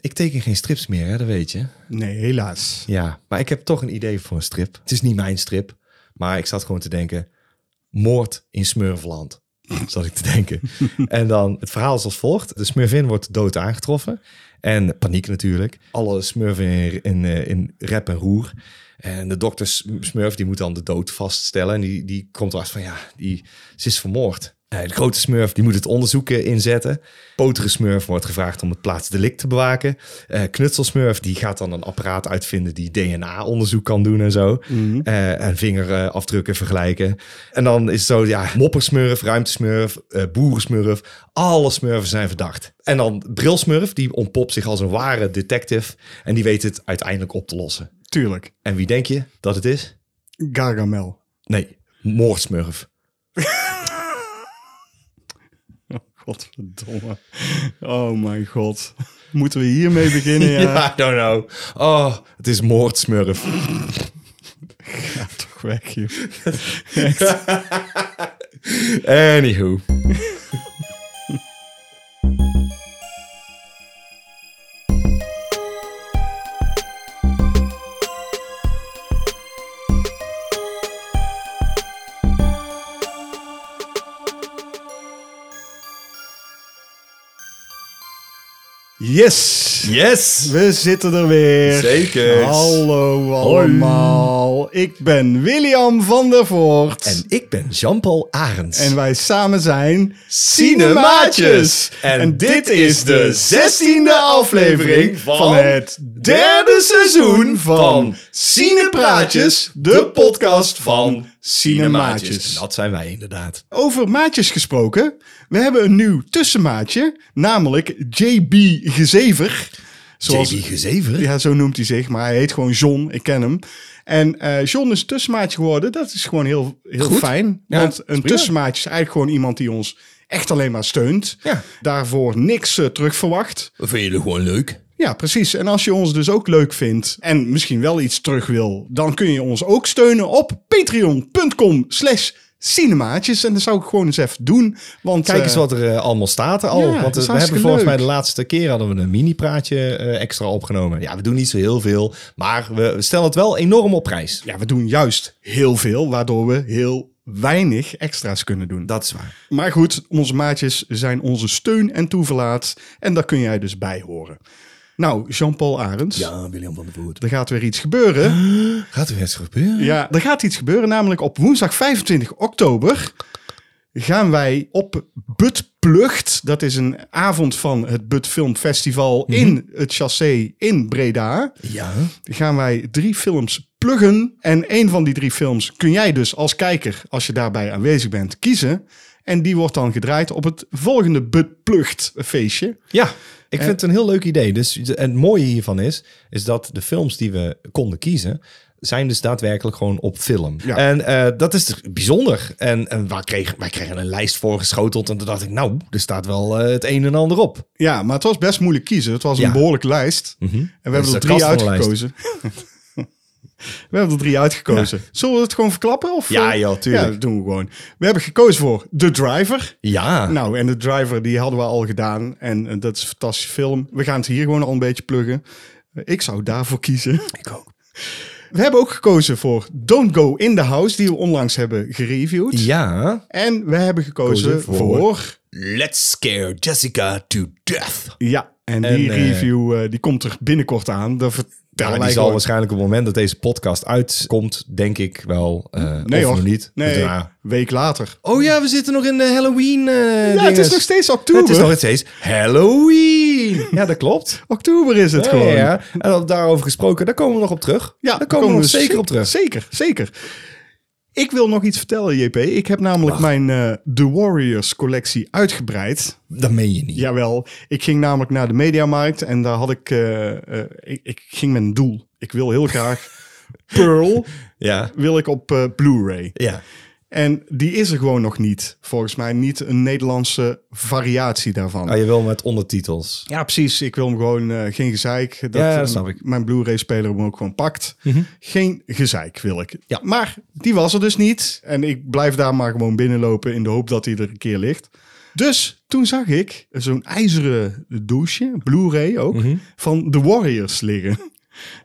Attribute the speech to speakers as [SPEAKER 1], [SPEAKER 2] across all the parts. [SPEAKER 1] Ik teken geen strips meer, hè, dat weet je.
[SPEAKER 2] Nee, helaas.
[SPEAKER 1] Ja, maar ik heb toch een idee voor een strip. Het is niet mijn strip, maar ik zat gewoon te denken... Moord in Smurfland, zat ik te denken. en dan, het verhaal is als volgt. De Smurfin wordt dood aangetroffen. En paniek natuurlijk. Alle Smurfen in, in, eh, in rep en roer. En de dokter Smurf, die moet dan de dood vaststellen. En die, die komt erachter van, ja, die, ze is vermoord. Eh, De grote Smurf, die moet het onderzoek eh, inzetten. Potere Smurf wordt gevraagd om het plaatsdelict te bewaken. Eh Knutselsmurf, die gaat dan een apparaat uitvinden die DNA-onderzoek kan doen en zo.
[SPEAKER 2] Mhm.
[SPEAKER 1] Eh, en vingerafdrukken vergelijken. En dan is het zo, ja, moppersmurf, ruimtesmurf, eh boerensmurf. Alle smurfen zijn verdacht. En dan brilsmurf, die ontpopt zich als een ware detective. En die weet het uiteindelijk op te lossen.
[SPEAKER 2] Tuurlijk.
[SPEAKER 1] En wie denk je dat het is?
[SPEAKER 2] Gargamel.
[SPEAKER 1] Nee, moordsmurf.
[SPEAKER 2] Oh, godverdomme. Oh mijn god. Moeten we hiermee beginnen? Ja,
[SPEAKER 1] I don't know. Oh, het is moordsmurf.
[SPEAKER 2] Ja, toch weg hier.
[SPEAKER 1] Anywho.
[SPEAKER 2] Yes!
[SPEAKER 1] Yes!
[SPEAKER 2] We zitten er weer.
[SPEAKER 1] Zeker.
[SPEAKER 2] Hallo allemaal. Ik ben William van der Voort.
[SPEAKER 1] En ik ben Jean-Paul Arends.
[SPEAKER 2] En wij samen zijn
[SPEAKER 1] Cinemaatjes.
[SPEAKER 2] En, dit is de zestiende
[SPEAKER 1] 16e
[SPEAKER 2] aflevering van het derde seizoen van Cinepraatjes, de podcast van Cinemaatjes.
[SPEAKER 1] Dat zijn wij inderdaad.
[SPEAKER 2] Over maatjes gesproken, we hebben een nieuw tussenmaatje, namelijk JB Gezever.
[SPEAKER 1] JB
[SPEAKER 2] Zoals-
[SPEAKER 1] Gezever?
[SPEAKER 2] Ja, zo noemt hij zich, maar hij heet gewoon John, ik ken hem. En eh, John is een tussenmaatje geworden, dat is gewoon heel, heel
[SPEAKER 1] Goed.
[SPEAKER 2] fijn.
[SPEAKER 1] Ja,
[SPEAKER 2] want
[SPEAKER 1] is
[SPEAKER 2] een
[SPEAKER 1] prima.
[SPEAKER 2] tussenmaatje is eigenlijk gewoon iemand die ons echt alleen maar steunt.
[SPEAKER 1] Ja.
[SPEAKER 2] Daarvoor niks eh, terug verwacht.
[SPEAKER 1] Vind je het gewoon leuk?
[SPEAKER 2] Ja, precies. En als je ons dus ook leuk vindt en misschien wel iets terug wil, dan kun je ons ook steunen op patreon.com slash cinemaatjes. En dat zou ik gewoon eens even doen. Want,
[SPEAKER 1] Kijk
[SPEAKER 2] eh,
[SPEAKER 1] eens wat er eh, allemaal staat er al.
[SPEAKER 2] ja,
[SPEAKER 1] Want
[SPEAKER 2] dat
[SPEAKER 1] eh,
[SPEAKER 2] is
[SPEAKER 1] we hebben
[SPEAKER 2] hartstikke
[SPEAKER 1] volgens mij
[SPEAKER 2] leuk.
[SPEAKER 1] de laatste keer hadden we een mini-praatje eh, extra opgenomen. Ja, we doen niet zo heel veel. Maar we we stellen het wel enorm op prijs.
[SPEAKER 2] Ja, we doen juist heel veel, waardoor we heel weinig extra's kunnen doen.
[SPEAKER 1] Dat is waar.
[SPEAKER 2] Maar goed, onze maatjes zijn onze steun en toeverlaat. En daar kun jij dus bij horen. Nou, Jean-Paul Arends,
[SPEAKER 1] Ja, William van der Voort.
[SPEAKER 2] er gaat weer iets gebeuren.
[SPEAKER 1] Gaat er weer iets gebeuren?
[SPEAKER 2] Ja, er gaat iets gebeuren. Namelijk op woensdag 25 oktober gaan wij op Budplucht. Dat is een avond van het Bud Film Festival in het Chassé in Breda.
[SPEAKER 1] Ja.
[SPEAKER 2] Gaan wij drie films pluggen. En een van die drie films kun jij dus als kijker, als je daarbij aanwezig bent, kiezen. En die wordt dan gedraaid op het volgende Budplucht feestje.
[SPEAKER 1] Ja, ik vind het een heel leuk idee. Dus de- en het mooie hiervan is, is dat de films die we konden kiezen, zijn dus daadwerkelijk gewoon op film.
[SPEAKER 2] Ja.
[SPEAKER 1] En eh, dat is dus bijzonder. En, en waar kreeg, wij kregen een lijst voor geschoteld en toen dacht ik, nou, er staat wel eh, het een en ander op.
[SPEAKER 2] Ja, maar het was best moeilijk kiezen. Het was een
[SPEAKER 1] Ja.
[SPEAKER 2] behoorlijke lijst. En we
[SPEAKER 1] Dat is
[SPEAKER 2] hebben er
[SPEAKER 1] de
[SPEAKER 2] drie
[SPEAKER 1] kast van de
[SPEAKER 2] uitgekozen. we hebben er drie uitgekozen. Zullen we het gewoon verklappen? Of,
[SPEAKER 1] Ja,
[SPEAKER 2] eh,
[SPEAKER 1] joh, tuurlijk.
[SPEAKER 2] Ja, dat doen we gewoon. We hebben gekozen voor The Driver.
[SPEAKER 1] Ja,
[SPEAKER 2] Nou, en The Driver die hadden we al gedaan. En eh, dat is een fantastische film. We gaan het hier gewoon al een beetje pluggen. Eh, Ik zou daarvoor kiezen.
[SPEAKER 1] ik ook.
[SPEAKER 2] We hebben ook gekozen voor Don't Go In The House, die we onlangs hebben gereviewd.
[SPEAKER 1] Ja.
[SPEAKER 2] En we hebben gekozen
[SPEAKER 1] Kozen
[SPEAKER 2] voor...
[SPEAKER 1] voor- Let's scare Jessica to death.
[SPEAKER 2] Ja, en,
[SPEAKER 1] En,
[SPEAKER 2] die
[SPEAKER 1] eh,
[SPEAKER 2] review eh, die komt er binnenkort aan. Daar
[SPEAKER 1] Ja,
[SPEAKER 2] vertellen
[SPEAKER 1] die
[SPEAKER 2] wij
[SPEAKER 1] zal
[SPEAKER 2] gewoon-
[SPEAKER 1] waarschijnlijk op het moment dat deze podcast uitkomt, denk ik wel. eh
[SPEAKER 2] Nee
[SPEAKER 1] of
[SPEAKER 2] hoor.
[SPEAKER 1] nog niet.
[SPEAKER 2] Nee,
[SPEAKER 1] Ja.
[SPEAKER 2] week later.
[SPEAKER 1] Oh ja, we zitten nog in de Halloween. eh,
[SPEAKER 2] Ja, het is
[SPEAKER 1] dinges.
[SPEAKER 2] nog steeds oktober.
[SPEAKER 1] Het is nog steeds Halloween. Ja, dat klopt.
[SPEAKER 2] Oktober is het
[SPEAKER 1] Ja,
[SPEAKER 2] gewoon.
[SPEAKER 1] ja, ja. En op daarover gesproken, daar komen we nog op terug.
[SPEAKER 2] Ja,
[SPEAKER 1] daar komen we nog zeker
[SPEAKER 2] ze-
[SPEAKER 1] op terug.
[SPEAKER 2] Zeker, zeker. Ik wil nog iets vertellen, JP. Ik heb namelijk mijn eh, The Warriors collectie uitgebreid.
[SPEAKER 1] Dat meen je niet.
[SPEAKER 2] Jawel, ik ging namelijk naar de Mediamarkt en daar had ik... eh, eh, ik, ik ging met een doel. Ik wil heel graag Pearl
[SPEAKER 1] Ja.
[SPEAKER 2] wil ik op eh, Blu-ray.
[SPEAKER 1] ja.
[SPEAKER 2] En die is er gewoon nog niet. Volgens mij niet een Nederlandse variatie daarvan.
[SPEAKER 1] Ah, je wil met ondertitels.
[SPEAKER 2] Ja, precies. Ik wil hem gewoon eh, geen gezeik. Dat, eh,
[SPEAKER 1] Ja, dat snap ik. Mhm.
[SPEAKER 2] Mijn Blu-ray-speler hem ook gewoon pakt. Geen gezeik wil ik.
[SPEAKER 1] Ja.
[SPEAKER 2] Maar die was er dus niet. En ik blijf daar maar gewoon binnenlopen in de hoop dat hij er een keer ligt. Dus toen zag ik zo'n ijzeren doosje, Blu-ray ook, van The Warriors liggen.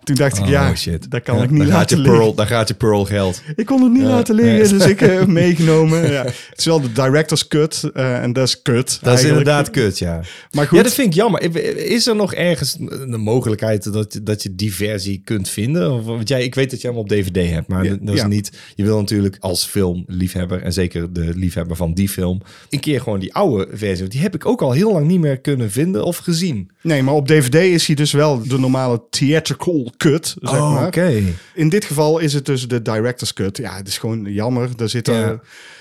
[SPEAKER 2] Toen dacht ik,
[SPEAKER 1] Mhm. Oh,
[SPEAKER 2] ja,
[SPEAKER 1] shit.
[SPEAKER 2] dat kan
[SPEAKER 1] Ja,
[SPEAKER 2] ik niet
[SPEAKER 1] daar gaat
[SPEAKER 2] laten
[SPEAKER 1] je
[SPEAKER 2] liggen.
[SPEAKER 1] Pearl, Daar gaat je Pearl geld.
[SPEAKER 2] Ik kon het niet laten liggen,
[SPEAKER 1] nee.
[SPEAKER 2] dus ik heb hem meegenomen. Ja. Het is wel de director's cut eh, en dat is kut.
[SPEAKER 1] Dat is
[SPEAKER 2] eigenlijk.
[SPEAKER 1] inderdaad kut, ja.
[SPEAKER 2] Maar goed.
[SPEAKER 1] Ja, dat vind ik jammer. Is er nog ergens een mogelijkheid dat, je- dat je die versie kunt vinden? Of, want jij, ik weet dat jij hem op DVD hebt, maar
[SPEAKER 2] Ja,
[SPEAKER 1] dat is
[SPEAKER 2] ja.
[SPEAKER 1] niet... Je wil natuurlijk als filmliefhebber, en zeker de liefhebber van die film... een keer gewoon die oude versie. Want die heb ik ook al heel lang niet meer kunnen vinden of gezien.
[SPEAKER 2] Nee, maar op DVD is hij dus wel de normale theatrical cut, zeg
[SPEAKER 1] Oh,
[SPEAKER 2] maar.
[SPEAKER 1] oké.
[SPEAKER 2] In dit geval is het dus de director's cut. Ja, het is gewoon jammer. Daar zitten...
[SPEAKER 1] Ja.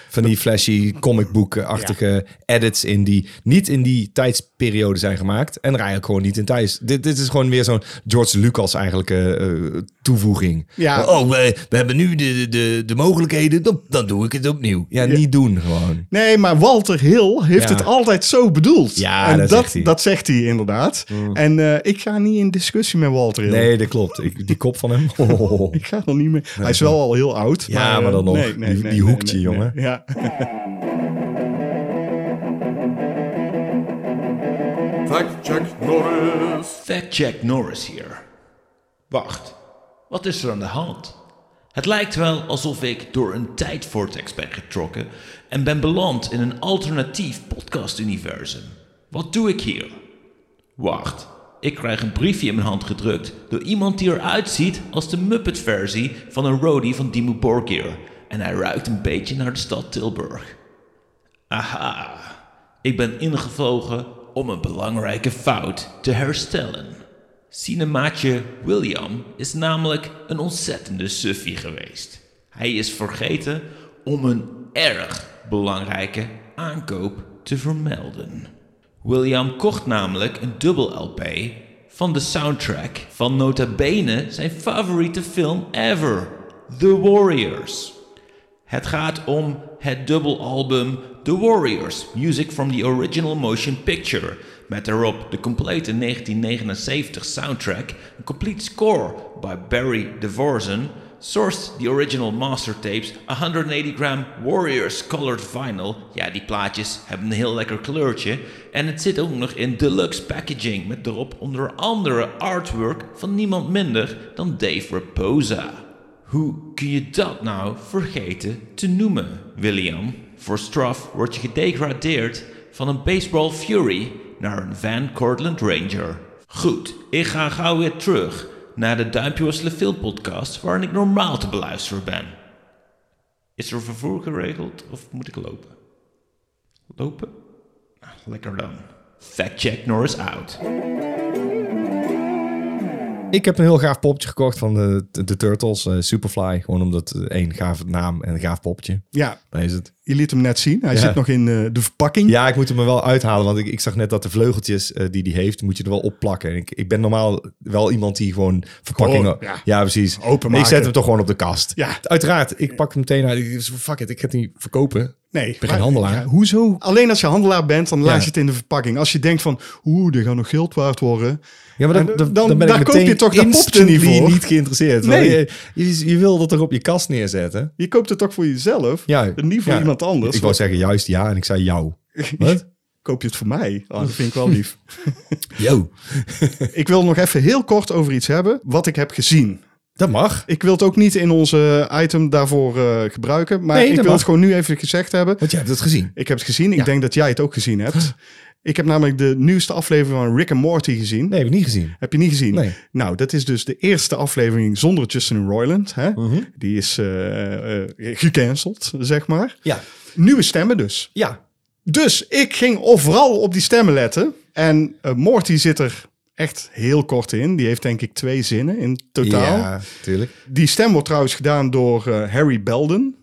[SPEAKER 1] Van die flashy comicboek-achtige edits in die niet in die tijdsperiode zijn gemaakt. En er eigenlijk gewoon niet in thuis. Dit, dit is gewoon weer zo'n George Lucas eigenlijk eh, eh, toevoeging.
[SPEAKER 2] Ja.
[SPEAKER 1] Oh, we, we hebben nu de, de, de mogelijkheden, dan, dan doe ik het opnieuw. Ja, niet doen gewoon.
[SPEAKER 2] Nee, maar Walter Hill heeft
[SPEAKER 1] Ja.
[SPEAKER 2] het altijd zo bedoeld.
[SPEAKER 1] Ja,
[SPEAKER 2] en
[SPEAKER 1] dat
[SPEAKER 2] dat,
[SPEAKER 1] zegt hij. Mm.
[SPEAKER 2] dat zegt hij inderdaad. En eh, ik ga niet in discussie met Walter Hill.
[SPEAKER 1] Nee, dat klopt. Ik, die kop van hem. Oh.
[SPEAKER 2] Ik ga er niet meer. Hij is wel al heel oud.
[SPEAKER 1] Ja,
[SPEAKER 2] eh,
[SPEAKER 1] maar dan nog. Die- die hoekt je, jongen.
[SPEAKER 2] nee. Ja.
[SPEAKER 3] Fact check Norris.
[SPEAKER 4] Fact check Norris hier. Wacht, wat is er aan de hand? Het lijkt wel alsof ik door een tijdvortex ben getrokken en ben beland in een alternatief podcastuniversum. Wat doe ik hier? Wacht, ik krijg een briefje in mijn hand gedrukt door iemand die eruit ziet als de Muppet-versie van een roadie van Dimmu Borgir. En hij ruikt een beetje naar de stad Tilburg. Aha, ik ben ingevlogen om een belangrijke fout te herstellen. Cinemaatje William is namelijk een ontzettende suffie geweest. Hij is vergeten om een erg belangrijke aankoop te vermelden. William kocht namelijk een dubbel LP van de soundtrack van nota bene zijn favoriete film ever, The Warriors. Het gaat om het dubbelalbum The Warriors, Music from the Original Motion Picture. Met daarop de complete 1979 soundtrack, een complete score by Barry DeVorzen, sourced the original master tapes, 180 gram Warriors colored vinyl. Ja, die plaatjes hebben een heel lekker kleurtje. En het zit ook nog in deluxe packaging, met daarop onder andere artwork van niemand minder dan Dave Raposa. Hoe kun je dat nou vergeten te noemen, William? Voor straf word je gedegradeerd van een baseball fury naar een Van Cortlandt Ranger. Goed, ik ga gauw weer terug naar de Duimpje Wisselen Film podcast waarin ik normaal te beluisteren ben. Is er vervoer geregeld of moet ik lopen? Lopen? Ah, Lekker dan. Fact check Norris out.
[SPEAKER 1] Ik heb een heel gaaf popje gekocht van de, de, Turtles, eh, Superfly. Gewoon omdat eh, één gaaf naam en een gaaf popje.
[SPEAKER 2] ja,
[SPEAKER 1] Daar is het.
[SPEAKER 2] je liet hem net zien. Hij
[SPEAKER 1] Ja.
[SPEAKER 2] zit nog in eh, de verpakking.
[SPEAKER 1] Ja, ik moet hem er wel uithalen, want ik, ik zag net dat de vleugeltjes eh, die die heeft, moet je er wel op plakken. En Ik, ik ben normaal wel iemand die gewoon verpakkingen...
[SPEAKER 2] Gewoon, ja.
[SPEAKER 1] precies.
[SPEAKER 2] Openmaken.
[SPEAKER 1] Ik zet hem toch gewoon op de kast.
[SPEAKER 2] Ja.
[SPEAKER 1] Uiteraard, ik pak hem meteen uit. Ik- Fuck it, ik ga het niet verkopen.
[SPEAKER 2] Nee,
[SPEAKER 1] Ik ben
[SPEAKER 2] maar-
[SPEAKER 1] geen handelaar.
[SPEAKER 2] ja, hoezo? Alleen als je handelaar bent, dan laat je het in de verpakking. Als je denkt van, oeh, dit gaat nog geld waard worden.
[SPEAKER 1] Ja, maar dan,
[SPEAKER 2] En eh,
[SPEAKER 1] dan,
[SPEAKER 2] dan-
[SPEAKER 1] dan ben
[SPEAKER 2] daar
[SPEAKER 1] ik
[SPEAKER 2] koop
[SPEAKER 1] meteen
[SPEAKER 2] je toch dat popje
[SPEAKER 1] instantly
[SPEAKER 2] niet voor?
[SPEAKER 1] niet geïnteresseerd. want
[SPEAKER 2] Nee.
[SPEAKER 1] Je, je, je wil dat er op je kast neerzetten.
[SPEAKER 2] Je koopt het toch voor jezelf,
[SPEAKER 1] Ja,
[SPEAKER 2] en niet voor
[SPEAKER 1] ja.
[SPEAKER 2] iemand anders.
[SPEAKER 1] Ik wou zeggen juist ja en ik zei jou. Wat?
[SPEAKER 2] Koop je het voor mij? Oh, dat vind ik wel lief.
[SPEAKER 1] Yo.
[SPEAKER 2] ik wil nog even heel kort over iets hebben wat ik heb gezien.
[SPEAKER 1] Dat mag.
[SPEAKER 2] Ik wil het ook niet in onze item daarvoor eh, gebruiken, maar
[SPEAKER 1] Nee,
[SPEAKER 2] ik
[SPEAKER 1] dat
[SPEAKER 2] wil
[SPEAKER 1] mag.
[SPEAKER 2] het gewoon nu even gezegd hebben.
[SPEAKER 1] Want jij hebt het gezien.
[SPEAKER 2] Ik heb het gezien. Ik denk dat jij het ook gezien hebt. Ik heb namelijk de nieuwste aflevering van Rick and Morty gezien.
[SPEAKER 1] Nee, heb ik niet gezien.
[SPEAKER 2] Heb je niet gezien?
[SPEAKER 1] Nee.
[SPEAKER 2] Nou, dat is dus de eerste aflevering zonder Justin Roiland. Hè? Die is eh, eh, gecanceld, zeg maar.
[SPEAKER 1] Ja.
[SPEAKER 2] Nieuwe stemmen dus.
[SPEAKER 1] Ja.
[SPEAKER 2] Dus ik ging overal op die stemmen letten. En eh, Morty zit er echt heel kort in. Die heeft denk ik twee zinnen in totaal.
[SPEAKER 1] Ja, tuurlijk.
[SPEAKER 2] Die stem wordt trouwens gedaan door eh, Harry Belden.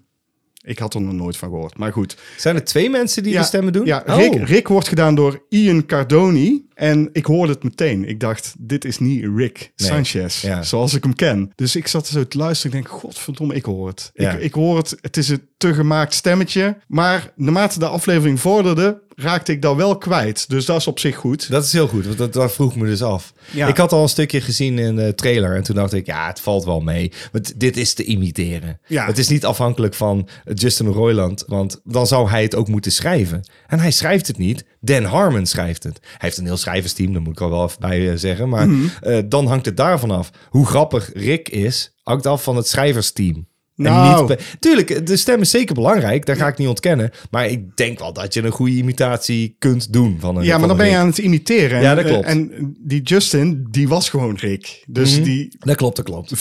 [SPEAKER 2] Ik had er nog nooit van gehoord, maar goed.
[SPEAKER 1] Zijn er twee mensen die de stemmen doen?
[SPEAKER 2] Ja,
[SPEAKER 1] Oh.
[SPEAKER 2] Rick, Rick wordt gedaan door Ian Cardoni. En ik hoorde het meteen. Ik dacht, dit is niet Rick
[SPEAKER 1] Nee.
[SPEAKER 2] Sanchez,
[SPEAKER 1] Ja.
[SPEAKER 2] zoals ik hem ken. Dus ik zat zo te luisteren. Ik denk, godverdomme, ik hoor het.
[SPEAKER 1] Ja.
[SPEAKER 2] Ik, ik hoor het. Het is een te gemaakt stemmetje. Maar naarmate de aflevering vorderde, raakte ik dat wel kwijt. Dus dat is op zich goed.
[SPEAKER 1] Dat is heel goed, want dat, dat vroeg me dus af.
[SPEAKER 2] Ja.
[SPEAKER 1] Ik had al een stukje gezien in de trailer en toen dacht ik, ja, het valt wel mee. Want dit is te imiteren.
[SPEAKER 2] Ja.
[SPEAKER 1] Het is niet afhankelijk van Justin Roiland, want dan zou hij het ook moeten schrijven. En hij schrijft het niet, Dan Harmon schrijft het. Hij heeft een heel schrijversteam, daar moet ik al wel even bij eh, zeggen. Maar
[SPEAKER 2] Mhm.
[SPEAKER 1] eh, dan hangt het daarvan af. Hoe grappig Rick is, hangt af van het schrijversteam. En
[SPEAKER 2] Nou.
[SPEAKER 1] niet pe- Tuurlijk, de stem is zeker belangrijk, daar ga ik niet ontkennen. Maar ik denk wel dat je een goede imitatie kunt doen van een
[SPEAKER 2] Ja, maar
[SPEAKER 1] van
[SPEAKER 2] dan
[SPEAKER 1] een
[SPEAKER 2] ben je
[SPEAKER 1] Rick.
[SPEAKER 2] aan het imiteren. En,
[SPEAKER 1] Ja, dat klopt. Mhm.
[SPEAKER 2] eh, En die Justin, die was gewoon Rick. Dus die
[SPEAKER 1] Dat klopt, dat klopt.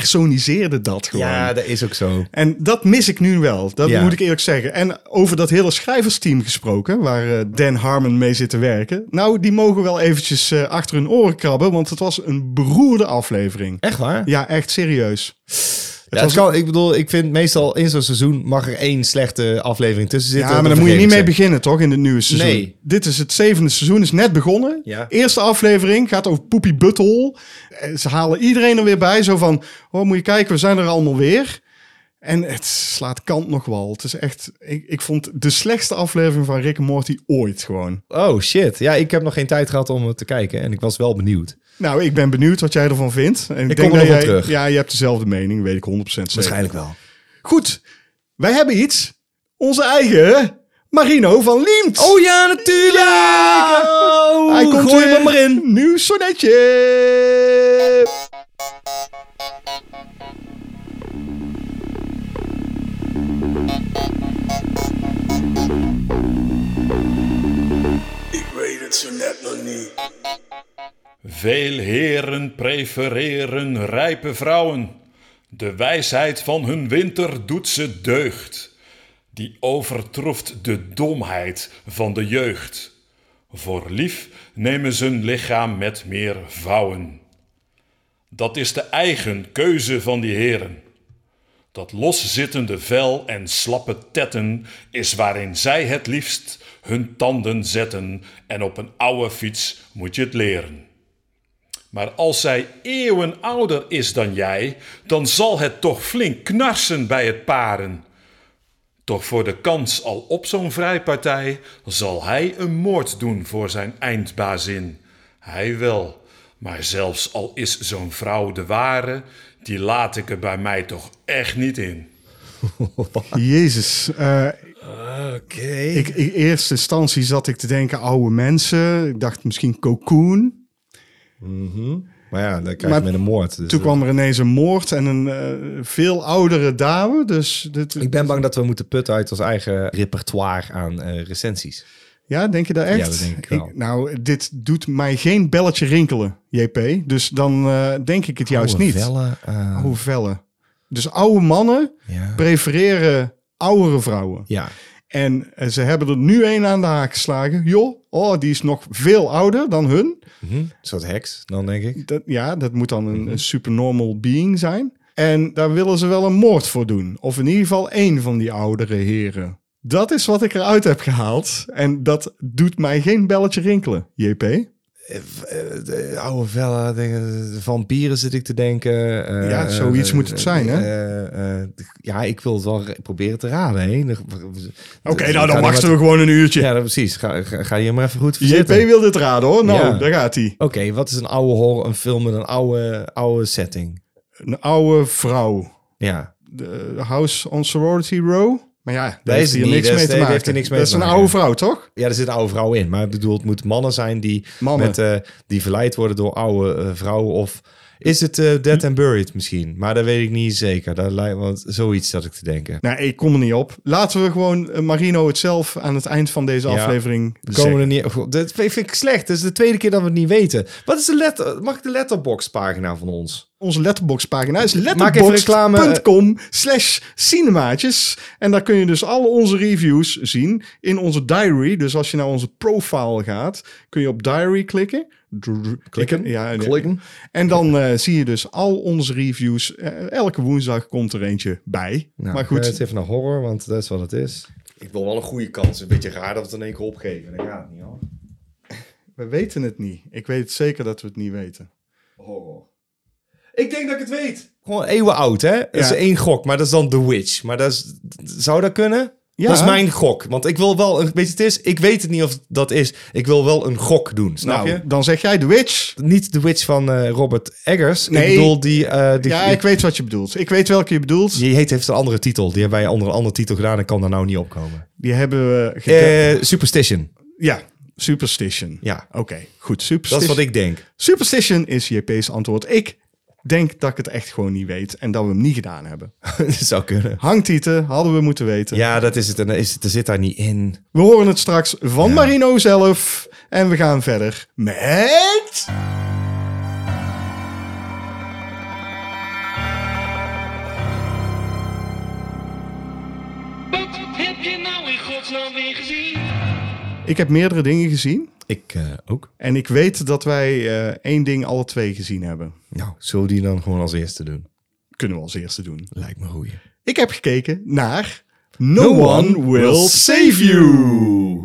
[SPEAKER 2] verpersoniseerde dat gewoon.
[SPEAKER 1] Ja, dat is ook zo.
[SPEAKER 2] En dat mis ik nu wel. Dat
[SPEAKER 1] Ja.
[SPEAKER 2] moet ik eerlijk zeggen. En over dat hele schrijversteam gesproken, waar eh, Dan Harmon mee zit te werken. Nou, die mogen wel eventjes eh, achter hun oren krabben, want het was een beroerde aflevering.
[SPEAKER 1] Echt waar?
[SPEAKER 2] Ja, echt serieus.
[SPEAKER 1] Ja, het kan, ik bedoel, ik vind meestal in zo'n seizoen mag er één slechte aflevering tussen
[SPEAKER 2] Ja,
[SPEAKER 1] zitten.
[SPEAKER 2] maar
[SPEAKER 1] Dan
[SPEAKER 2] daar moet je niet mee
[SPEAKER 1] vergeef ik
[SPEAKER 2] beginnen, toch? In het nieuwe seizoen.
[SPEAKER 1] Nee.
[SPEAKER 2] Dit is het zevende seizoen, is net begonnen.
[SPEAKER 1] Ja.
[SPEAKER 2] Eerste aflevering gaat over Poepie Butthol. Eh, Ze halen iedereen er weer bij. Zo van, oh, moet je kijken, we zijn er allemaal weer. En het slaat kant nog wel. Het is echt, ik, ik vond de slechtste aflevering van Rick en Morty ooit gewoon.
[SPEAKER 1] ze. Oh shit. Ja, ik heb nog geen tijd gehad om het te kijken en ik was wel benieuwd.
[SPEAKER 2] Nou, ik ben benieuwd wat jij ervan vindt. En ik,
[SPEAKER 1] kom er
[SPEAKER 2] dat
[SPEAKER 1] nog wel
[SPEAKER 2] jij-
[SPEAKER 1] terug.
[SPEAKER 2] Ja, je hebt dezelfde mening, weet ik 100% zeker.
[SPEAKER 1] wel.
[SPEAKER 2] Goed, wij hebben iets. Onze eigen Marino van Liemt.
[SPEAKER 1] Oh ja, natuurlijk! Oh,
[SPEAKER 2] Hij komt
[SPEAKER 1] gooi
[SPEAKER 2] weer
[SPEAKER 1] hem maar in.
[SPEAKER 2] Nieuw sonnetje.
[SPEAKER 5] Ik weet het zo net nog niet.
[SPEAKER 6] Veel heren prefereren rijpe vrouwen. De wijsheid van hun winter doet ze deugd. Die overtroeft de domheid van de jeugd. Voor lief nemen ze hun lichaam met meer vouwen. Dat is de eigen keuze van die heren. Dat loszittende vel en slappe tetten is waarin zij het liefst hun tanden zetten en op een oude fiets moet je het leren. Maar als zij eeuwen ouder is dan jij, dan zal het toch flink knarsen bij het paren. Toch voor de kans al op zo'n vrijpartij zal hij een moord doen voor zijn eindbazin. Hij wel, maar zelfs al is zo'n vrouw de ware, die laat ik er bij mij toch echt niet in.
[SPEAKER 2] Jezus. eh,
[SPEAKER 1] Oké.
[SPEAKER 2] ik, in eerste instantie zat ik te denken oude mensen. Ik dacht misschien cocoon.
[SPEAKER 1] Maar ja, dan krijg je
[SPEAKER 2] Maar
[SPEAKER 1] met een moord. dus
[SPEAKER 2] Toen
[SPEAKER 1] dat-
[SPEAKER 2] kwam er ineens een moord en een eh, veel oudere dame. Dus dit,
[SPEAKER 1] Ik ben bang dat we moeten putten uit ons eigen repertoire aan eh, recensies.
[SPEAKER 2] ja, denk je dat echt?
[SPEAKER 1] Ja, dat denk ik wel.
[SPEAKER 2] nou, dit doet mij geen belletje rinkelen, JP. Dus dan eh, denk ik het juist
[SPEAKER 1] Oude
[SPEAKER 2] niet.
[SPEAKER 1] vellen, eh,
[SPEAKER 2] Oude vellen. Dus oude mannen
[SPEAKER 1] Ja.
[SPEAKER 2] prefereren oudere vrouwen.
[SPEAKER 1] ja.
[SPEAKER 2] En eh, ze hebben er nu één aan de haak geslagen. Joh, oh, die is nog veel ouder dan hun.
[SPEAKER 1] Mhm. Een soort heks, dan denk ik.
[SPEAKER 2] Dat, ja, dat moet dan
[SPEAKER 1] Mhm.
[SPEAKER 2] een, een supernormal being zijn. En daar willen ze wel een moord voor doen. Of in ieder geval één van die oudere heren. Dat is wat ik eruit heb gehaald. En dat doet mij geen belletje rinkelen, Dus JP.
[SPEAKER 1] De Eh, oude vellen, dingen, vampieren zit ik te denken. eh,
[SPEAKER 2] Ja, zoiets
[SPEAKER 1] eh,
[SPEAKER 2] moet het zijn, hè?
[SPEAKER 1] eh, eh, ja, ik wil het wel re- proberen te raden, hè?
[SPEAKER 2] Oké, nou dan wachten we gewoon een uurtje.
[SPEAKER 1] Ja, dan precies. Ga, ga, ga je maar even goed
[SPEAKER 2] JP
[SPEAKER 1] verzetten. Oké,
[SPEAKER 2] wil dit raden hoor. Nou,
[SPEAKER 1] Ja.
[SPEAKER 2] daar gaat hij.
[SPEAKER 1] wat is een oude horror, een film met een oude, oude setting?
[SPEAKER 2] Een oude vrouw.
[SPEAKER 1] Ja,
[SPEAKER 2] De House on Sorority Row. Maar ja, daar
[SPEAKER 1] is
[SPEAKER 2] heeft
[SPEAKER 1] het
[SPEAKER 2] hij
[SPEAKER 1] niet.
[SPEAKER 2] niks
[SPEAKER 1] Dat
[SPEAKER 2] mee
[SPEAKER 1] is-
[SPEAKER 2] te
[SPEAKER 1] daar
[SPEAKER 2] maken.
[SPEAKER 1] heeft hij niks mee
[SPEAKER 2] dat
[SPEAKER 1] te
[SPEAKER 2] is een
[SPEAKER 1] maken.
[SPEAKER 2] oude vrouw, toch?
[SPEAKER 1] ja, er zit een oude vrouw in. Maar ik bedoel, het moet mannen zijn die,
[SPEAKER 2] Mannen.
[SPEAKER 1] Met, eh, die verleid worden door oude eh, vrouwen. Of is het eh, Dead and Buried misschien? Maar dat weet ik niet zeker. Daar lijkt, want zoiets zat ik te denken.
[SPEAKER 2] Nou, ik kom er niet op. Laten we gewoon eh, Marino het zelf aan het eind van deze
[SPEAKER 1] Ja.
[SPEAKER 2] aflevering
[SPEAKER 1] We
[SPEAKER 2] zeggen.
[SPEAKER 1] komen er niet. Goh, Dat vind ik slecht. Dat is de tweede keer dat we het niet weten. Wat is de letter? Mag ik de letterbox pagina van ons?
[SPEAKER 2] Onze letterboxpagina is
[SPEAKER 1] Maak even reclame, eh.
[SPEAKER 2] letterbox.com slash cinemaatjes. En daar kun je dus alle onze reviews zien in onze diary. Dus als je naar onze profile gaat, kun je op diary klikken. Dr- dr-
[SPEAKER 1] Klikken?
[SPEAKER 2] Ja, nee.
[SPEAKER 1] Klikken.
[SPEAKER 2] En dan eh, zie je dus al onze reviews. Eh, elke woensdag komt er eentje bij.
[SPEAKER 1] Nou,
[SPEAKER 2] maar goed,
[SPEAKER 1] Het even naar horror, want dat is wat het is. Ik wil wel een goede kans. Een beetje raar dat we het in één keer opgeven. Dat gaat niet hoor.
[SPEAKER 2] We weten het niet. Ik weet zeker dat we het niet weten.
[SPEAKER 1] Ik denk dat ik het weet. Gewoon eeuwen oud, hè? Dat is
[SPEAKER 2] Ja.
[SPEAKER 1] één gok, maar dat is dan The Witch. Maar dat is, zou dat kunnen?
[SPEAKER 2] Ja.
[SPEAKER 1] Dat is mijn gok. Want ik wil wel, een, weet je, het is, ik weet het niet of dat is. Ik wil wel een gok doen, snap
[SPEAKER 2] nou,
[SPEAKER 1] je?
[SPEAKER 2] dan zeg jij The Witch.
[SPEAKER 1] Niet The Witch van eh, Robert Eggers.
[SPEAKER 2] Nee.
[SPEAKER 1] Ik bedoel, die, eh, die,
[SPEAKER 2] Ja, ik weet wat je bedoelt. Ik weet welke je bedoelt.
[SPEAKER 1] die heet, heeft een andere titel. Die hebben wij onder een andere titel gedaan en kan daar nou niet opkomen.
[SPEAKER 2] Die hebben we... gedaan.
[SPEAKER 1] Eh Superstition.
[SPEAKER 2] ja, Superstition.
[SPEAKER 1] Ja.
[SPEAKER 2] Oké, goed. Superstition.
[SPEAKER 1] Dat is wat ik denk.
[SPEAKER 2] Superstition is JP's antwoord. Ik denk dat ik het echt gewoon niet weet en dat we hem niet gedaan hebben.
[SPEAKER 1] dat zou kunnen.
[SPEAKER 2] Hangtieten hadden we moeten weten.
[SPEAKER 1] Ja, dat is het. En dan is het, er zit daar niet in.
[SPEAKER 2] We horen het straks van Marino zelf en we gaan verder met...
[SPEAKER 7] Wat heb je nou in godsnaam weer gezien?
[SPEAKER 2] Ik heb meerdere dingen gezien
[SPEAKER 1] Ik eh, ook.
[SPEAKER 2] en ik weet dat wij eh, één ding alle twee gezien hebben.
[SPEAKER 1] Nou, zullen we die dan gewoon als eerste doen?
[SPEAKER 2] Kunnen we als eerste doen.
[SPEAKER 1] Lijkt me goeie.
[SPEAKER 2] Ik heb gekeken naar No, One, Will Save You.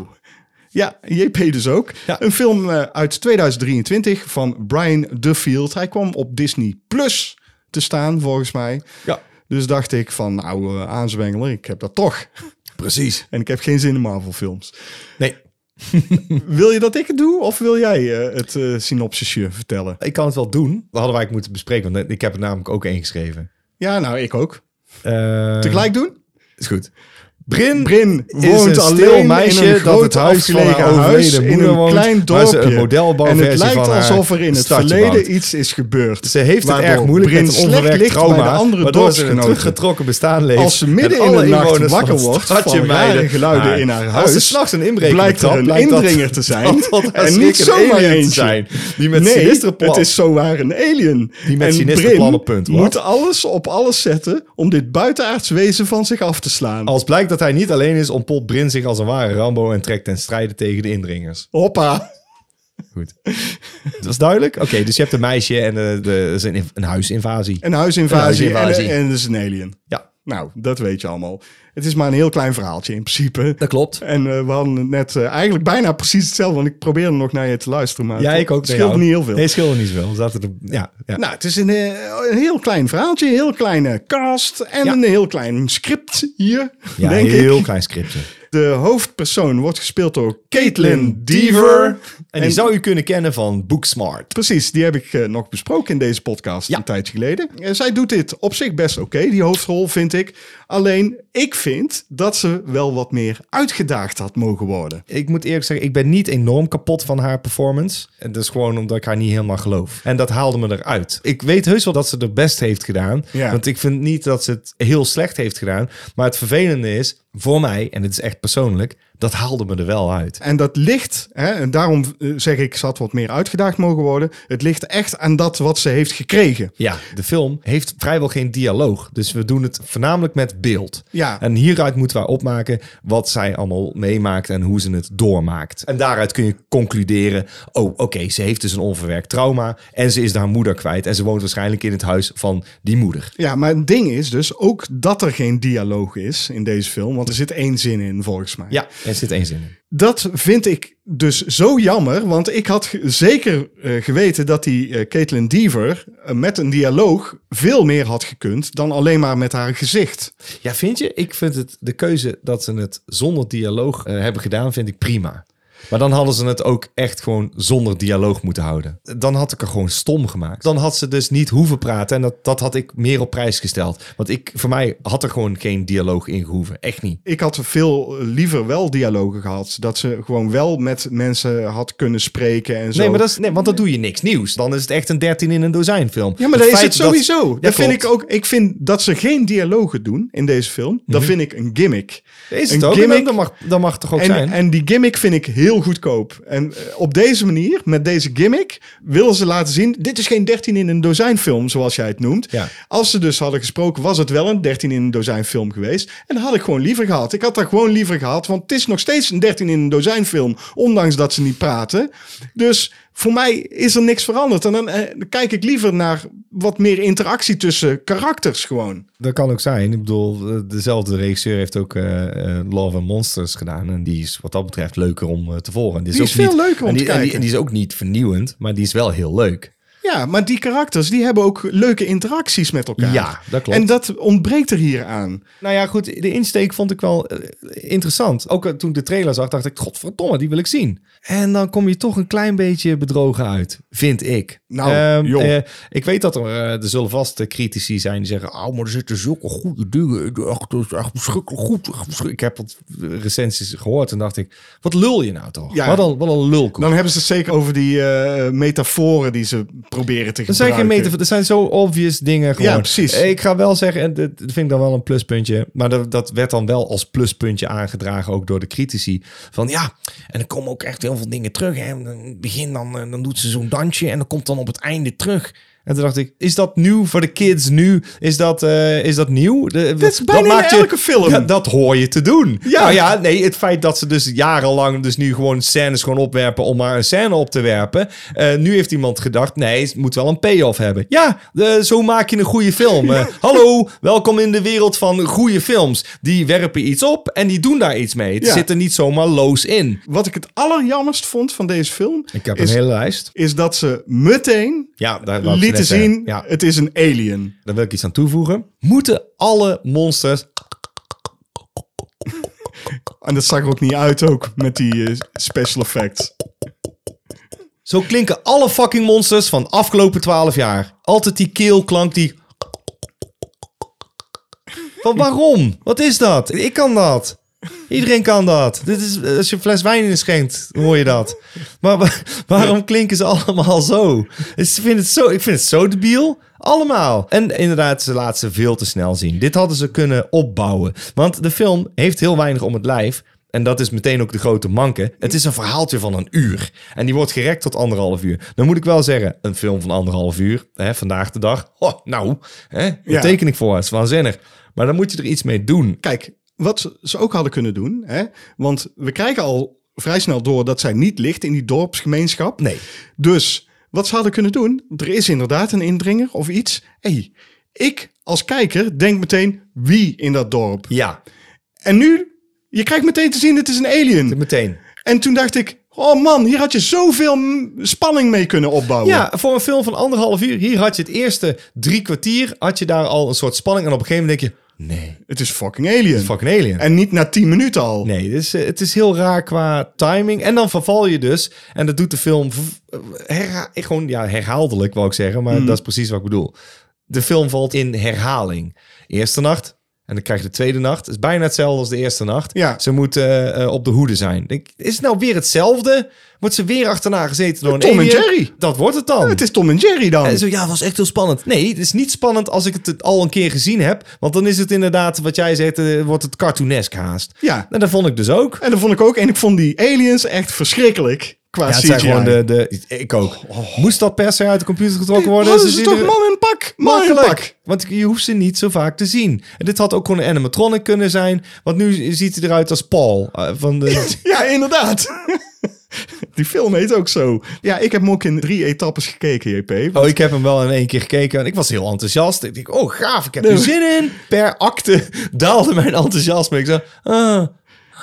[SPEAKER 2] Ja, JP dus ook.
[SPEAKER 1] Ja.
[SPEAKER 2] Een film eh, uit 2023 van Brian Duffield. Hij kwam op Disney Plus te staan, volgens mij.
[SPEAKER 1] Ja.
[SPEAKER 2] Dus dacht ik van, nou, eh, aanzwengelen, ik heb dat toch.
[SPEAKER 1] Precies.
[SPEAKER 2] En ik heb geen zin in Marvel films.
[SPEAKER 1] Nee,
[SPEAKER 2] Wil je dat ik het doe? Of wil jij eh, het eh, synopsisje vertellen?
[SPEAKER 1] ik kan het wel doen. Dat hadden wij eigenlijk moeten bespreken, want ik heb er namelijk ook één geschreven.
[SPEAKER 2] Ja, nou, ik ook.
[SPEAKER 1] Eh,
[SPEAKER 2] Tegelijk doen?
[SPEAKER 1] Is goed. Brin,
[SPEAKER 2] Brin
[SPEAKER 1] is
[SPEAKER 2] woont
[SPEAKER 1] een
[SPEAKER 2] alleen
[SPEAKER 1] stil
[SPEAKER 2] in
[SPEAKER 1] meisje
[SPEAKER 2] een
[SPEAKER 1] dat
[SPEAKER 2] groot
[SPEAKER 1] het huis van haar
[SPEAKER 2] afgelegen huis
[SPEAKER 1] overleden
[SPEAKER 2] in
[SPEAKER 1] moeder
[SPEAKER 2] een
[SPEAKER 1] woont,
[SPEAKER 2] klein
[SPEAKER 1] waar ze
[SPEAKER 2] dorpje.
[SPEAKER 1] een
[SPEAKER 2] en
[SPEAKER 1] modelbouwversie
[SPEAKER 2] het lijkt
[SPEAKER 1] van haar
[SPEAKER 2] alsof er in het
[SPEAKER 1] stadje
[SPEAKER 2] verleden
[SPEAKER 1] bouwt.
[SPEAKER 2] iets is gebeurd.
[SPEAKER 1] Ze heeft het
[SPEAKER 2] Waardoor
[SPEAKER 1] erg moeilijk
[SPEAKER 2] Brin
[SPEAKER 1] met een
[SPEAKER 2] slecht
[SPEAKER 1] onverwerkt
[SPEAKER 2] ligt bij de
[SPEAKER 1] trauma,
[SPEAKER 2] andere
[SPEAKER 1] waardoor ze een
[SPEAKER 2] dorpsgenoten.
[SPEAKER 1] teruggetrokken bestaan leeft.
[SPEAKER 2] Als ze midden
[SPEAKER 1] en
[SPEAKER 2] in de
[SPEAKER 1] alle
[SPEAKER 2] nacht
[SPEAKER 1] inwoners van
[SPEAKER 2] wakker
[SPEAKER 1] het
[SPEAKER 2] wordt
[SPEAKER 1] stadje
[SPEAKER 2] van rare
[SPEAKER 1] meiden-
[SPEAKER 2] geluiden
[SPEAKER 1] Maar
[SPEAKER 2] in haar
[SPEAKER 1] Als ze
[SPEAKER 2] huis,
[SPEAKER 1] s'nachts een inbreker
[SPEAKER 2] blijkt er
[SPEAKER 1] betrapt,
[SPEAKER 2] een
[SPEAKER 1] blijkt dat-
[SPEAKER 2] indringer te zijn.
[SPEAKER 1] dat dat
[SPEAKER 2] En niet
[SPEAKER 1] zeker een
[SPEAKER 2] zomaar
[SPEAKER 1] alien te
[SPEAKER 2] eentje.
[SPEAKER 1] zijn. Die met
[SPEAKER 2] nee,
[SPEAKER 1] sinistere plan-
[SPEAKER 2] het is zowaar een alien.
[SPEAKER 1] Die met
[SPEAKER 2] en
[SPEAKER 1] sinistere
[SPEAKER 2] Brin
[SPEAKER 1] plannen, punt, wat?
[SPEAKER 2] moet alles op alles zetten om dit buitenaards wezen van zich af te slaan.
[SPEAKER 1] Als blijkt dat hij niet alleen is, ontpopt Brin zich als een ware Rambo en trekt ten strijde tegen de indringers.
[SPEAKER 2] Hoppa.
[SPEAKER 1] Goed. Dat is duidelijk? Oké, dus je hebt een meisje en eh, de, er is een, inv- een huisinvasie.
[SPEAKER 2] Een huisinvasie,
[SPEAKER 1] Een huisinvasie.
[SPEAKER 2] En, en dus een alien.
[SPEAKER 1] Ja,
[SPEAKER 2] Nou, dat weet je allemaal. Het is maar een heel klein verhaaltje in principe.
[SPEAKER 1] dat klopt.
[SPEAKER 2] En eh, we hadden het net eh, eigenlijk bijna precies hetzelfde, want ik probeerde nog naar je te luisteren. Maar
[SPEAKER 1] Ja,
[SPEAKER 2] het-
[SPEAKER 1] ik ook.
[SPEAKER 2] Het scheelde
[SPEAKER 1] Nee,
[SPEAKER 2] niet
[SPEAKER 1] nou,
[SPEAKER 2] heel veel.
[SPEAKER 1] Nee, scheelde niet zoveel. We zaten er, ja, ja.
[SPEAKER 2] Nou, het is een, eh, een heel klein verhaaltje, een heel kleine cast en
[SPEAKER 1] Ja.
[SPEAKER 2] een heel klein script hier,
[SPEAKER 1] ja
[SPEAKER 2] denk
[SPEAKER 1] heel
[SPEAKER 2] ik.
[SPEAKER 1] klein scriptje. En,
[SPEAKER 2] De hoofdpersoon wordt gespeeld door Caitlin
[SPEAKER 1] Caitlin
[SPEAKER 2] Deaver.
[SPEAKER 1] Deaver. die zou je kunnen kennen van Booksmart.
[SPEAKER 2] Precies, die heb ik eh, nog besproken in deze podcast
[SPEAKER 1] Ja.
[SPEAKER 2] een tijdje geleden. En zij doet dit op zich best oké, die hoofdrol vind ik. Alleen, ik vind dat ze wel wat meer uitgedaagd had mogen worden.
[SPEAKER 1] Ik moet eerlijk zeggen, ik ben niet enorm kapot van haar performance. En dat is gewoon omdat ik haar niet helemaal geloof. En dat haalde me eruit. Ik weet heus wel dat ze het best heeft gedaan.
[SPEAKER 2] Ja.
[SPEAKER 1] Want ik vind niet dat ze het heel slecht heeft gedaan. Maar het vervelende is, voor mij, en dit is echt persoonlijk, dat haalde me er wel uit.
[SPEAKER 2] En dat ligt, hè, en daarom eh, zeg ik, ze had wat meer uitgedaagd mogen worden. Het ligt echt aan dat wat ze heeft gekregen.
[SPEAKER 1] Ja, de film heeft vrijwel geen dialoog. Dus we doen het voornamelijk met beeld.
[SPEAKER 2] Ja.
[SPEAKER 1] En hieruit moeten wij opmaken wat zij allemaal meemaakt en hoe ze het doormaakt. En daaruit kun je concluderen: oh, oké, ze heeft dus een onverwerkt trauma. En ze is haar moeder kwijt. En ze woont waarschijnlijk in het huis van die moeder.
[SPEAKER 2] Ja, maar het ding is dus ook dat er geen dialoog is in deze film. Want er zit één zin in, volgens mij.
[SPEAKER 1] Ja, er zit één zin in.
[SPEAKER 2] Dat vind ik dus zo jammer. Want ik had ge- zeker eh, geweten dat die eh, Caitlin Deaver eh, met een dialoog veel meer had gekund dan alleen maar met haar gezicht.
[SPEAKER 1] Ja, vind je? Ik vind het de keuze dat ze het zonder dialoog eh, hebben gedaan, vind ik prima. Maar dan hadden ze het ook echt gewoon zonder dialoog moeten houden. Dan had ik er gewoon stom gemaakt. Dan had ze dus niet hoeven praten. En dat, dat had ik meer op prijs gesteld. Want ik, voor mij had er gewoon geen dialoog in gehoeven. Echt niet.
[SPEAKER 2] Ik had veel eh, liever wel dialogen gehad. Dat ze gewoon wel met mensen had kunnen spreken en zo.
[SPEAKER 1] Nee, maar dat is, nee, want dan doe je niks nieuws. Dan is het echt een 13 in een dozijn film.
[SPEAKER 2] Ja, maar dat is het sowieso.
[SPEAKER 1] Ja,
[SPEAKER 2] Dat, vind
[SPEAKER 1] klopt.
[SPEAKER 2] ik ook. Ik vind dat ze geen dialogen doen in deze film. Dat vind ik een gimmick.
[SPEAKER 1] Mhm. Is
[SPEAKER 2] een
[SPEAKER 1] het ook? En
[SPEAKER 2] gimmick.
[SPEAKER 1] Dan mag, dan mag het toch ook zijn?
[SPEAKER 2] En, en die gimmick vind ik heel goedkoop. En eh, op deze manier, met deze gimmick, willen ze laten zien... dit is geen 13 in een dozijn film, zoals jij het noemt.
[SPEAKER 1] Ja.
[SPEAKER 2] Als ze dus hadden gesproken, was het wel een 13 in een dozijn film geweest. En dat had ik gewoon liever gehad. Ik had dat gewoon liever gehad, want het is nog steeds een 13 in een dozijn film. Ondanks dat ze niet praten. Dus voor mij is er niks veranderd. En dan eh, dan kijk ik liever naar wat meer interactie tussen karakters gewoon.
[SPEAKER 1] Dat kan ook zijn. Ik bedoel, eh, dezelfde regisseur heeft ook eh, eh, Love and Monsters gedaan. En die is wat dat betreft leuker om eh, te volgen. En
[SPEAKER 2] Die is
[SPEAKER 1] ook
[SPEAKER 2] veel
[SPEAKER 1] niet-
[SPEAKER 2] leuker om
[SPEAKER 1] en die,
[SPEAKER 2] te
[SPEAKER 1] en die-
[SPEAKER 2] kijken.
[SPEAKER 1] en die is ook niet vernieuwend, maar die is wel heel leuk.
[SPEAKER 2] Ja, maar die karakters die hebben ook leuke interacties met elkaar.
[SPEAKER 1] Ja, dat klopt.
[SPEAKER 2] En dat ontbreekt er hier aan.
[SPEAKER 1] Nou ja, goed, de insteek vond ik wel eh, interessant. Ook eh, toen ik de trailer zag, dacht ik, godverdomme, die wil ik zien. En dan kom je toch een klein beetje bedrogen uit, vind ik.
[SPEAKER 2] Nou,
[SPEAKER 1] Ehm,
[SPEAKER 2] joh.
[SPEAKER 1] eh, ik weet dat er, eh, er zullen vast eh, critici zijn die zeggen... Oh, maar er zitten zulke goede dingen in. Echt, dat is echt verschrikkelijk goed. Echt verschrik-" Ik heb wat recensies gehoord en dacht ik... Wat lul je nou toch?
[SPEAKER 2] Ja.
[SPEAKER 1] Wat, een, wat een lulkoek.
[SPEAKER 2] Dan hebben ze het zeker over die eh, metaforen die ze proberen te gebruiken.
[SPEAKER 1] Er zijn geen metafoor, er zijn zo obvious dingen gewoon.
[SPEAKER 2] Ja, precies.
[SPEAKER 1] Ik ga wel zeggen, en dit vind ik dan wel een pluspuntje, maar dat, dat werd dan wel als pluspuntje aangedragen ook door de critici. Van ja, en er komen ook echt heel veel dingen terug. Hè. In het begin dan, eh, dan doet ze zo'n dansje en dan komt dan op het einde terug. En toen dacht ik, is dat nieuw voor de kids nu? Is dat, eh, is dat nieuw? De,
[SPEAKER 2] Dat is bijna in elke film.
[SPEAKER 1] Ja, dat hoor je te doen.
[SPEAKER 2] Ja.
[SPEAKER 1] Ja. Nou ja, nee, het feit dat ze dus jarenlang dus nu gewoon scènes gewoon opwerpen om maar een scène op te werpen. Eh, nu heeft iemand gedacht, nee, het moet wel een payoff hebben. Ja, eh, zo maak je een goede film. Eh, hallo, welkom in de wereld van goede films. Die werpen iets op en die doen daar iets mee. Het
[SPEAKER 2] Ja.
[SPEAKER 1] zit er niet zomaar loos in.
[SPEAKER 2] Wat ik het allerjammerst vond van deze film... is,
[SPEAKER 1] lijst.
[SPEAKER 2] is dat ze meteen
[SPEAKER 1] Ja, daar wou ik
[SPEAKER 2] lieten
[SPEAKER 1] net zeggen.
[SPEAKER 2] zien...
[SPEAKER 1] Ja,
[SPEAKER 2] het is een alien.
[SPEAKER 1] Eh, daar wil ik iets aan toevoegen. Moeten alle monsters
[SPEAKER 2] En dat zag er ook niet uit ook met die eh, special effects.
[SPEAKER 1] Zo klinken alle fucking monsters van afgelopen 12 jaar. Altijd die keelklank die. Van waarom? Wat is dat? Ik kan dat. Iedereen kan dat. Dit is, als je een fles wijn inschenkt, hoor je dat. Maar wa- waarom klinken ze allemaal zo? Dus ik, vind het zo ik vind het zo debiel. Allemaal. En inderdaad, ze laten ze veel te snel zien. Dit hadden ze kunnen opbouwen. Want de film heeft heel weinig om het lijf. En dat is meteen ook de grote manke. Het is een verhaaltje van een uur. En die wordt gerekt tot anderhalf uur. Dan moet ik wel zeggen, een film van anderhalf uur, hè, vandaag de dag. Oh, nou, hè, daar
[SPEAKER 2] Ja.
[SPEAKER 1] teken ik voor. Het is waanzinnig. Maar dan moet je er iets mee doen.
[SPEAKER 2] Kijk, wat ze ook hadden kunnen doen... Hè, want we krijgen al vrij snel door dat zij niet ligt in die dorpsgemeenschap.
[SPEAKER 1] Nee.
[SPEAKER 2] Dus wat ze hadden kunnen doen... er is inderdaad een indringer of iets. hey, ik als kijker denk meteen wie in dat dorp.
[SPEAKER 1] Ja,
[SPEAKER 2] En nu, je krijgt meteen te zien het is een alien.
[SPEAKER 1] meteen.
[SPEAKER 2] En toen dacht ik... Oh man, hier had je zoveel mm, spanning mee kunnen opbouwen.
[SPEAKER 1] Ja, voor een film van anderhalf uur, hier had je het eerste drie kwartier, had je daar al een soort spanning. En op een gegeven moment denk je, nee,
[SPEAKER 2] Het is fucking alien.
[SPEAKER 1] fucking alien.
[SPEAKER 2] En niet na 10 minuten al.
[SPEAKER 1] Nee, dus, eh, het is heel raar qua timing. En dan verval je dus. En dat doet de film v- herha- gewoon ja, herhaaldelijk, wou ik zeggen.
[SPEAKER 2] Hmm.
[SPEAKER 1] Maar dat is precies wat ik bedoel. De film valt in herhaling. Eerste nacht. En dan krijg je de tweede nacht. Het is bijna hetzelfde als de eerste nacht.
[SPEAKER 2] Ja.
[SPEAKER 1] Ze moet eh, eh, op de hoede zijn. Ik Denk, is het nou weer hetzelfde? Wordt ze weer achterna gezeten door een
[SPEAKER 2] Tom en
[SPEAKER 1] alien?
[SPEAKER 2] Jerry.
[SPEAKER 1] Dat wordt het dan.
[SPEAKER 2] Het is Tom en Jerry dan.
[SPEAKER 1] En zo, ja, was echt heel spannend. Nee, het is niet spannend als ik het al een keer gezien heb. Want dan is het inderdaad, wat jij zegt, eh, wordt het cartoonesk haast.
[SPEAKER 2] Ja.
[SPEAKER 1] En dat vond ik dus ook.
[SPEAKER 2] En dat vond ik ook. En ik vond die aliens echt verschrikkelijk. Qua
[SPEAKER 1] Ja, het
[SPEAKER 2] CGI.
[SPEAKER 1] zijn gewoon de, de... Ik ook. Moest dat per se uit de computer getrokken worden?
[SPEAKER 2] Hadden
[SPEAKER 1] Dus
[SPEAKER 2] ze
[SPEAKER 1] is
[SPEAKER 2] Oh, toch
[SPEAKER 1] iedere-
[SPEAKER 2] Oh, man in pak? Man in pak.
[SPEAKER 1] Makkelijk. Want je hoeft ze niet zo vaak te zien. En dit had ook gewoon een animatronic kunnen zijn. Want nu ziet hij eruit als Paul. eh, van de...
[SPEAKER 2] Ja, inderdaad. die film heet ook zo. Ja, ik heb hem ook in drie etappes gekeken, JP.
[SPEAKER 1] Oh, ik heb hem wel in één keer gekeken en ik was heel enthousiast. Ik denk, oh gaaf, ik heb er zin in. Per acte daalde mijn enthousiasme. Ik zei, ah,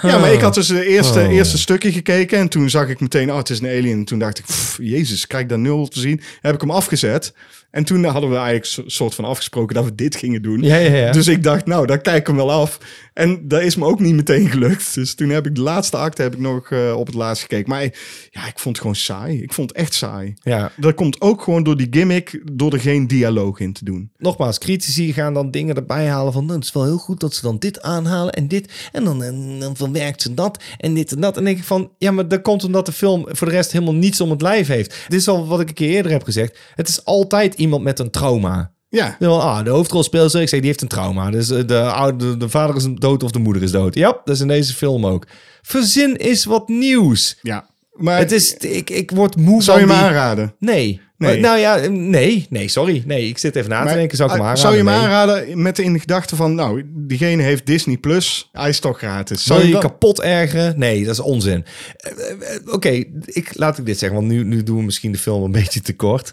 [SPEAKER 2] Ja, maar ik had
[SPEAKER 1] Oh.
[SPEAKER 2] dus de eerste, eerste stukje gekeken. En toen zag ik meteen, oh, het is een alien. En toen dacht ik, pff, jezus, krijg ik daar nul te zien? Heb ik hem afgezet. En toen hadden we eigenlijk so- soort van afgesproken dat we dit gingen doen.
[SPEAKER 1] Ja, ja, ja.
[SPEAKER 2] Dus ik dacht, nou, dan kijk ik hem wel af. En dat is me ook niet meteen gelukt. Dus toen heb ik de laatste acte heb ik nog eh, op het laatst gekeken. Maar ja, ik vond het gewoon saai. Ik vond het echt saai.
[SPEAKER 1] Ja.
[SPEAKER 2] Dat komt ook gewoon door die gimmick, door er geen dialoog in te doen.
[SPEAKER 1] nogmaals, critici gaan dan dingen erbij halen van... Nou, het is wel heel goed dat ze dan dit aanhalen en dit. En dan, en dan verwerkt ze dat en dit en dat. En denk ik van, ja, maar dat komt omdat de film voor de rest helemaal niets om het lijf heeft. Dit is al wat ik een keer eerder heb gezegd. Het is altijd iemand met een trauma.
[SPEAKER 2] Ja,
[SPEAKER 1] Ja, ah, de hoofdrolspeelster, ik zeg, die heeft een trauma. Dus eh, de, oude, de, de vader is dood of de moeder is dood. Ja, dat is in deze film ook. Verzin is wat nieuws.
[SPEAKER 2] ja. Maar
[SPEAKER 1] Het is, ik, ik word moe
[SPEAKER 2] zou je
[SPEAKER 1] van
[SPEAKER 2] me
[SPEAKER 1] die-
[SPEAKER 2] aanraden?
[SPEAKER 1] Nee.
[SPEAKER 2] Nee.
[SPEAKER 1] Eh, Nou ja, nee. Nee, sorry. Nee, ik zit even na te
[SPEAKER 2] Maar,
[SPEAKER 1] denken. Zou ik hem
[SPEAKER 2] eh,
[SPEAKER 1] aanraden?
[SPEAKER 2] zou je
[SPEAKER 1] Nee.
[SPEAKER 2] me aanraden met de in de gedachte van, nou, diegene heeft Disney Plus, hij is toch gratis.
[SPEAKER 1] Zou je je
[SPEAKER 2] dan-
[SPEAKER 1] kapot ergeren? Nee, dat is onzin. Eh, eh, eh, Oké, ik, laat ik dit zeggen, want nu, nu doen we misschien de film een beetje tekort.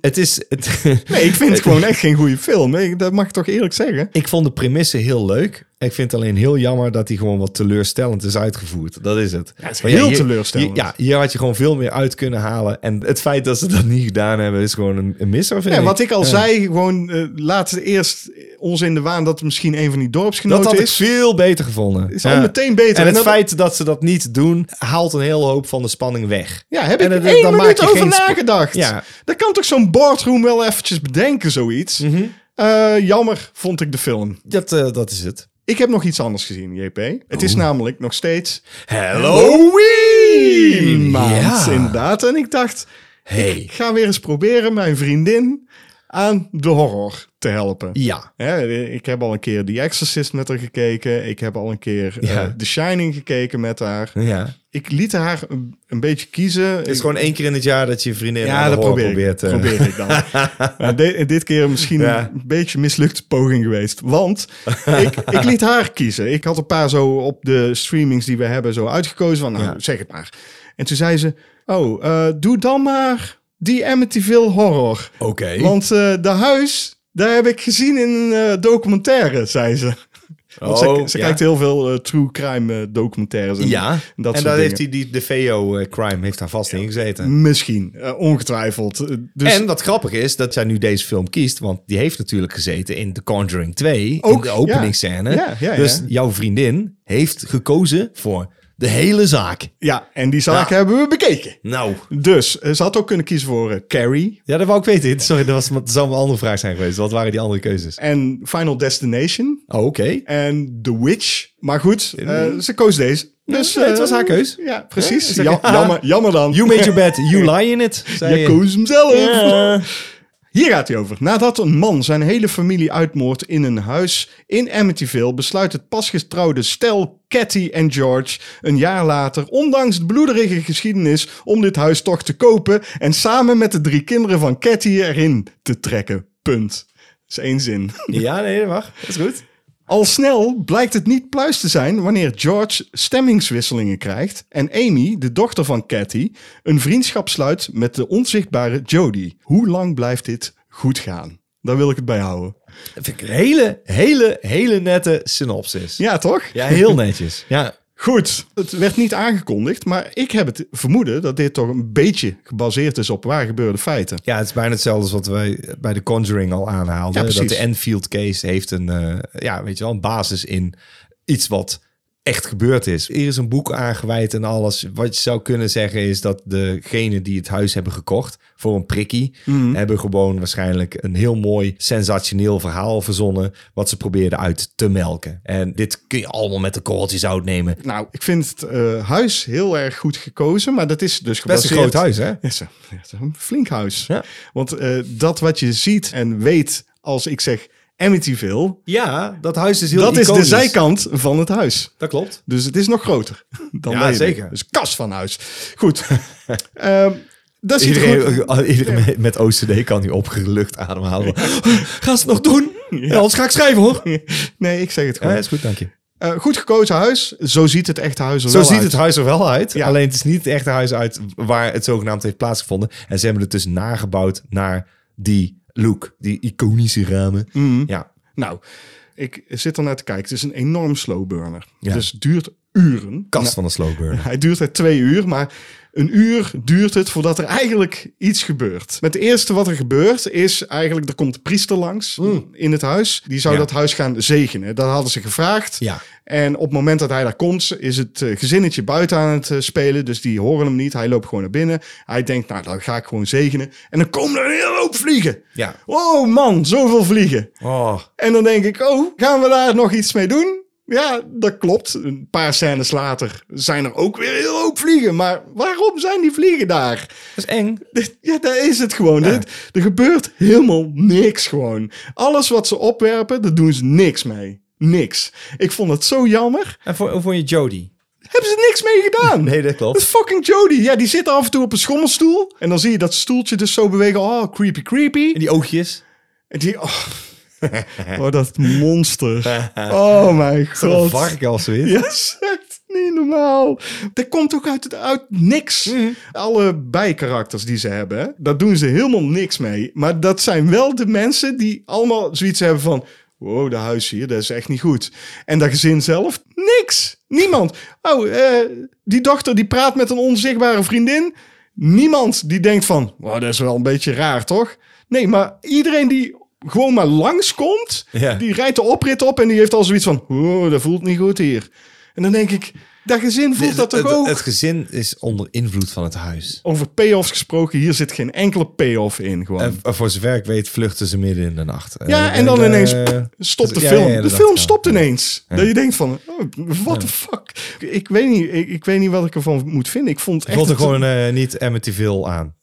[SPEAKER 1] Het is... Het,
[SPEAKER 2] Nee, ik vind het gewoon echt geen goede film. Nee, dat mag ik toch eerlijk zeggen?
[SPEAKER 1] Ik vond de premisse heel leuk. Ik vind het alleen heel jammer dat die gewoon wat teleurstellend is uitgevoerd. Dat is het.
[SPEAKER 2] het is
[SPEAKER 1] Maar
[SPEAKER 2] heel
[SPEAKER 1] hier-
[SPEAKER 2] teleurstellend.
[SPEAKER 1] hier- ja, hier had je gewoon veel meer uit kunnen halen. En het feit dat ze dat niet gedaan hebben, is gewoon een, een misser, vind
[SPEAKER 2] Ja,
[SPEAKER 1] ik.
[SPEAKER 2] wat ik al zei, gewoon eh, laat eerst ons in de waan dat het misschien een van die
[SPEAKER 1] Dat had
[SPEAKER 2] dorpsgenoten
[SPEAKER 1] ik
[SPEAKER 2] is.
[SPEAKER 1] veel beter gevonden.
[SPEAKER 2] Is al meteen beter.
[SPEAKER 1] En
[SPEAKER 2] En
[SPEAKER 1] het
[SPEAKER 2] dat-
[SPEAKER 1] feit Nou, dat ze dat niet doen, haalt een hele hoop van de spanning weg.
[SPEAKER 2] Ja, heb
[SPEAKER 1] En
[SPEAKER 2] ik
[SPEAKER 1] dat-
[SPEAKER 2] één
[SPEAKER 1] dan maak
[SPEAKER 2] minuut
[SPEAKER 1] je
[SPEAKER 2] over
[SPEAKER 1] geen sp-
[SPEAKER 2] nagedacht.
[SPEAKER 1] Ja.
[SPEAKER 2] Dat kan toch zo'n boardroom wel eventjes bedenken, zoiets.
[SPEAKER 1] Mhm.
[SPEAKER 2] Eh, jammer vond ik de film.
[SPEAKER 1] Dat, eh, dat is het.
[SPEAKER 2] Ik heb nog iets anders gezien, JP. Het
[SPEAKER 1] Oh.
[SPEAKER 2] is namelijk nog steeds
[SPEAKER 1] Halloween!
[SPEAKER 2] maand,
[SPEAKER 1] Ja.
[SPEAKER 2] inderdaad. En ik dacht,
[SPEAKER 1] Hey.
[SPEAKER 2] ik ga weer eens proberen mijn vriendin aan de horror te helpen.
[SPEAKER 1] Ja.
[SPEAKER 2] Hè, ik heb al een keer The Exorcist met haar gekeken. Ik heb al een keer eh,
[SPEAKER 1] Ja.
[SPEAKER 2] The Shining gekeken met haar.
[SPEAKER 1] Ja.
[SPEAKER 2] Ik liet haar een, een beetje kiezen.
[SPEAKER 1] Het is gewoon één keer in het jaar dat je vriendin
[SPEAKER 2] ja,
[SPEAKER 1] aan de
[SPEAKER 2] dat
[SPEAKER 1] horror
[SPEAKER 2] probeer ik,
[SPEAKER 1] probeert. eh,
[SPEAKER 2] probeer ik dan. Maar de- dit keer misschien
[SPEAKER 1] Ja.
[SPEAKER 2] een beetje mislukte poging geweest. Want ik, ik liet haar kiezen. Ik had een paar zo op de streamings die we hebben zo uitgekozen. Van, nou, zeg het maar. En toen zei ze, oh, eh, doe dan maar die Amityville Horror.
[SPEAKER 1] Oké.
[SPEAKER 2] Want eh, de huis, daar heb ik gezien in een eh, documentaire, zei ze. Want ze,
[SPEAKER 1] Oh,
[SPEAKER 2] ze
[SPEAKER 1] ja.
[SPEAKER 2] kijkt heel veel eh, true crime eh, documentaires. En
[SPEAKER 1] Ja,
[SPEAKER 2] en dat
[SPEAKER 1] en daar
[SPEAKER 2] soort dingen.
[SPEAKER 1] heeft hij die, de VO-crime heeft daar vast in gezeten.
[SPEAKER 2] Misschien, eh, ongetwijfeld. Eh, Dus
[SPEAKER 1] En wat grappig is, dat jij nu deze film kiest, want die heeft natuurlijk gezeten in The Conjuring 2, in
[SPEAKER 2] Ook,
[SPEAKER 1] de
[SPEAKER 2] ja.
[SPEAKER 1] openingsscène.
[SPEAKER 2] Ja, ja, ja.
[SPEAKER 1] Dus jouw vriendin heeft gekozen voor de hele zaak.
[SPEAKER 2] ja, en die zaak
[SPEAKER 1] Ja.
[SPEAKER 2] hebben we bekeken.
[SPEAKER 1] Nou.
[SPEAKER 2] Dus eh, ze had ook kunnen kiezen voor eh, Carrie
[SPEAKER 1] Ja, dat wou ik weten. Sorry, dat, was, dat zou een andere vraag zijn geweest. Wat waren die andere keuzes?
[SPEAKER 2] en Final Destination
[SPEAKER 1] Oh, Oké.
[SPEAKER 2] en The Witch. Maar goed, eh, ze koos deze. Dus
[SPEAKER 1] nee, het
[SPEAKER 2] eh,
[SPEAKER 1] was haar keus.
[SPEAKER 2] Ja, precies.
[SPEAKER 1] Ja, is oké.
[SPEAKER 2] Ja, jammer, jammer dan.
[SPEAKER 1] You made your bed, you lie in it. zei
[SPEAKER 2] Je
[SPEAKER 1] je.
[SPEAKER 2] koos hem zelf.
[SPEAKER 1] Ja.
[SPEAKER 2] Hier gaat hij over. Nadat een man zijn hele familie uitmoordt in een huis in Amityville, besluit het pasgetrouwde stel Cathy en George een jaar later, ondanks de bloederige geschiedenis, om dit huis toch te kopen en samen met de drie kinderen van Cathy erin te trekken. Punt. Dat is één zin.
[SPEAKER 1] Ja, nee, dat mag. Dat is goed.
[SPEAKER 2] Al snel blijkt het niet pluis te zijn wanneer George stemmingswisselingen krijgt en Amy, de dochter van Cathy, een vriendschap sluit met de onzichtbare Jodie. Hoe lang blijft dit goed gaan? Daar wil ik het bij houden.
[SPEAKER 1] Dat vind ik een hele, hele, hele nette synopsis.
[SPEAKER 2] Ja, toch?
[SPEAKER 1] ja heel netjes. Ja.
[SPEAKER 2] Goed, het werd niet aangekondigd, maar ik heb het vermoeden dat dit toch een beetje gebaseerd is op waar gebeurde feiten.
[SPEAKER 1] Ja, het is bijna hetzelfde als wat wij bij de Conjuring al aanhaalden.
[SPEAKER 2] Ja, precies.
[SPEAKER 1] dat de Enfield case heeft een, eh, ja, weet je wel, een basis in iets wat echt gebeurd is. Hier is een boek aangeweid en alles. Wat je zou kunnen zeggen is dat degenen die het huis hebben gekocht voor een prikkie, hebben gewoon waarschijnlijk een heel mooi sensationeel verhaal verzonnen, wat ze probeerden uit te melken. En dit kun je allemaal met de korreltjes uitnemen.
[SPEAKER 2] Nou, ik vind het eh, huis heel erg goed gekozen, maar dat is dus
[SPEAKER 1] Best
[SPEAKER 2] gebaseerd...
[SPEAKER 1] een groot huis, hè?
[SPEAKER 2] Ja, zo. Ja, zo. een flink huis.
[SPEAKER 1] Ja.
[SPEAKER 2] Want eh, dat wat je ziet en weet als ik zeg Amityville,
[SPEAKER 1] Ja, dat huis is heel
[SPEAKER 2] dat is de
[SPEAKER 1] iconisch.
[SPEAKER 2] zijkant van het huis.
[SPEAKER 1] Dat klopt.
[SPEAKER 2] Dus het is nog groter dan
[SPEAKER 1] Ja,
[SPEAKER 2] wij.
[SPEAKER 1] zeker.
[SPEAKER 2] Dus kas van huis. Goed. Ehm dat ziet er goed-
[SPEAKER 1] Iedereen, iedereen met- met OCD kan nu opgelucht ademhalen. Ga ze het nog doen? Ja. Anders ga ik schrijven hoor.
[SPEAKER 2] Nee, ik zeg het
[SPEAKER 1] Ja,
[SPEAKER 2] gewoon.
[SPEAKER 1] is goed, dank je.
[SPEAKER 2] Eh, goed gekozen huis. Zo ziet het echte huis er
[SPEAKER 1] Zo
[SPEAKER 2] wel
[SPEAKER 1] ziet
[SPEAKER 2] uit.
[SPEAKER 1] het huis er wel uit.
[SPEAKER 2] Ja.
[SPEAKER 1] Alleen het is niet het echte huis uit waar het zogenaamd heeft plaatsgevonden. En ze hebben het dus nagebouwd naar die look. Die iconische ramen. Ja.
[SPEAKER 2] Nou, ik zit er naar te kijken. Het is een enorm slow burner.
[SPEAKER 1] Ja.
[SPEAKER 2] Dus het duurt uren.
[SPEAKER 1] Kast van de slowburner.
[SPEAKER 2] Hij duurt het twee uur, maar een uur duurt het voordat er eigenlijk iets gebeurt. Met het eerste wat er gebeurt is eigenlijk, er komt de priester langs in het huis. Die zou
[SPEAKER 1] Hmm. Ja.
[SPEAKER 2] dat huis gaan zegenen. Dat hadden ze gevraagd.
[SPEAKER 1] Ja.
[SPEAKER 2] En op het moment dat hij daar komt, is het eh, gezinnetje buiten aan het eh, spelen. Dus die horen hem niet. Hij loopt gewoon naar binnen. Hij denkt, nou, dan ga ik gewoon zegenen. En dan komen er een hele hoop vliegen.
[SPEAKER 1] Ja.
[SPEAKER 2] Oh man, zoveel vliegen.
[SPEAKER 1] Oh.
[SPEAKER 2] En dan denk ik, oh, gaan we daar nog iets mee doen? Ja, dat klopt. Een paar scènes later zijn er ook weer een heel hoop vliegen. Maar waarom zijn die vliegen daar?
[SPEAKER 1] Dat is eng.
[SPEAKER 2] Dit- Ja, daar is het gewoon. Dit, er gebeurt helemaal niks gewoon. Alles wat ze opwerpen, daar doen ze niks mee. Niks. Ik vond het zo jammer.
[SPEAKER 1] En voor, voor je Jody.
[SPEAKER 2] Hebben ze niks mee gedaan?
[SPEAKER 1] Nee, dat
[SPEAKER 2] Dat is
[SPEAKER 1] klopt.
[SPEAKER 2] fucking Jodie. Ja, die zit af en toe op een schommelstoel. En dan zie je dat stoeltje dus zo bewegen. Oh, creepy, creepy.
[SPEAKER 1] En die oogjes.
[SPEAKER 2] En die... Oh, oh dat monster. Oh mijn
[SPEAKER 1] Een
[SPEAKER 2] god.
[SPEAKER 1] varken als zoiets.
[SPEAKER 2] Ja, echt niet normaal. Dat komt ook uit, uit niks. Alle bijkarakters die ze hebben, hè, daar doen ze helemaal niks mee. Maar dat zijn wel de mensen die allemaal zoiets hebben van... Wow, dat huis hier, dat is echt niet goed. En dat gezin zelf, niks. Niemand. Oh, eh, die dochter die praat met een onzichtbare vriendin. Niemand die denkt van, wow, dat is wel een beetje raar, toch? Nee, maar iedereen die gewoon maar langskomt,
[SPEAKER 1] Ja.
[SPEAKER 2] die rijdt de oprit op en die heeft al zoiets van, oh, dat voelt niet goed hier. En dan denk ik, dat gezin voelt dat
[SPEAKER 1] het,
[SPEAKER 2] toch ook?
[SPEAKER 1] het- het gezin is onder invloed van het huis.
[SPEAKER 2] Over payoffs gesproken, hier zit geen enkele payoff in gewoon.
[SPEAKER 1] En v- voor zover ik weet vluchten ze midden in de nacht.
[SPEAKER 2] ja,
[SPEAKER 1] ik
[SPEAKER 2] en
[SPEAKER 1] denk,
[SPEAKER 2] dan ineens
[SPEAKER 1] eh,
[SPEAKER 2] pff, stopt de
[SPEAKER 1] ja,
[SPEAKER 2] film.
[SPEAKER 1] ja, ja,
[SPEAKER 2] de
[SPEAKER 1] dat
[SPEAKER 2] film
[SPEAKER 1] wel.
[SPEAKER 2] stopt ineens. Dat je denkt van, oh, what the fuck? Ik weet, niet, ik, ik weet niet wat ik ervan moet vinden. Ik vond,
[SPEAKER 1] Ik
[SPEAKER 2] echt
[SPEAKER 1] vond er
[SPEAKER 2] het-
[SPEAKER 1] gewoon eh, niet Amityville aan.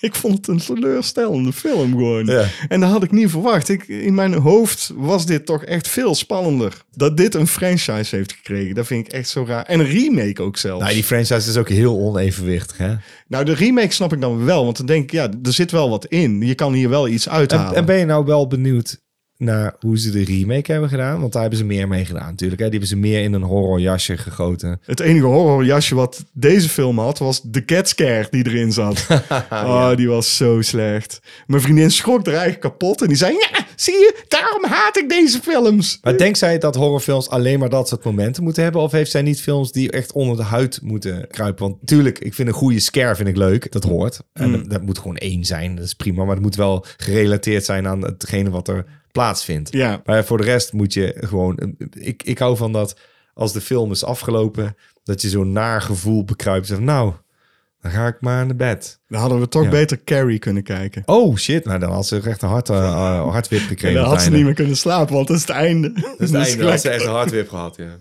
[SPEAKER 2] ik vond het een teleurstellende film gewoon.
[SPEAKER 1] Ja.
[SPEAKER 2] En dat had ik niet verwacht. Ik, in mijn hoofd was dit toch echt veel spannender. Dat dit een franchise heeft gekregen, dat vind ik echt zo raar. En een remake ook zelfs.
[SPEAKER 1] Nou, die franchise is ook heel onevenwichtig. Hè?
[SPEAKER 2] Nou, de remake snap ik dan wel, want dan denk ik, ja, er zit wel wat in. Je kan hier wel iets
[SPEAKER 1] En,
[SPEAKER 2] uithalen.
[SPEAKER 1] en ben je nou wel benieuwd naar hoe ze de remake hebben gedaan? Want daar hebben ze meer mee gedaan natuurlijk. Hè? Die hebben ze meer in een horrorjasje gegoten.
[SPEAKER 2] Het enige horrorjasje wat deze film had, was de cat scare die erin zat. Oh, die was zo slecht. Mijn vriendin schrok er eigenlijk kapot en die zei, ja, zie je, daarom haat ik deze films.
[SPEAKER 1] Maar denkt zij dat horrorfilms alleen maar dat soort momenten moeten hebben? Of heeft zij niet films die echt onder de huid moeten kruipen? Want tuurlijk, ik vind een goede scare vind ik leuk. Dat hoort. En
[SPEAKER 2] Mm.
[SPEAKER 1] dat, dat moet gewoon één zijn. Dat is prima. Maar het moet wel gerelateerd zijn aan hetgene wat er plaatsvindt.
[SPEAKER 2] Ja.
[SPEAKER 1] Maar voor de rest moet je gewoon... Ik, ik hou van dat als de film is afgelopen... dat je zo'n naar gevoel bekruipt. Van, nou, dan ga ik maar naar bed.
[SPEAKER 2] Dan hadden we toch
[SPEAKER 1] Ja.
[SPEAKER 2] beter Carrie kunnen kijken.
[SPEAKER 1] Oh shit, nou dan had ze echt een hart, eh, eh, hartwip gekregen.
[SPEAKER 2] En dan
[SPEAKER 1] op
[SPEAKER 2] had
[SPEAKER 1] het
[SPEAKER 2] ze
[SPEAKER 1] einde.
[SPEAKER 2] niet meer kunnen slapen, want dat is het einde. Dat
[SPEAKER 1] Dus het einde had
[SPEAKER 2] gelijk.
[SPEAKER 1] ze echt een hartwip gehad, ja.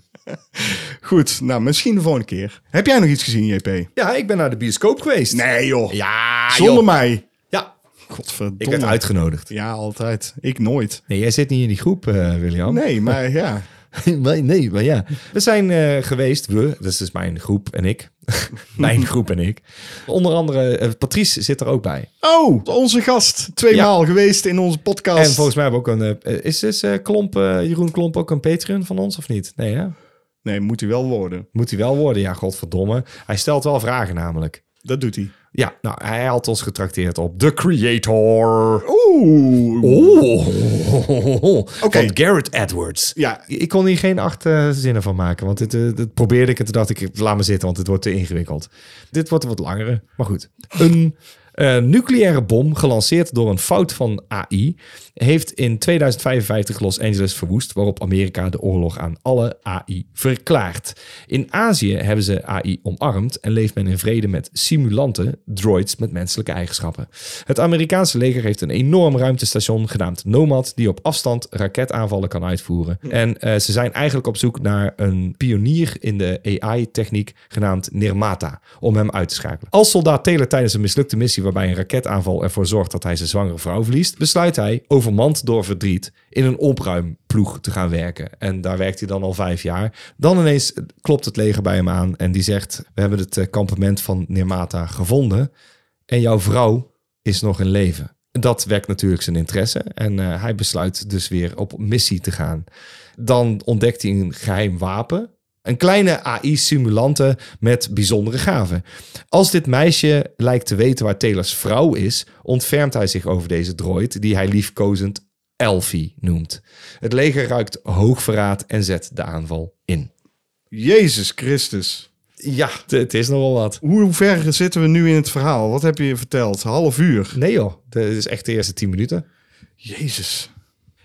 [SPEAKER 2] Goed, nou, misschien de volgende keer. Heb jij nog iets gezien, JP?
[SPEAKER 1] Ja, ik ben naar de bioscoop geweest.
[SPEAKER 2] Nee, joh.
[SPEAKER 1] Ja,
[SPEAKER 2] Zonder
[SPEAKER 1] Ah, joh.
[SPEAKER 2] mij.
[SPEAKER 1] Ja,
[SPEAKER 2] Godverdomme.
[SPEAKER 1] ik werd uitgenodigd.
[SPEAKER 2] Ja, altijd. Ik nooit.
[SPEAKER 1] Nee, jij zit niet in die groep, eh, William.
[SPEAKER 2] Nee, maar ja.
[SPEAKER 1] Nee, nee, maar ja. We zijn eh, geweest, we, dat is dus mijn groep en ik. mijn groep en ik. Onder andere, eh, Patrice zit er ook bij.
[SPEAKER 2] Oh, onze gast. Tweemaal geweest in onze podcast.
[SPEAKER 1] En volgens mij hebben we ook een... eh, is is eh, Klomp, eh, Jeroen Klomp ook een Patreon van ons of niet? Nee, hè?
[SPEAKER 2] Nee, moet hij wel worden.
[SPEAKER 1] Moet hij wel worden, ja, godverdomme. Hij stelt wel vragen namelijk.
[SPEAKER 2] Dat doet hij.
[SPEAKER 1] Ja, nou, hij had ons getrakteerd op The Creator.
[SPEAKER 2] Oeh.
[SPEAKER 1] Oeh.
[SPEAKER 2] Oké.
[SPEAKER 1] Van Garrett Edwards.
[SPEAKER 2] Ja,
[SPEAKER 1] Ik kon hier geen acht eh, zinnen van maken. Want dit, eh, dat probeerde ik en toen dacht ik, laat me zitten, want het wordt te ingewikkeld. Dit wordt een wat langere, maar goed. Een eh, nucleaire bom, gelanceerd door een fout van AI, heeft in 2055 Los Angeles verwoest, waarop Amerika de oorlog aan alle AI verklaart. In Azië hebben ze AI omarmd en leeft men in vrede met simulanten, droids met menselijke eigenschappen. Het Amerikaanse leger heeft een enorm ruimtestation genaamd Nomad, die op afstand raketaanvallen kan uitvoeren. En eh, ze zijn eigenlijk op zoek naar een pionier in de AI-techniek genaamd Nirmata, om hem uit te schakelen. Als soldaat Taylor tijdens een mislukte missie waarbij een raketaanval ervoor zorgt dat hij zijn zwangere vrouw verliest, besluit hij, overmand door verdriet, in een opruimploeg te gaan werken. En daar werkt hij dan al vijf jaar. Dan ineens klopt het leger bij hem aan en die zegt, we hebben het eh, kampement van Nirmata gevonden en jouw vrouw is nog in leven. Dat wekt natuurlijk zijn interesse en eh, hij besluit dus weer op missie te gaan. Dan ontdekt hij een geheim wapen. Een kleine AI-simulante met bijzondere gaven. Als dit meisje lijkt te weten waar Taylor's vrouw is, ontfermt hij zich over deze droid, die hij liefkozend Elfie noemt. Het leger ruikt hoogverraad en zet de aanval in.
[SPEAKER 2] Jezus Christus.
[SPEAKER 1] Ja, t- het is nogal wat.
[SPEAKER 2] Hoe ver zitten we nu in het verhaal? Wat heb je je verteld? Half uur.
[SPEAKER 1] Nee joh, dit is echt de eerste 10 minuten.
[SPEAKER 2] Jezus.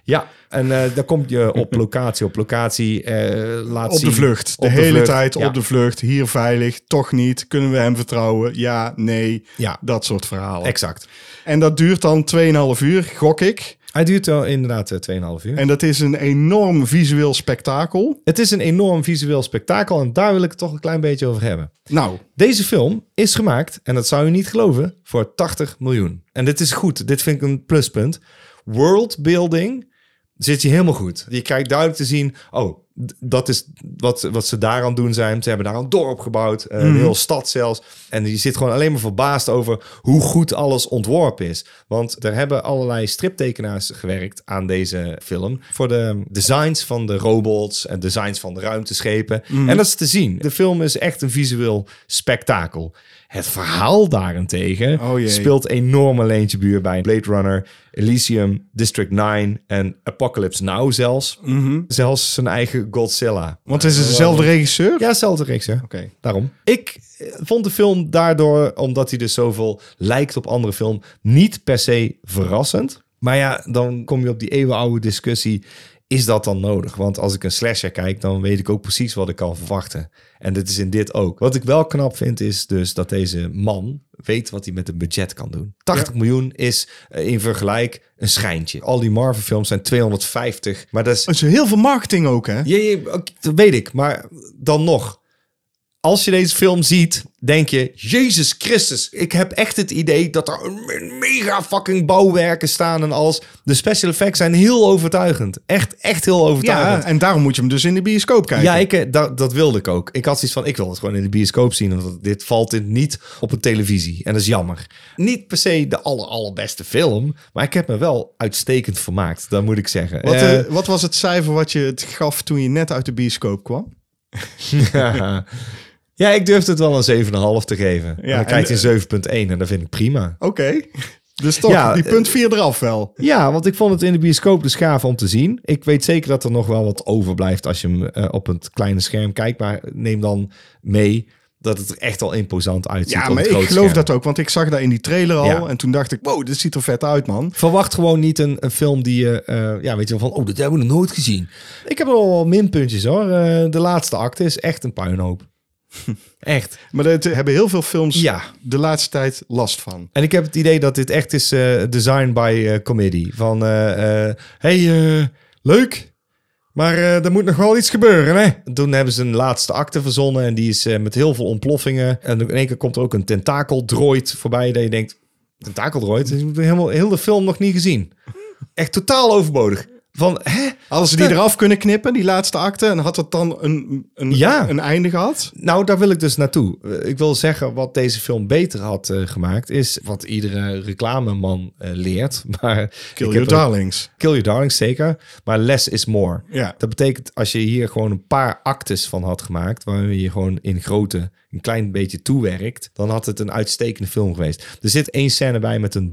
[SPEAKER 1] Ja, en eh dan kom je op locatie op locatie. eh laat
[SPEAKER 2] Op
[SPEAKER 1] zien-
[SPEAKER 2] de vlucht. De
[SPEAKER 1] op
[SPEAKER 2] hele
[SPEAKER 1] vlucht,
[SPEAKER 2] tijd
[SPEAKER 1] ja.
[SPEAKER 2] op de vlucht. Hier veilig. Toch niet. Kunnen we hem vertrouwen? Ja, nee.
[SPEAKER 1] Ja.
[SPEAKER 2] Dat soort verhalen.
[SPEAKER 1] Exact.
[SPEAKER 2] En dat duurt dan 2,5 uur, gok ik.
[SPEAKER 1] Hij duurt wel inderdaad eh, 2,5 uur.
[SPEAKER 2] En dat is een enorm visueel spektakel.
[SPEAKER 1] het is een enorm visueel spektakel en daar wil ik het toch een klein beetje over hebben.
[SPEAKER 2] Nou,
[SPEAKER 1] Deze film is gemaakt, en dat zou je niet geloven, voor 80 miljoen. En dit is goed. Dit vind ik een pluspunt. Worldbuilding zit je helemaal goed. Je krijgt duidelijk te zien, oh, d- dat is wat, ze- wat ze daaraan doen zijn. Ze hebben daar een dorp gebouwd, eh,
[SPEAKER 2] Mhm.
[SPEAKER 1] een heel stad zelfs. En je zit gewoon alleen maar verbaasd over hoe goed alles ontworpen is. Want er hebben allerlei striptekenaars gewerkt aan deze film. Voor de designs van de robots en designs van de ruimteschepen.
[SPEAKER 2] Mhm.
[SPEAKER 1] En dat is te zien. De film is echt een visueel spektakel. Het verhaal daarentegen
[SPEAKER 2] Oh jee.
[SPEAKER 1] speelt enorme leentje buur bij Blade Runner, Elysium, District 9 en Apocalypse Now zelfs. Zelfs zijn eigen Godzilla.
[SPEAKER 2] Mhm. Want het is dezelfde regisseur?
[SPEAKER 1] Eh, Ja, zelfde reeks, hè?
[SPEAKER 2] Oké.
[SPEAKER 1] Daarom. Ik eh, vond de film daardoor, omdat hij dus zoveel lijkt op andere film, niet per se verrassend. Maar ja, dan kom je op die eeuwenoude discussie. Is dat dan nodig? Want als ik een slasher kijk, dan weet ik ook precies wat ik kan verwachten. En dat is in dit ook. Wat ik wel knap vind, is dus dat deze man weet wat hij met een budget kan doen. 80 miljoen is eh, in vergelijk een schijntje. Al die Marvel-films zijn 250, maar dat is
[SPEAKER 2] Het is heel veel marketing ook, hè?
[SPEAKER 1] ja, ja, oké, dat weet ik. Maar dan nog. Als je deze film ziet, denk je... Jezus Christus, ik heb echt het idee dat er een me- mega fucking bouwwerken staan en alles. De special effects zijn heel overtuigend. Echt, echt heel
[SPEAKER 2] Ja,
[SPEAKER 1] overtuigend. Ja,
[SPEAKER 2] en daarom moet je hem dus in de bioscoop kijken.
[SPEAKER 1] ja ik, eh, da- dat wilde ik ook. Ik had zoiets van, ik wil het gewoon in de bioscoop zien. Want dit valt dit niet op een televisie. En dat is jammer. Niet per se de aller, allerbeste film. Maar ik heb me wel uitstekend vermaakt. Dat moet ik zeggen.
[SPEAKER 2] Wat,
[SPEAKER 1] Eh,
[SPEAKER 2] eh, wat was het cijfer wat je het gaf toen je net uit de bioscoop kwam?
[SPEAKER 1] Ja. Ja, ik durfde het wel een 7,5 te geven. En dan krijg je een 7,1 en dat vind ik prima.
[SPEAKER 2] Oké. Dus toch,
[SPEAKER 1] Ja,
[SPEAKER 2] die
[SPEAKER 1] eh,
[SPEAKER 2] punt 4 eraf wel.
[SPEAKER 1] Ja, want ik vond het in de bioscoop dus gaaf om te zien. Ik weet zeker dat er nog wel wat overblijft als je hem eh, op het kleine scherm kijkt. Maar neem dan mee dat het er echt al imposant uitziet.
[SPEAKER 2] Ja,
[SPEAKER 1] op
[SPEAKER 2] maar
[SPEAKER 1] het
[SPEAKER 2] ik
[SPEAKER 1] grote
[SPEAKER 2] geloof
[SPEAKER 1] scherm.
[SPEAKER 2] dat ook, want ik zag dat in die trailer al.
[SPEAKER 1] Ja.
[SPEAKER 2] En toen dacht ik, wow, dit ziet er vet uit, man.
[SPEAKER 1] Verwacht gewoon niet een, een film die je, eh, ja, weet je wel, van, oh, dat hebben we nog nooit gezien. Ik heb er wel minpuntjes hoor. Eh, de laatste acte is echt een puinhoop. echt.
[SPEAKER 2] Maar daar hebben heel veel films
[SPEAKER 1] Ja.
[SPEAKER 2] de laatste tijd last van.
[SPEAKER 1] En ik heb het idee dat dit echt is eh design by eh, committee. Van, eh, eh, hey, eh, leuk, maar eh, er moet nog wel iets gebeuren, hè? Toen hebben ze een laatste acte verzonnen en die is eh, met heel veel ontploffingen. En in één keer komt er ook een tentakeldroid voorbij dat je denkt, tentakeldroid? Ik heb helemaal heel de film nog niet gezien. Echt totaal overbodig. Van, hè?
[SPEAKER 2] Hadden ze die
[SPEAKER 1] Ja.
[SPEAKER 2] eraf kunnen knippen, die laatste acte, en had dat dan een, een,
[SPEAKER 1] Ja.
[SPEAKER 2] een einde gehad?
[SPEAKER 1] Nou, daar wil ik dus naartoe. Eh, Ik wil zeggen, wat deze film beter had eh, gemaakt, is wat iedere reclameman eh, leert. Maar
[SPEAKER 2] Kill
[SPEAKER 1] ik
[SPEAKER 2] Your
[SPEAKER 1] heb er-
[SPEAKER 2] Darlings.
[SPEAKER 1] Kill Your Darlings, zeker. Maar less is more.
[SPEAKER 2] Ja.
[SPEAKER 1] Dat betekent als je hier gewoon een paar actes van had gemaakt... waarin je gewoon in grote een klein beetje toewerkt... dan had het een uitstekende film geweest. Er zit één scène bij met een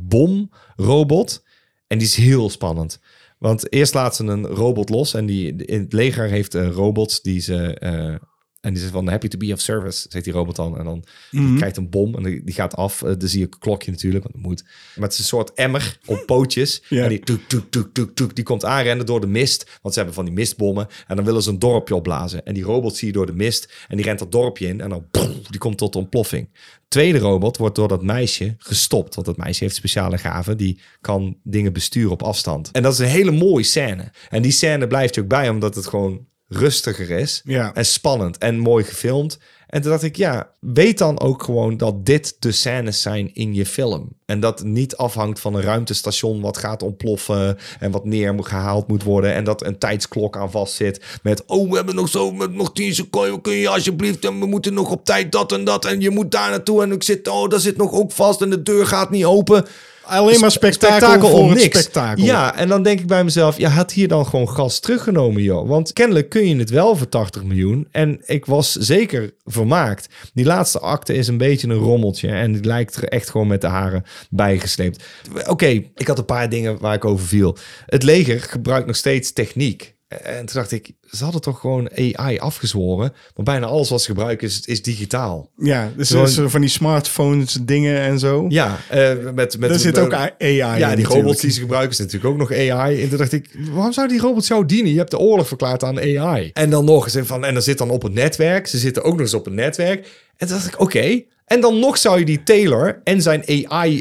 [SPEAKER 1] bomrobot. En die is heel spannend. Want eerst laat ze een robot los. En die, in het leger heeft eh, robots die ze... eh, en die zegt van happy to be of service, zegt die robot dan. En dan
[SPEAKER 2] Mhm.
[SPEAKER 1] die krijgt een bom en die die gaat af. Eh, dan zie je een klokje natuurlijk, want dat moet. Maar het is een soort emmer op pootjes.
[SPEAKER 2] Ja.
[SPEAKER 1] En die toek, toek, toek, toek, toek, die komt aanrennen door de mist. Want ze hebben van die mistbommen. En dan willen ze een dorpje opblazen. En die robot zie je door de mist. En die rent dat dorpje in. En dan boem, die komt tot ontploffing. Tweede robot wordt door dat meisje gestopt. Want dat meisje heeft speciale gaven. Die kan dingen besturen op afstand. En dat is een hele mooie scène. En die scène blijft je ook bij, omdat het gewoon rustiger is.
[SPEAKER 2] Ja.
[SPEAKER 1] En spannend en mooi gefilmd. En toen dacht ik, ja, weet dan ook gewoon dat dit de scènes zijn in je film. En dat het niet afhangt van een ruimtestation wat gaat ontploffen en wat neer moet- gehaald moet worden. En dat een tijdsklok aan vastzit met, oh, we hebben nog zo, met nog tien seconden, kun je alsjeblieft, en we moeten nog op tijd dat en dat. En je moet daar naartoe en ik zit, oh, daar zit nog ook vast en de deur gaat niet open.
[SPEAKER 2] Alleen maar spektakel, voor
[SPEAKER 1] om
[SPEAKER 2] het
[SPEAKER 1] niks.
[SPEAKER 2] spektakel.
[SPEAKER 1] Ja, en dan denk ik bij mezelf, ja, had hier dan gewoon gas teruggenomen, joh. Want kennelijk kun je het wel voor 80 miljoen. En ik was zeker vermaakt. Die laatste acte is een beetje een rommeltje. En het lijkt er echt gewoon met de haren bijgesleept. Oké, ik had een paar dingen waar ik over viel. Het leger gebruikt nog steeds techniek. En toen dacht ik, ze hadden toch gewoon AI afgezworen. Want bijna alles wat ze gebruiken is, is digitaal.
[SPEAKER 2] Ja, dus
[SPEAKER 1] Gewoon-
[SPEAKER 2] dus van die smartphones, dingen en zo.
[SPEAKER 1] Ja, eh, met, met...
[SPEAKER 2] Daar zit ook AI in
[SPEAKER 1] Ja, die
[SPEAKER 2] natuurlijk.
[SPEAKER 1] robots die ze gebruiken is natuurlijk ook nog AI. En toen dacht ik, waarom zou die robot jou dienen? Je hebt de oorlog verklaard aan AI. En dan nog eens van, en dan zit dan op het netwerk. Ze zitten ook nog eens op het netwerk. En toen dacht ik, oké. En dan nog zou je die Taylor en zijn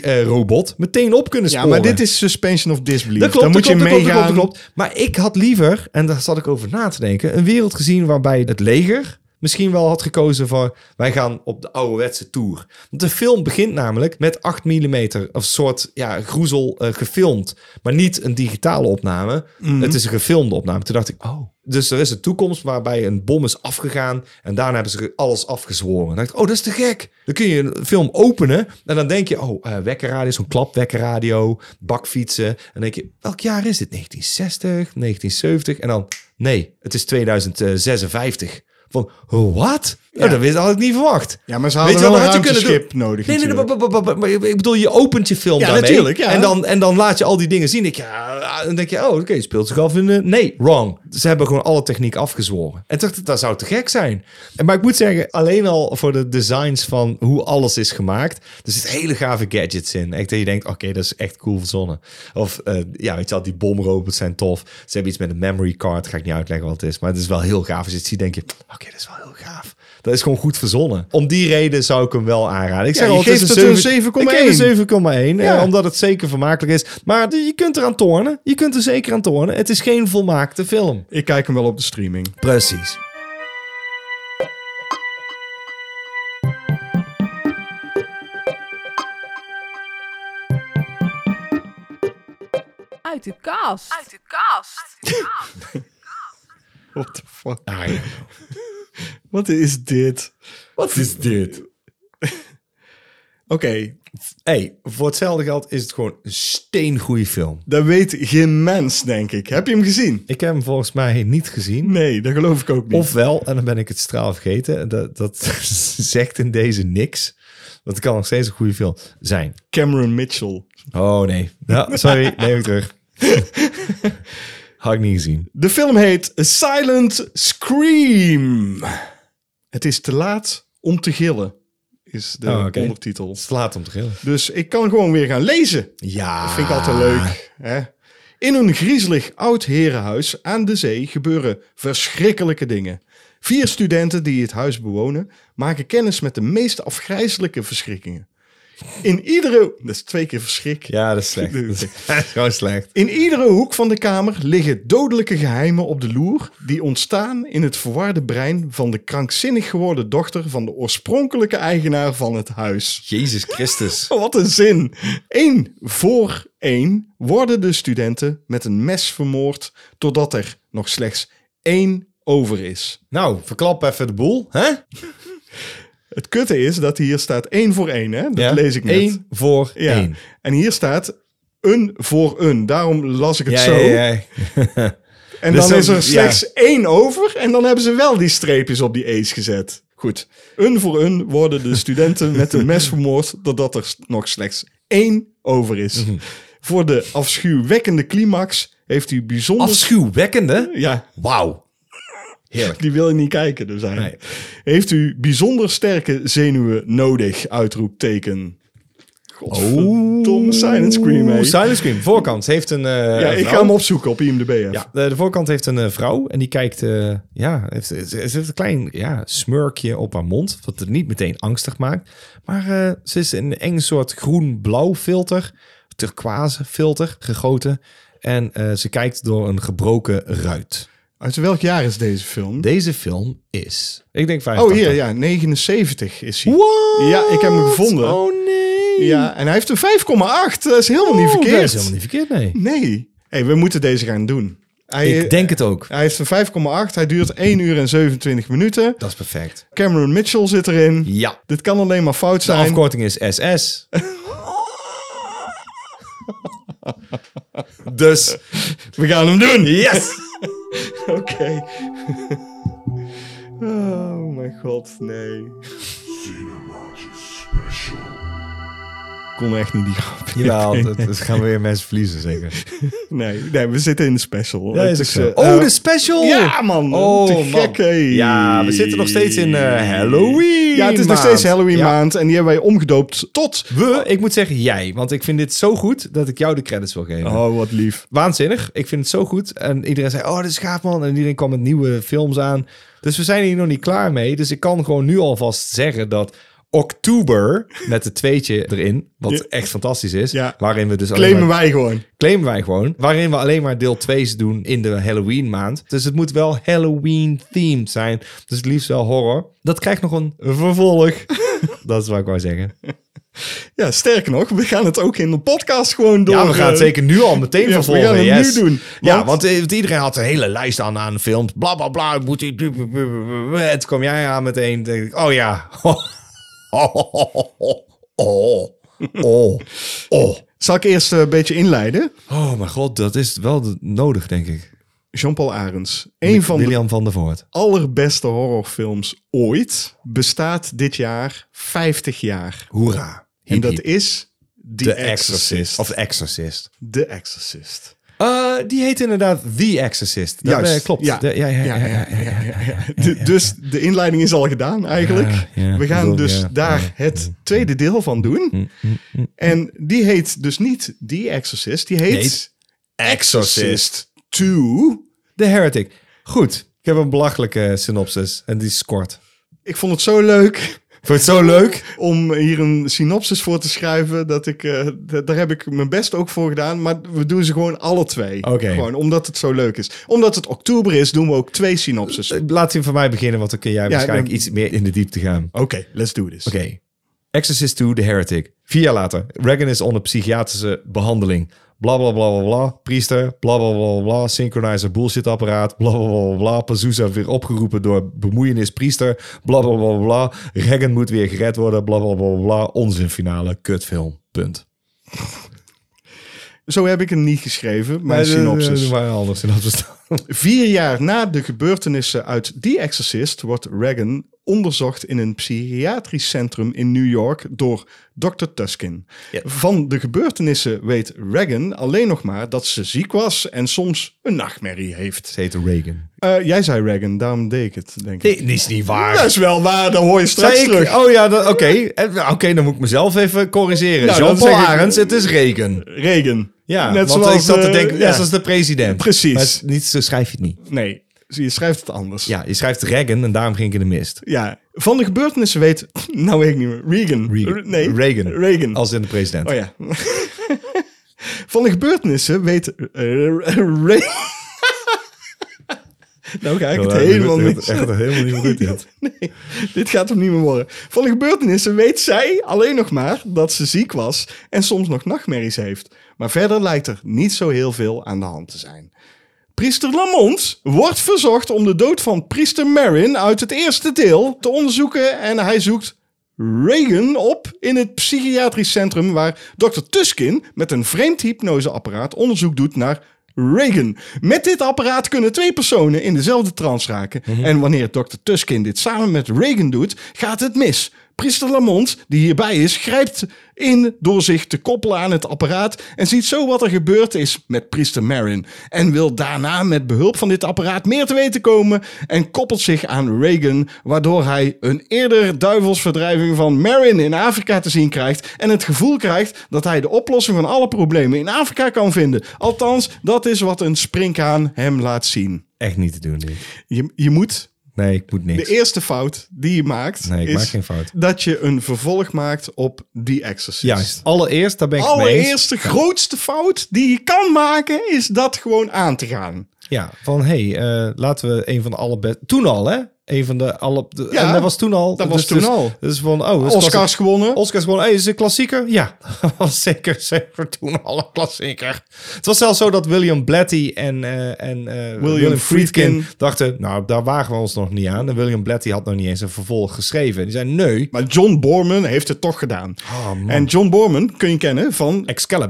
[SPEAKER 1] AI-robot meteen op kunnen
[SPEAKER 2] Ja,
[SPEAKER 1] sporen.
[SPEAKER 2] maar dit is suspension of disbelief.
[SPEAKER 1] Dat klopt,
[SPEAKER 2] Dan moet
[SPEAKER 1] dat
[SPEAKER 2] je
[SPEAKER 1] klopt, dat klopt,
[SPEAKER 2] meegaan.
[SPEAKER 1] dat klopt, dat klopt. Maar ik had liever, en daar zat ik over na te denken, een wereld gezien waarbij het leger misschien wel had gekozen voor... wij gaan op de ouderwetse tour. Want de film begint namelijk met 8 mm of soort ja, groezel eh, gefilmd. Maar niet een digitale opname.
[SPEAKER 2] Mhm.
[SPEAKER 1] Het is een gefilmde opname. Toen dacht ik, oh... Dus er is een toekomst waarbij een bom is afgegaan. En daarna hebben ze alles afgezworen. Dan dacht ik, oh, dat is te gek. Dan kun je een film openen. En dan denk je, oh, eh, wekkerradio, zo'n klapwekkerradio, bakfietsen. En dan denk je, welk jaar is dit? 1960, 1970? En dan, nee, het is 2056. Van, wat? Nou, dat wist- had ik niet verwacht.
[SPEAKER 2] Ja, maar ze
[SPEAKER 1] Weet
[SPEAKER 2] hadden
[SPEAKER 1] je
[SPEAKER 2] wel
[SPEAKER 1] wat dan
[SPEAKER 2] een
[SPEAKER 1] had je kunnen
[SPEAKER 2] ruimteschip
[SPEAKER 1] doen?
[SPEAKER 2] nodig
[SPEAKER 1] Nee, nee, nee,
[SPEAKER 2] natuurlijk.
[SPEAKER 1] maar, maar- maar- maar- maar ik bedoel, je opent je film
[SPEAKER 2] Ja,
[SPEAKER 1] daarmee.
[SPEAKER 2] natuurlijk, ja.
[SPEAKER 1] En, dan, en dan laat je al die dingen zien. Ik, ja, dan denk je, oh, oké, het speelt zich af in... eh, nee, wrong. Ze hebben gewoon alle techniek afgezworen. En toen dacht ik, dat zou te gek zijn. En, maar ik moet zeggen, alleen al voor de designs van hoe alles is gemaakt... er zitten hele gave gadgets in. Echt dat je denkt, oké, dat is echt cool verzonnen. Of, eh, ja, weet je wel, die bomrobots zijn tof. Ze hebben iets met een memory card. Ga ik niet uitleggen wat het is. Maar het is wel heel gaaf. Als je het ziet, denk je, oké, dat is wel heel gaaf. Dat is gewoon goed verzonnen. Om die reden zou ik hem wel aanraden. Ik
[SPEAKER 2] Ja,
[SPEAKER 1] zeg
[SPEAKER 2] je
[SPEAKER 1] al,
[SPEAKER 2] geeft
[SPEAKER 1] is
[SPEAKER 2] het een
[SPEAKER 1] zeven-
[SPEAKER 2] 7,1.
[SPEAKER 1] Ik geef een 7,1. eh,
[SPEAKER 2] Ja.
[SPEAKER 1] omdat het zeker vermakelijk is. Maar je kunt eraan tornen. Je kunt er zeker aan tornen. Het is geen volmaakte film.
[SPEAKER 2] Ik kijk hem wel op de streaming.
[SPEAKER 1] Precies.
[SPEAKER 8] Uit de kast.
[SPEAKER 2] What the fuck?
[SPEAKER 1] Ah, ja.
[SPEAKER 2] Wat is dit?
[SPEAKER 1] Wat is dit?
[SPEAKER 2] Oké,
[SPEAKER 1] hey, voor hetzelfde geld is het gewoon een steengoeie film.
[SPEAKER 2] dat weet geen mens, denk ik. Heb je hem gezien?
[SPEAKER 1] Ik heb hem volgens mij niet gezien.
[SPEAKER 2] Nee, dat geloof ik ook niet.
[SPEAKER 1] Ofwel, en dan ben ik het straal vergeten. eh, Dat, dat zegt in deze niks. Dat kan nog steeds een goede film zijn.
[SPEAKER 2] Cameron Mitchell.
[SPEAKER 1] Oh nee. Ja, sorry, neem ik terug. Had ik niet gezien.
[SPEAKER 2] De film heet A Silent Scream. Het is te laat om te gillen, is de
[SPEAKER 1] Oh, oké.
[SPEAKER 2] ondertitel.
[SPEAKER 1] Slaat om te gillen.
[SPEAKER 2] Dus ik kan gewoon weer gaan lezen.
[SPEAKER 1] Ja.
[SPEAKER 2] Vind ik altijd leuk. Hè? In een griezelig oud herenhuis aan de zee gebeuren verschrikkelijke dingen. Vier studenten die het huis bewonen maken kennis met de meest afgrijzelijke verschrikkingen. In iedere... Dat is twee keer verschrik.
[SPEAKER 1] Ja, dat is slecht. Dat is gewoon slecht.
[SPEAKER 2] In iedere hoek van de kamer liggen dodelijke geheimen op de loer die ontstaan in het verwarde brein van de krankzinnig geworden dochter van de oorspronkelijke eigenaar van het huis.
[SPEAKER 1] Jezus Christus.
[SPEAKER 2] Oh, Wat een zin. Eén voor één worden de studenten met een mes vermoord totdat er nog slechts één over is.
[SPEAKER 1] Nou, verklap even de boel. Hè?
[SPEAKER 2] Het kutte is dat hier staat één voor één. Hè? Dat lees ik net.
[SPEAKER 1] Eén voor
[SPEAKER 2] Ja.
[SPEAKER 1] één.
[SPEAKER 2] En hier staat een voor een. Daarom las ik het zo. En
[SPEAKER 1] Dus
[SPEAKER 2] dan
[SPEAKER 1] dan-
[SPEAKER 2] is
[SPEAKER 1] ja.
[SPEAKER 2] er slechts één over. En dan hebben ze wel die streepjes op die A's gezet. Goed. Een voor een worden de studenten met een mes vermoord. Doordat er s- nog slechts één over is.
[SPEAKER 1] Mhm.
[SPEAKER 2] Voor de afschuwwekkende climax heeft u bijzonder.
[SPEAKER 1] Afschuwwekkende.
[SPEAKER 2] ja,
[SPEAKER 1] Wauw. Heerlijk.
[SPEAKER 2] die wil je niet kijken, dus eigenlijk.
[SPEAKER 1] Nee.
[SPEAKER 2] Heeft u bijzonder sterke zenuwen nodig? Uitroepteken. Godverdomme, Silent Scream. hè.
[SPEAKER 1] Oeh, Oh. Silent Scream. Voorkant. Ze heeft een. eh,
[SPEAKER 2] ja, ik
[SPEAKER 1] vrouw.
[SPEAKER 2] ga hem opzoeken op IMDb. even.
[SPEAKER 1] Ja, de, de voorkant heeft een eh, vrouw en die kijkt, eh, ja, heeft, ze ze heeft een klein ja, smurkje op haar mond, wat het niet meteen angstig maakt. Maar eh, ze is in een eng soort groen-blauw filter, turquoise filter, gegoten. En eh, ze kijkt door een gebroken ruit.
[SPEAKER 2] Uit welk jaar is deze film?
[SPEAKER 1] Deze film is, ik denk 50.
[SPEAKER 2] Oh, hier, ja. 79 is hij.
[SPEAKER 1] What?
[SPEAKER 2] Ja, ik heb hem gevonden.
[SPEAKER 1] Oh nee.
[SPEAKER 2] Ja, en hij heeft een 5,8. Dat eh, is helemaal niet
[SPEAKER 1] Oh,
[SPEAKER 2] verkeerd.
[SPEAKER 1] Dat is helemaal niet verkeerd, nee.
[SPEAKER 2] Nee. Eh, hey, we moeten deze gaan doen. Hij,
[SPEAKER 1] Ik denk het ook.
[SPEAKER 2] hij heeft een 5,8. Hij duurt 1 uur en 27 minuten.
[SPEAKER 1] Dat is perfect.
[SPEAKER 2] Cameron Mitchell zit erin.
[SPEAKER 1] Ja. Nou,
[SPEAKER 2] Dit kan alleen maar fout
[SPEAKER 1] De
[SPEAKER 2] zijn.
[SPEAKER 1] afkorting is SS. dus
[SPEAKER 2] We gaan hem doen.
[SPEAKER 1] Yes!
[SPEAKER 2] Oké. oh mijn god, nee. Ik kon echt niet die grap.
[SPEAKER 1] Jawel, dat, dat gaan we weer mensen verliezen zeker.
[SPEAKER 2] Nee, nee, we zitten in de special.
[SPEAKER 1] Dat
[SPEAKER 2] Het
[SPEAKER 1] is ook zo.
[SPEAKER 2] eh,
[SPEAKER 1] Oh, de special!
[SPEAKER 2] Ja, man.
[SPEAKER 1] Oh,
[SPEAKER 2] te gek,
[SPEAKER 1] man.
[SPEAKER 2] hé.
[SPEAKER 1] Ja, we zitten nog steeds in eh, Halloween
[SPEAKER 2] Ja, het is nog
[SPEAKER 1] maand.
[SPEAKER 2] steeds Halloween
[SPEAKER 1] Ja.
[SPEAKER 2] maand. En die hebben wij omgedoopt tot...
[SPEAKER 1] We, ik moet zeggen jij, want ik vind dit zo goed dat ik jou de credits wil geven.
[SPEAKER 2] Oh, wat lief.
[SPEAKER 1] Waanzinnig, ik vind het zo goed. En iedereen zei, oh, dit is gaaf man. En iedereen kwam met nieuwe films aan. Dus we zijn hier nog niet klaar mee. Dus ik kan gewoon nu alvast zeggen dat... Oktober met het tweetje erin, wat echt fantastisch is.
[SPEAKER 2] Ja.
[SPEAKER 1] Waarin we dus alleen
[SPEAKER 2] Claimen
[SPEAKER 1] maar-
[SPEAKER 2] wij gewoon.
[SPEAKER 1] claimen wij gewoon. Waarin we alleen maar deel 2's doen in de Halloween maand. Dus het moet wel Halloween-themed zijn. Dus het liefst wel horror. Dat krijgt nog een vervolg. dat is wat ik wou zeggen.
[SPEAKER 2] Ja, sterker nog, we gaan het ook in de podcast gewoon door.
[SPEAKER 1] Ja, we gaan het
[SPEAKER 2] eh,
[SPEAKER 1] zeker nu al meteen
[SPEAKER 2] ja, we
[SPEAKER 1] vervolgen.
[SPEAKER 2] gaan het
[SPEAKER 1] yes.
[SPEAKER 2] nu doen.
[SPEAKER 1] Ja,
[SPEAKER 2] Want-
[SPEAKER 1] want eh, want iedereen had een hele lijst aan, aan films. Bla, bla, bla. Moet die... Het kwam jij aan meteen. Denk ik, oh ja. Oh. Oh. Oh. Oh. Oh.
[SPEAKER 2] Zal ik eerst eh, een beetje inleiden?
[SPEAKER 1] Oh, mijn god. Dat is wel de- nodig, denk ik.
[SPEAKER 2] Jean-Paul Arends. Een van de
[SPEAKER 1] William van der Voort.
[SPEAKER 2] allerbeste horrorfilms ooit bestaat dit jaar 50 jaar.
[SPEAKER 1] Hoera.
[SPEAKER 2] En
[SPEAKER 1] Hiep,
[SPEAKER 2] dat
[SPEAKER 1] hiep.
[SPEAKER 2] is The,
[SPEAKER 1] The
[SPEAKER 2] Exorcist.
[SPEAKER 1] Exorcist. Of The Exorcist.
[SPEAKER 2] The Exorcist.
[SPEAKER 1] Eh, die heet inderdaad The Exorcist. Dat
[SPEAKER 2] Juist,
[SPEAKER 1] eh, klopt.
[SPEAKER 2] ja.
[SPEAKER 1] De- ja, ja, ja, ja, ja.
[SPEAKER 2] De- dus de inleiding is al gedaan eigenlijk.
[SPEAKER 1] Ja, ja,
[SPEAKER 2] We gaan
[SPEAKER 1] bedoel,
[SPEAKER 2] dus
[SPEAKER 1] ja, Mm,
[SPEAKER 2] daar het tweede deel van doen. En die heet dus niet The Exorcist. Die heet Exorcist 2.
[SPEAKER 1] The Heretic. Goed. Ik heb een belachelijke synopsis. En die is kort.
[SPEAKER 2] Ik vond het zo leuk
[SPEAKER 1] Vond je het zo leuk?
[SPEAKER 2] om hier een synopsis voor te schrijven. Dat ik, eh, d- daar heb ik mijn best ook voor gedaan. Maar we doen ze gewoon alle twee.
[SPEAKER 1] Oké.
[SPEAKER 2] Gewoon omdat het zo leuk is. Omdat het oktober is, doen we ook twee synopsis. Oké,
[SPEAKER 1] Laat die van mij beginnen, want dan kun jij waarschijnlijk
[SPEAKER 2] dan-
[SPEAKER 1] iets meer in de diepte gaan.
[SPEAKER 2] let's do this.
[SPEAKER 1] Oké. Exorcist 2, The Heretic. Vier jaar later. Reagan is onder psychiatrische behandeling. Bla bla bla bla bla. Priester. Bla bla bla bla, bla. Synchronizer bullshit apparaat. Bla bla bla bla, bla. Pazuza weer opgeroepen door bemoeienis priester. Bla bla bla bla, bla. Reagan moet weer gered worden. Bla bla bla bla, bla. Onzinfinale. Kutfilm. Punt.
[SPEAKER 2] Zo heb ik hem niet geschreven, mijn synopsis.
[SPEAKER 1] Eh, Maar anders synopsis.
[SPEAKER 2] Vier jaar na de gebeurtenissen uit The Exorcist wordt Reagan onderzocht in een psychiatrisch centrum in New York door Dr. Tuskin. Van de gebeurtenissen weet Reagan alleen nog maar dat ze ziek was en soms een nachtmerrie heeft.
[SPEAKER 1] Ze heet Reagan.
[SPEAKER 2] Eh, jij zei Reagan, daarom deed ik het, denk ik.
[SPEAKER 1] Nee, is niet waar.
[SPEAKER 2] Dat is wel waar, dan hoor je straks
[SPEAKER 1] Zei ik-
[SPEAKER 2] terug.
[SPEAKER 1] Oh ja, dat- oké. Eh, Oké, dan moet ik mezelf even corrigeren.
[SPEAKER 2] Nou, dan
[SPEAKER 1] Jean-Paul
[SPEAKER 2] zeg ik-
[SPEAKER 1] Arends, het is Reagan.
[SPEAKER 2] Reagan.
[SPEAKER 1] Ja,
[SPEAKER 2] net
[SPEAKER 1] want
[SPEAKER 2] zoals
[SPEAKER 1] ik zat te
[SPEAKER 2] eh,
[SPEAKER 1] denken,
[SPEAKER 2] ja.
[SPEAKER 1] net zoals de president.
[SPEAKER 2] Precies.
[SPEAKER 1] Maar het is niet, zo schrijf je het niet.
[SPEAKER 2] Nee, je schrijft het anders.
[SPEAKER 1] Ja, je schrijft Reagan en daarom ging ik in de mist.
[SPEAKER 2] Ja, van de gebeurtenissen weet... Nou weet ik niet meer. Reagan.
[SPEAKER 1] Reagan.
[SPEAKER 2] R- Nee.
[SPEAKER 1] Reagan.
[SPEAKER 2] Reagan.
[SPEAKER 1] Als in de president.
[SPEAKER 2] Oh ja. Van de gebeurtenissen weet eh, Ray... Nou ga ik het
[SPEAKER 1] Ja,
[SPEAKER 2] helemaal
[SPEAKER 1] dit- dit-
[SPEAKER 2] mis.
[SPEAKER 1] Echt helemaal niet goed. dit.
[SPEAKER 2] Nee, dit gaat hem niet meer worden. Van de gebeurtenissen weet zij alleen nog maar dat ze ziek was en soms nog nachtmerries heeft. Maar verder lijkt er niet zo heel veel aan de hand te zijn. Priester Lamont wordt verzocht om de dood van priester Marin uit het eerste deel te onderzoeken en hij zoekt Reagan op in het psychiatrisch centrum waar Dr. Tuskin met een vreemd hypnoseapparaat onderzoek doet naar Reagan. Met dit apparaat kunnen twee personen in dezelfde trance raken. En wanneer Dr. Tuskin dit samen met Reagan doet, gaat het mis. Priester Lamont, die hierbij is, grijpt in door zich te koppelen aan het apparaat en ziet zo wat er gebeurd is met priester Marin. En wil daarna met behulp van dit apparaat meer te weten komen en koppelt zich aan Reagan, waardoor hij een eerder duivelsverdrijving van Marin in Afrika te zien krijgt en het gevoel krijgt dat hij de oplossing van alle problemen in Afrika kan vinden. Althans, dat is wat een springkaan hem laat zien.
[SPEAKER 1] Echt niet te doen dit.
[SPEAKER 2] Je, je moet
[SPEAKER 1] Nee, ik moet niks.
[SPEAKER 2] de eerste fout die je maakt
[SPEAKER 1] Nee, ik
[SPEAKER 2] is
[SPEAKER 1] maak geen fout.
[SPEAKER 2] dat je een vervolg maakt op The Exorcist.
[SPEAKER 1] Juist. Allereerst, daar ben ik het mee eens.
[SPEAKER 2] Allereerste grootste fout die je kan maken is dat gewoon aan te gaan.
[SPEAKER 1] Ja, van hé, hey, eh, laten we een van de allerbeste... Toen al, hè? Een van de alle... de-
[SPEAKER 2] Ja,
[SPEAKER 1] en dat was toen al.
[SPEAKER 2] dat was toen
[SPEAKER 1] dus,
[SPEAKER 2] al.
[SPEAKER 1] Dus van, oh... dat is
[SPEAKER 2] Oscars
[SPEAKER 1] klassiek.
[SPEAKER 2] gewonnen.
[SPEAKER 1] Oscars gewoon, hey, is het een klassieker? Ja, dat was zeker, zeker toen al een klassieker. Het was zelfs zo dat William Blatty en, eh, en eh, William, Friedkin,
[SPEAKER 2] Friedkin.
[SPEAKER 1] dachten, nou, daar wagen we ons nog niet aan. En William Blatty had nog niet eens een vervolg geschreven. Die zei, nee,
[SPEAKER 2] Maar John Borman heeft het toch gedaan.
[SPEAKER 1] Ah, man.
[SPEAKER 2] en John Borman kun je kennen van,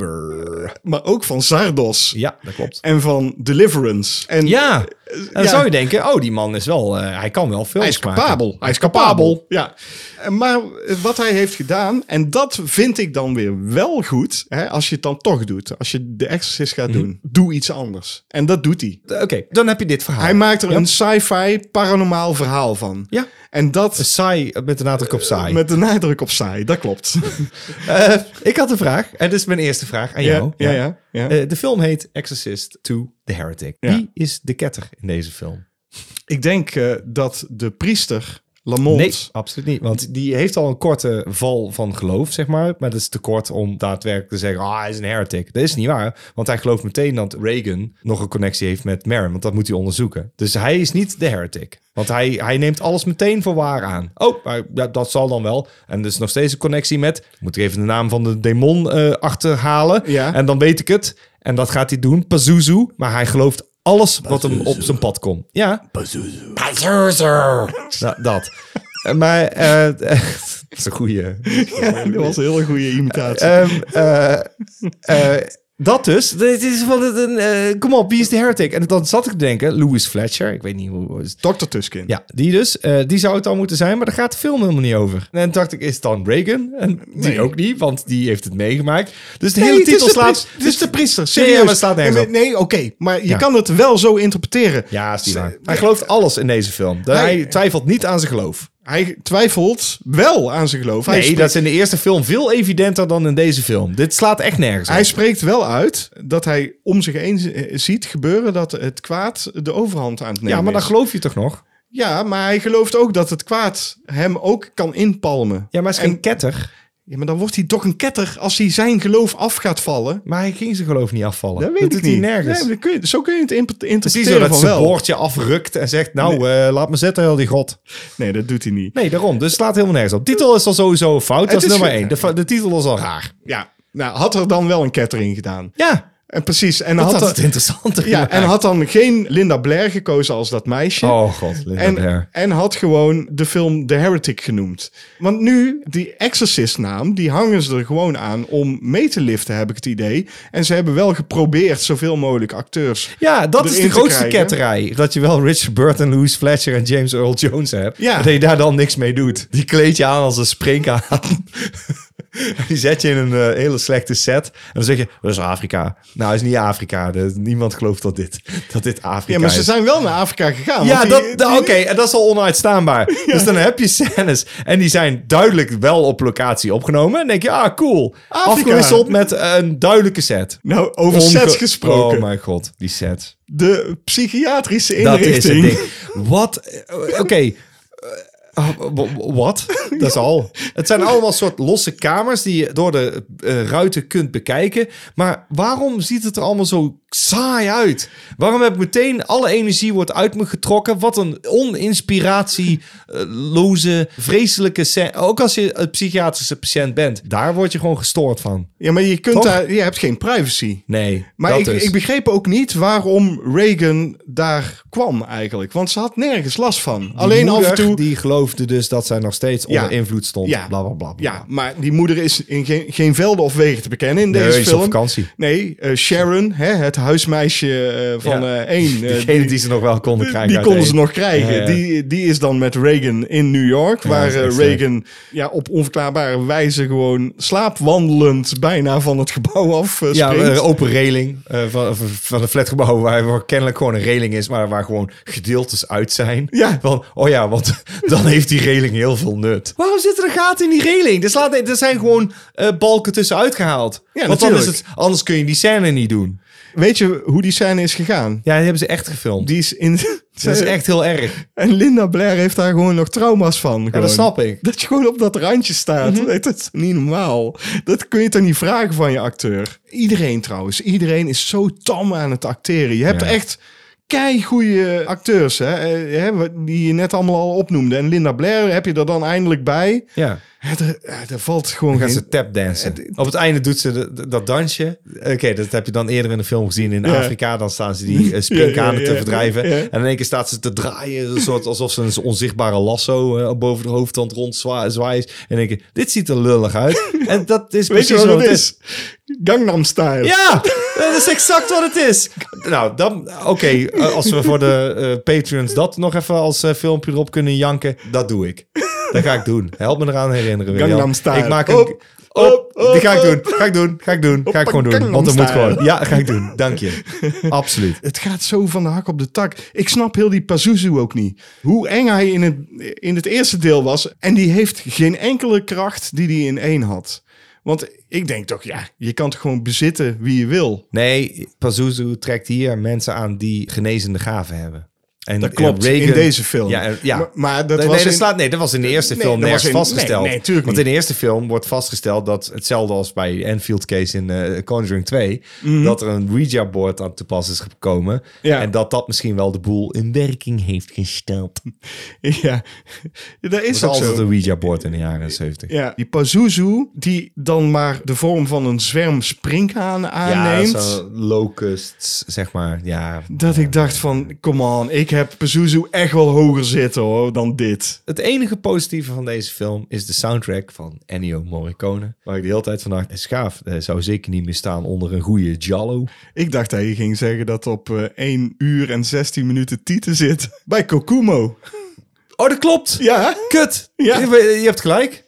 [SPEAKER 1] Excalibur.
[SPEAKER 2] maar ook van Zardos.
[SPEAKER 1] Ja, dat klopt.
[SPEAKER 2] En van Deliverance. En
[SPEAKER 1] Ja, en dan
[SPEAKER 2] ja.
[SPEAKER 1] zou je denken, oh, die man is wel, eh, hij kan wel films
[SPEAKER 2] hij is
[SPEAKER 1] maken.
[SPEAKER 2] capabel. Hij is capabel. Ja. Eh, Maar wat hij heeft gedaan, en dat vind ik dan weer wel goed, hè, als je het dan toch doet. Als je de Exorcist gaat
[SPEAKER 1] Mhm.
[SPEAKER 2] doen, doe iets anders. En dat doet hij.
[SPEAKER 1] Oké, dan heb je dit verhaal.
[SPEAKER 2] Hij maakt er een sci-fi paranormaal verhaal van.
[SPEAKER 1] Ja.
[SPEAKER 2] En dat
[SPEAKER 1] Saai, met de nadruk op saai.
[SPEAKER 2] met de nadruk op saai, dat klopt.
[SPEAKER 1] Eh, ik had een vraag. En dit is mijn eerste vraag aan
[SPEAKER 2] Ja,
[SPEAKER 1] jou.
[SPEAKER 2] ja, ja, ja.
[SPEAKER 1] Eh, de film heet Exorcist to the Heretic.
[SPEAKER 2] Ja.
[SPEAKER 1] Wie is de ketter in deze film?
[SPEAKER 2] ik denk eh, dat de priester Lamont.
[SPEAKER 1] Nee, absoluut niet. Want die heeft al een korte val van geloof, zeg maar. Maar dat is te kort om daadwerkelijk te zeggen... ah, hij is een heretic. Dat is niet waar. Want hij gelooft meteen dat Reagan nog een connectie heeft met Merrin. Want dat moet hij onderzoeken. Dus hij is niet de heretic. Want hij, hij neemt alles meteen voor waar aan. Oh, maar ja, dat zal dan wel. En er is nog steeds een connectie met... moet ik even de naam van de demon eh, achterhalen.
[SPEAKER 2] Ja.
[SPEAKER 1] En dan weet ik het. En dat gaat hij doen. Pazuzu. Maar hij gelooft alles wat hem op zijn pad komt. Ja, nou, dat. Eh, Maar eh, dat is een goede.
[SPEAKER 2] Ja, dat was een hele goede imitatie.
[SPEAKER 1] eh, dat dus. Dit is van het een. eh, Kom op, wie is de heretic? En dan zat ik te denken, Louis Fletcher. Ik weet niet hoe. is-
[SPEAKER 2] Dr. Tuskin.
[SPEAKER 1] Ja, die dus. eh, die zou het dan moeten zijn, maar daar gaat de film helemaal niet over. En toen dacht ik, is het dan Reagan? En die ook niet, want die heeft het meegemaakt. Dus de hele
[SPEAKER 2] Nee, het
[SPEAKER 1] titel
[SPEAKER 2] is de
[SPEAKER 1] slaat.
[SPEAKER 2] priester. Het is de priester.
[SPEAKER 1] Nee,
[SPEAKER 2] Serieus.
[SPEAKER 1] maar het slaat nergens
[SPEAKER 2] nee,
[SPEAKER 1] op.
[SPEAKER 2] nee, oké. Maar je
[SPEAKER 1] Ja.
[SPEAKER 2] kan het wel zo interpreteren.
[SPEAKER 1] Ja, is niet waar. Hij gelooft alles in deze film. Hij,
[SPEAKER 2] Hij-
[SPEAKER 1] twijfelt niet aan zijn geloof.
[SPEAKER 2] Hij twijfelt wel aan zijn geloof. Hij,
[SPEAKER 1] Nee,
[SPEAKER 2] spreekt,
[SPEAKER 1] dat is in de eerste film veel evidenter dan in deze film. Dit slaat echt nergens op.
[SPEAKER 2] hij spreekt wel uit dat hij om zich heen z- eh, ziet gebeuren dat het kwaad de overhand aan het nemen
[SPEAKER 1] ja, maar dan
[SPEAKER 2] is.
[SPEAKER 1] geloof je toch nog?
[SPEAKER 2] Ja, maar hij gelooft ook dat het kwaad hem ook kan inpalmen.
[SPEAKER 1] Ja, maar hij is geen ketter.
[SPEAKER 2] Ja, maar dan wordt hij toch een ketter als hij zijn geloof af gaat vallen.
[SPEAKER 1] Maar hij ging zijn geloof niet afvallen.
[SPEAKER 2] Dat weet
[SPEAKER 1] dat
[SPEAKER 2] ik
[SPEAKER 1] doet
[SPEAKER 2] niet.
[SPEAKER 1] hij nergens.
[SPEAKER 2] Nee, maar kun je, zo kun je het imp-
[SPEAKER 1] Precies zo
[SPEAKER 2] interpreteren
[SPEAKER 1] dat
[SPEAKER 2] van
[SPEAKER 1] ze een
[SPEAKER 2] wel.
[SPEAKER 1] boordje afrukt en zegt... Nou, eh, laat me zitten, heel die god.
[SPEAKER 2] Nee, dat doet hij niet.
[SPEAKER 1] Nee, daarom. Dus het slaat helemaal nergens op. titel is al sowieso een fout. Dat is,
[SPEAKER 2] Het is
[SPEAKER 1] nummer
[SPEAKER 2] ge-
[SPEAKER 1] één. De, fa- de titel is al raar.
[SPEAKER 2] Ja, nou had er dan wel een ketter in gedaan.
[SPEAKER 1] Ja,
[SPEAKER 2] En precies. En
[SPEAKER 1] dat
[SPEAKER 2] had
[SPEAKER 1] had
[SPEAKER 2] er-
[SPEAKER 1] het interessanter
[SPEAKER 2] Ja, en
[SPEAKER 1] gemaakt.
[SPEAKER 2] had dan geen Linda Blair gekozen als dat meisje.
[SPEAKER 1] Oh god, Linda
[SPEAKER 2] en,
[SPEAKER 1] Blair.
[SPEAKER 2] en had gewoon de film The Heretic genoemd. Want nu, die Exorcist-naam, die hangen ze er gewoon aan om mee te liften, heb ik het idee. En ze hebben wel geprobeerd zoveel mogelijk acteurs.
[SPEAKER 1] Ja, dat is
[SPEAKER 2] erin
[SPEAKER 1] de
[SPEAKER 2] te
[SPEAKER 1] grootste
[SPEAKER 2] krijgen.
[SPEAKER 1] ketterij. Dat je wel Richard Burton, Louis Fletcher en James Earl Jones hebt.
[SPEAKER 2] Ja.
[SPEAKER 1] maar Dat je daar dan niks mee doet. Die kleed je aan als een springkaan. Die zet je in een eh, hele slechte set. En dan zeg je, dat is Afrika. Nou, is niet Afrika. De- niemand gelooft dat dit, dat dit Afrika
[SPEAKER 2] Ja, maar ze
[SPEAKER 1] is.
[SPEAKER 2] zijn wel naar Afrika gegaan.
[SPEAKER 1] Ja,
[SPEAKER 2] want
[SPEAKER 1] dat,
[SPEAKER 2] die-
[SPEAKER 1] dat-
[SPEAKER 2] die-
[SPEAKER 1] oké, en dat is al onuitstaanbaar. Dus dan heb je scènes en die zijn duidelijk wel op locatie opgenomen. En denk je, ah, cool.
[SPEAKER 2] Afrika.
[SPEAKER 1] Afgewisseld met een duidelijke set.
[SPEAKER 2] Nou, over sets
[SPEAKER 1] Onge-
[SPEAKER 2] gesproken.
[SPEAKER 1] Oh mijn god, die sets.
[SPEAKER 2] de psychiatrische
[SPEAKER 1] Dat
[SPEAKER 2] inrichting.
[SPEAKER 1] is het ding. Wat? eh, Oké. eh, ah, w- w- Wat? Dat is al. Het zijn allemaal soort losse kamers die je door de eh, ruiten kunt bekijken. Maar waarom ziet het er allemaal zo saai uit? Waarom heb ik meteen alle energie wordt uit me getrokken? Wat een oninspiratieloze, vreselijke scène. Ook als je een psychiatrische patiënt bent. Daar word je gewoon gestoord van.
[SPEAKER 2] Ja, maar je, kunt
[SPEAKER 1] Toch?
[SPEAKER 2] daar, je hebt geen privacy.
[SPEAKER 1] Nee,
[SPEAKER 2] Maar
[SPEAKER 1] dat
[SPEAKER 2] ik,
[SPEAKER 1] dus.
[SPEAKER 2] ik begreep ook niet waarom Reagan daar kwam eigenlijk. Want ze had nergens last van. Alleen af en
[SPEAKER 1] moeder
[SPEAKER 2] toe...
[SPEAKER 1] Die geloofde dus dat zij nog steeds
[SPEAKER 2] Ja.
[SPEAKER 1] onder invloed stond.
[SPEAKER 2] Ja.
[SPEAKER 1] Bla, bla, bla, bla.
[SPEAKER 2] Ja, maar die moeder is in geen, geen velden of wegen te bekennen in deze
[SPEAKER 1] die is
[SPEAKER 2] film.
[SPEAKER 1] op vakantie.
[SPEAKER 2] Nee, eh, Sharon, hè, het huismeisje eh, van
[SPEAKER 1] Ja.
[SPEAKER 2] eh, één. eh,
[SPEAKER 1] Degene die, ze nog wel konden krijgen.
[SPEAKER 2] die
[SPEAKER 1] uit
[SPEAKER 2] konden
[SPEAKER 1] één.
[SPEAKER 2] ze nog krijgen.
[SPEAKER 1] Ja, ja.
[SPEAKER 2] Die, die is dan met Reagan in New York. waar
[SPEAKER 1] dat is
[SPEAKER 2] eh,
[SPEAKER 1] echt,
[SPEAKER 2] Reagan ja, op onverklaarbare wijze gewoon slaapwandelend bijna van het gebouw af eh,
[SPEAKER 1] ja,
[SPEAKER 2] springt.
[SPEAKER 1] eh, open railing eh, van, van- van een flatgebouw waar, waar kennelijk gewoon een railing is, maar waar gewoon gedeeltes uit zijn.
[SPEAKER 2] Ja.
[SPEAKER 1] Van, oh ja, want dan heeft die railing heel veel nut. Waarom zitten er gaten in die railing? Er, slaat, er zijn gewoon eh, balken tussenuit gehaald.
[SPEAKER 2] Ja,
[SPEAKER 1] want dan is
[SPEAKER 2] natuurlijk.
[SPEAKER 1] het, anders kun je die scène niet doen.
[SPEAKER 2] Weet je hoe die scène is gegaan?
[SPEAKER 1] Ja, die hebben ze echt gefilmd.
[SPEAKER 2] Die is in.
[SPEAKER 1] dat is echt heel erg.
[SPEAKER 2] En Linda Blair heeft daar gewoon nog trauma's van.
[SPEAKER 1] Ja,
[SPEAKER 2] gewoon.
[SPEAKER 1] dat snap ik.
[SPEAKER 2] Dat je gewoon op dat randje staat.
[SPEAKER 1] Mhm.
[SPEAKER 2] Dat is niet normaal. Dat kun je toch niet vragen van je acteur. Iedereen trouwens. Iedereen is zo tam aan het acteren. Je hebt
[SPEAKER 1] Ja.
[SPEAKER 2] echt goede acteurs. Hè? eh, hè, wat- Die je net allemaal al opnoemde. En Linda Blair heb je er dan eindelijk bij.
[SPEAKER 1] Ja.
[SPEAKER 2] Hè, Er, eh, er valt gewoon
[SPEAKER 1] Dan gaan
[SPEAKER 2] geen-
[SPEAKER 1] ze tapdansen.
[SPEAKER 2] Eh,
[SPEAKER 1] Op het einde doet ze de- de- dat dansje. Oké, dat heb je dan eerder in de film gezien in
[SPEAKER 2] Ja.
[SPEAKER 1] Afrika. Dan staan ze die eh, springkanen
[SPEAKER 2] Ja, ja, ja,
[SPEAKER 1] te verdrijven.
[SPEAKER 2] ja.
[SPEAKER 1] En in één keer staat ze te draaien. Een soort alsof ze een onzichtbare lasso eh, boven de hoofdtand rond zwa- zwaait. En denk je, dit ziet er lullig uit. En dat is
[SPEAKER 2] Weet
[SPEAKER 1] precies
[SPEAKER 2] je wat
[SPEAKER 1] wat
[SPEAKER 2] het is? Gangnam Style.
[SPEAKER 1] Ja, dat is exact wat het is. Nou, dan, oké, eh, als we voor de eh, patrons dat nog even als eh, filmpje erop kunnen janken, dat doe ik. Dat ga ik doen. Help me eraan herinneren. William.
[SPEAKER 2] Gangnam Style.
[SPEAKER 1] Ik maak een...
[SPEAKER 2] Op, op, op,
[SPEAKER 1] die ga ik
[SPEAKER 2] op.
[SPEAKER 1] doen. Ga ik doen. Ga ik doen. Ga ik
[SPEAKER 2] Hoppa,
[SPEAKER 1] gewoon doen.
[SPEAKER 2] Gangnam
[SPEAKER 1] Want dat moet
[SPEAKER 2] Style.
[SPEAKER 1] gewoon. Ja, ga ik doen. Dank je. Absoluut.
[SPEAKER 2] Het gaat zo van de hak op de tak. Ik snap heel die Pazuzu ook niet. Hoe eng hij in het, in het eerste deel was. En die heeft geen enkele kracht die hij in één had. Want ik denk toch, ja, je kan toch gewoon bezitten wie je wil.
[SPEAKER 1] Nee, Pazuzu trekt hier mensen aan die genezende gaven hebben. En,
[SPEAKER 2] Dat klopt,
[SPEAKER 1] en Reagan-
[SPEAKER 2] in deze film.
[SPEAKER 1] Ja, en- ja.
[SPEAKER 2] Maar, maar dat
[SPEAKER 1] nee,
[SPEAKER 2] was
[SPEAKER 1] nee, dat
[SPEAKER 2] in-
[SPEAKER 1] slaat, nee, dat was in de eerste
[SPEAKER 2] Nee,
[SPEAKER 1] film
[SPEAKER 2] dat
[SPEAKER 1] nergens
[SPEAKER 2] was in-
[SPEAKER 1] vastgesteld.
[SPEAKER 2] nee, nee, tuurlijk
[SPEAKER 1] Want
[SPEAKER 2] niet.
[SPEAKER 1] in de eerste film wordt vastgesteld dat hetzelfde als bij Enfield Case in eh, Conjuring 2, dat er een Ouija-board aan te pas is gekomen.
[SPEAKER 2] Mhm. Ja.
[SPEAKER 1] En dat dat misschien wel de boel in werking heeft gesteld.
[SPEAKER 2] Ja, Ja, dat is
[SPEAKER 1] Er
[SPEAKER 2] ook
[SPEAKER 1] was altijd
[SPEAKER 2] zo.
[SPEAKER 1] een Ouija-board in de jaren 70.
[SPEAKER 2] Ja, die Pazuzu, die dan maar de vorm van een zwerm sprinkhanen aanneemt.
[SPEAKER 1] zo'n locusts, zeg maar. Ja.
[SPEAKER 2] Dat ik dacht van, come on, ik heb Pazuzu echt wel hoger zitten hoor, dan dit.
[SPEAKER 1] Het enige positieve van deze film is de soundtrack van Ennio Morricone. Waar ik de hele tijd van dacht, schaaf eh, zou zeker niet meer staan onder een goede Jallo.
[SPEAKER 2] Ik dacht dat je ging zeggen dat op eh 1 uur en 16 minuten Tieten zit bij Kokumo.
[SPEAKER 1] Oh, dat klopt!
[SPEAKER 2] Ja,
[SPEAKER 1] Kut!
[SPEAKER 2] Ja.
[SPEAKER 1] Je, je hebt gelijk.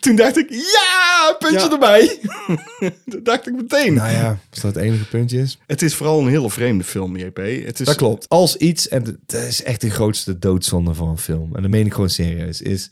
[SPEAKER 2] toen dacht ik, ja, puntje
[SPEAKER 1] Ja. Nou
[SPEAKER 2] erbij. dat dacht ik meteen.
[SPEAKER 1] Als dat het enige puntje is.
[SPEAKER 2] Het is vooral een hele vreemde film, JP. Het is,
[SPEAKER 1] Dat klopt. Als iets, en dat is echt de grootste doodzonde van een film. En dat meen ik gewoon serieus. Is,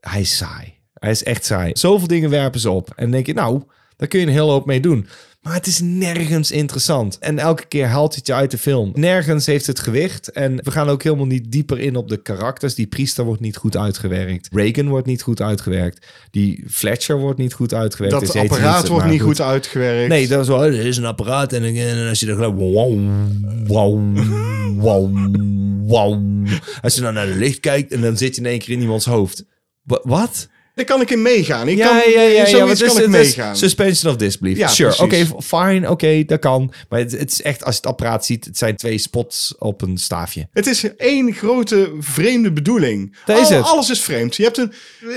[SPEAKER 1] hij is saai. Hij is echt saai. Zoveel dingen werpen ze op. En dan denk je, nou, daar kun je een hele hoop mee doen. Maar het is nergens interessant. En elke keer haalt hij het je uit de film. Nergens heeft het gewicht. En we gaan ook helemaal niet dieper in op de karakters. Die priester wordt niet goed uitgewerkt. Reagan wordt niet goed uitgewerkt. Die Fletcher wordt niet goed uitgewerkt.
[SPEAKER 2] Dat
[SPEAKER 1] Dus heet hij
[SPEAKER 2] apparaat
[SPEAKER 1] niet,
[SPEAKER 2] wordt
[SPEAKER 1] maar
[SPEAKER 2] niet goed uitgewerkt.
[SPEAKER 1] Nee, dat is wel, er is een apparaat en, en als je dan gelijk, wow, wow, wow, wow. Als je dan naar het licht kijkt en dan zit je in één keer in iemands hoofd. Wa- Wat?
[SPEAKER 2] Daar kan ik in meegaan. Ik kan, in zoiets
[SPEAKER 1] want
[SPEAKER 2] kan
[SPEAKER 1] het
[SPEAKER 2] ik
[SPEAKER 1] is- het is
[SPEAKER 2] meegaan.
[SPEAKER 1] Suspension of disbelief.
[SPEAKER 2] Ja,
[SPEAKER 1] sure, oké,
[SPEAKER 2] precies.
[SPEAKER 1] f- fine, oké, dat kan. Maar het, het is echt, als je het apparaat ziet, het zijn twee spots op een staafje.
[SPEAKER 2] Het is één grote vreemde bedoeling.
[SPEAKER 1] Dat is
[SPEAKER 2] Al-
[SPEAKER 1] het.
[SPEAKER 2] Alles is vreemd. Je hebt een,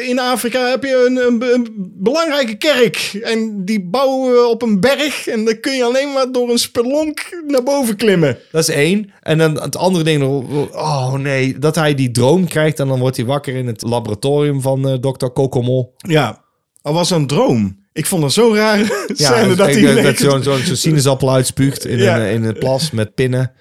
[SPEAKER 2] in Afrika heb je een, een, een belangrijke kerk. En die bouwen we op een berg. En dan kun je alleen maar door een spelonk naar boven klimmen.
[SPEAKER 1] Dat is één. En dan het andere ding, nog, oh nee, dat hij die droom krijgt en dan wordt hij wakker in het laboratorium van eh dokter Kokomo.
[SPEAKER 2] Ja, al was dat een droom. Ik vond dat zo raar. scène
[SPEAKER 1] en
[SPEAKER 2] dat
[SPEAKER 1] ik
[SPEAKER 2] hij
[SPEAKER 1] denk dat
[SPEAKER 2] ineens-
[SPEAKER 1] zo'n zo'n- zo'n sinaasappel uitspuugt in,
[SPEAKER 2] Ja.
[SPEAKER 1] een, in een plas met pinnen.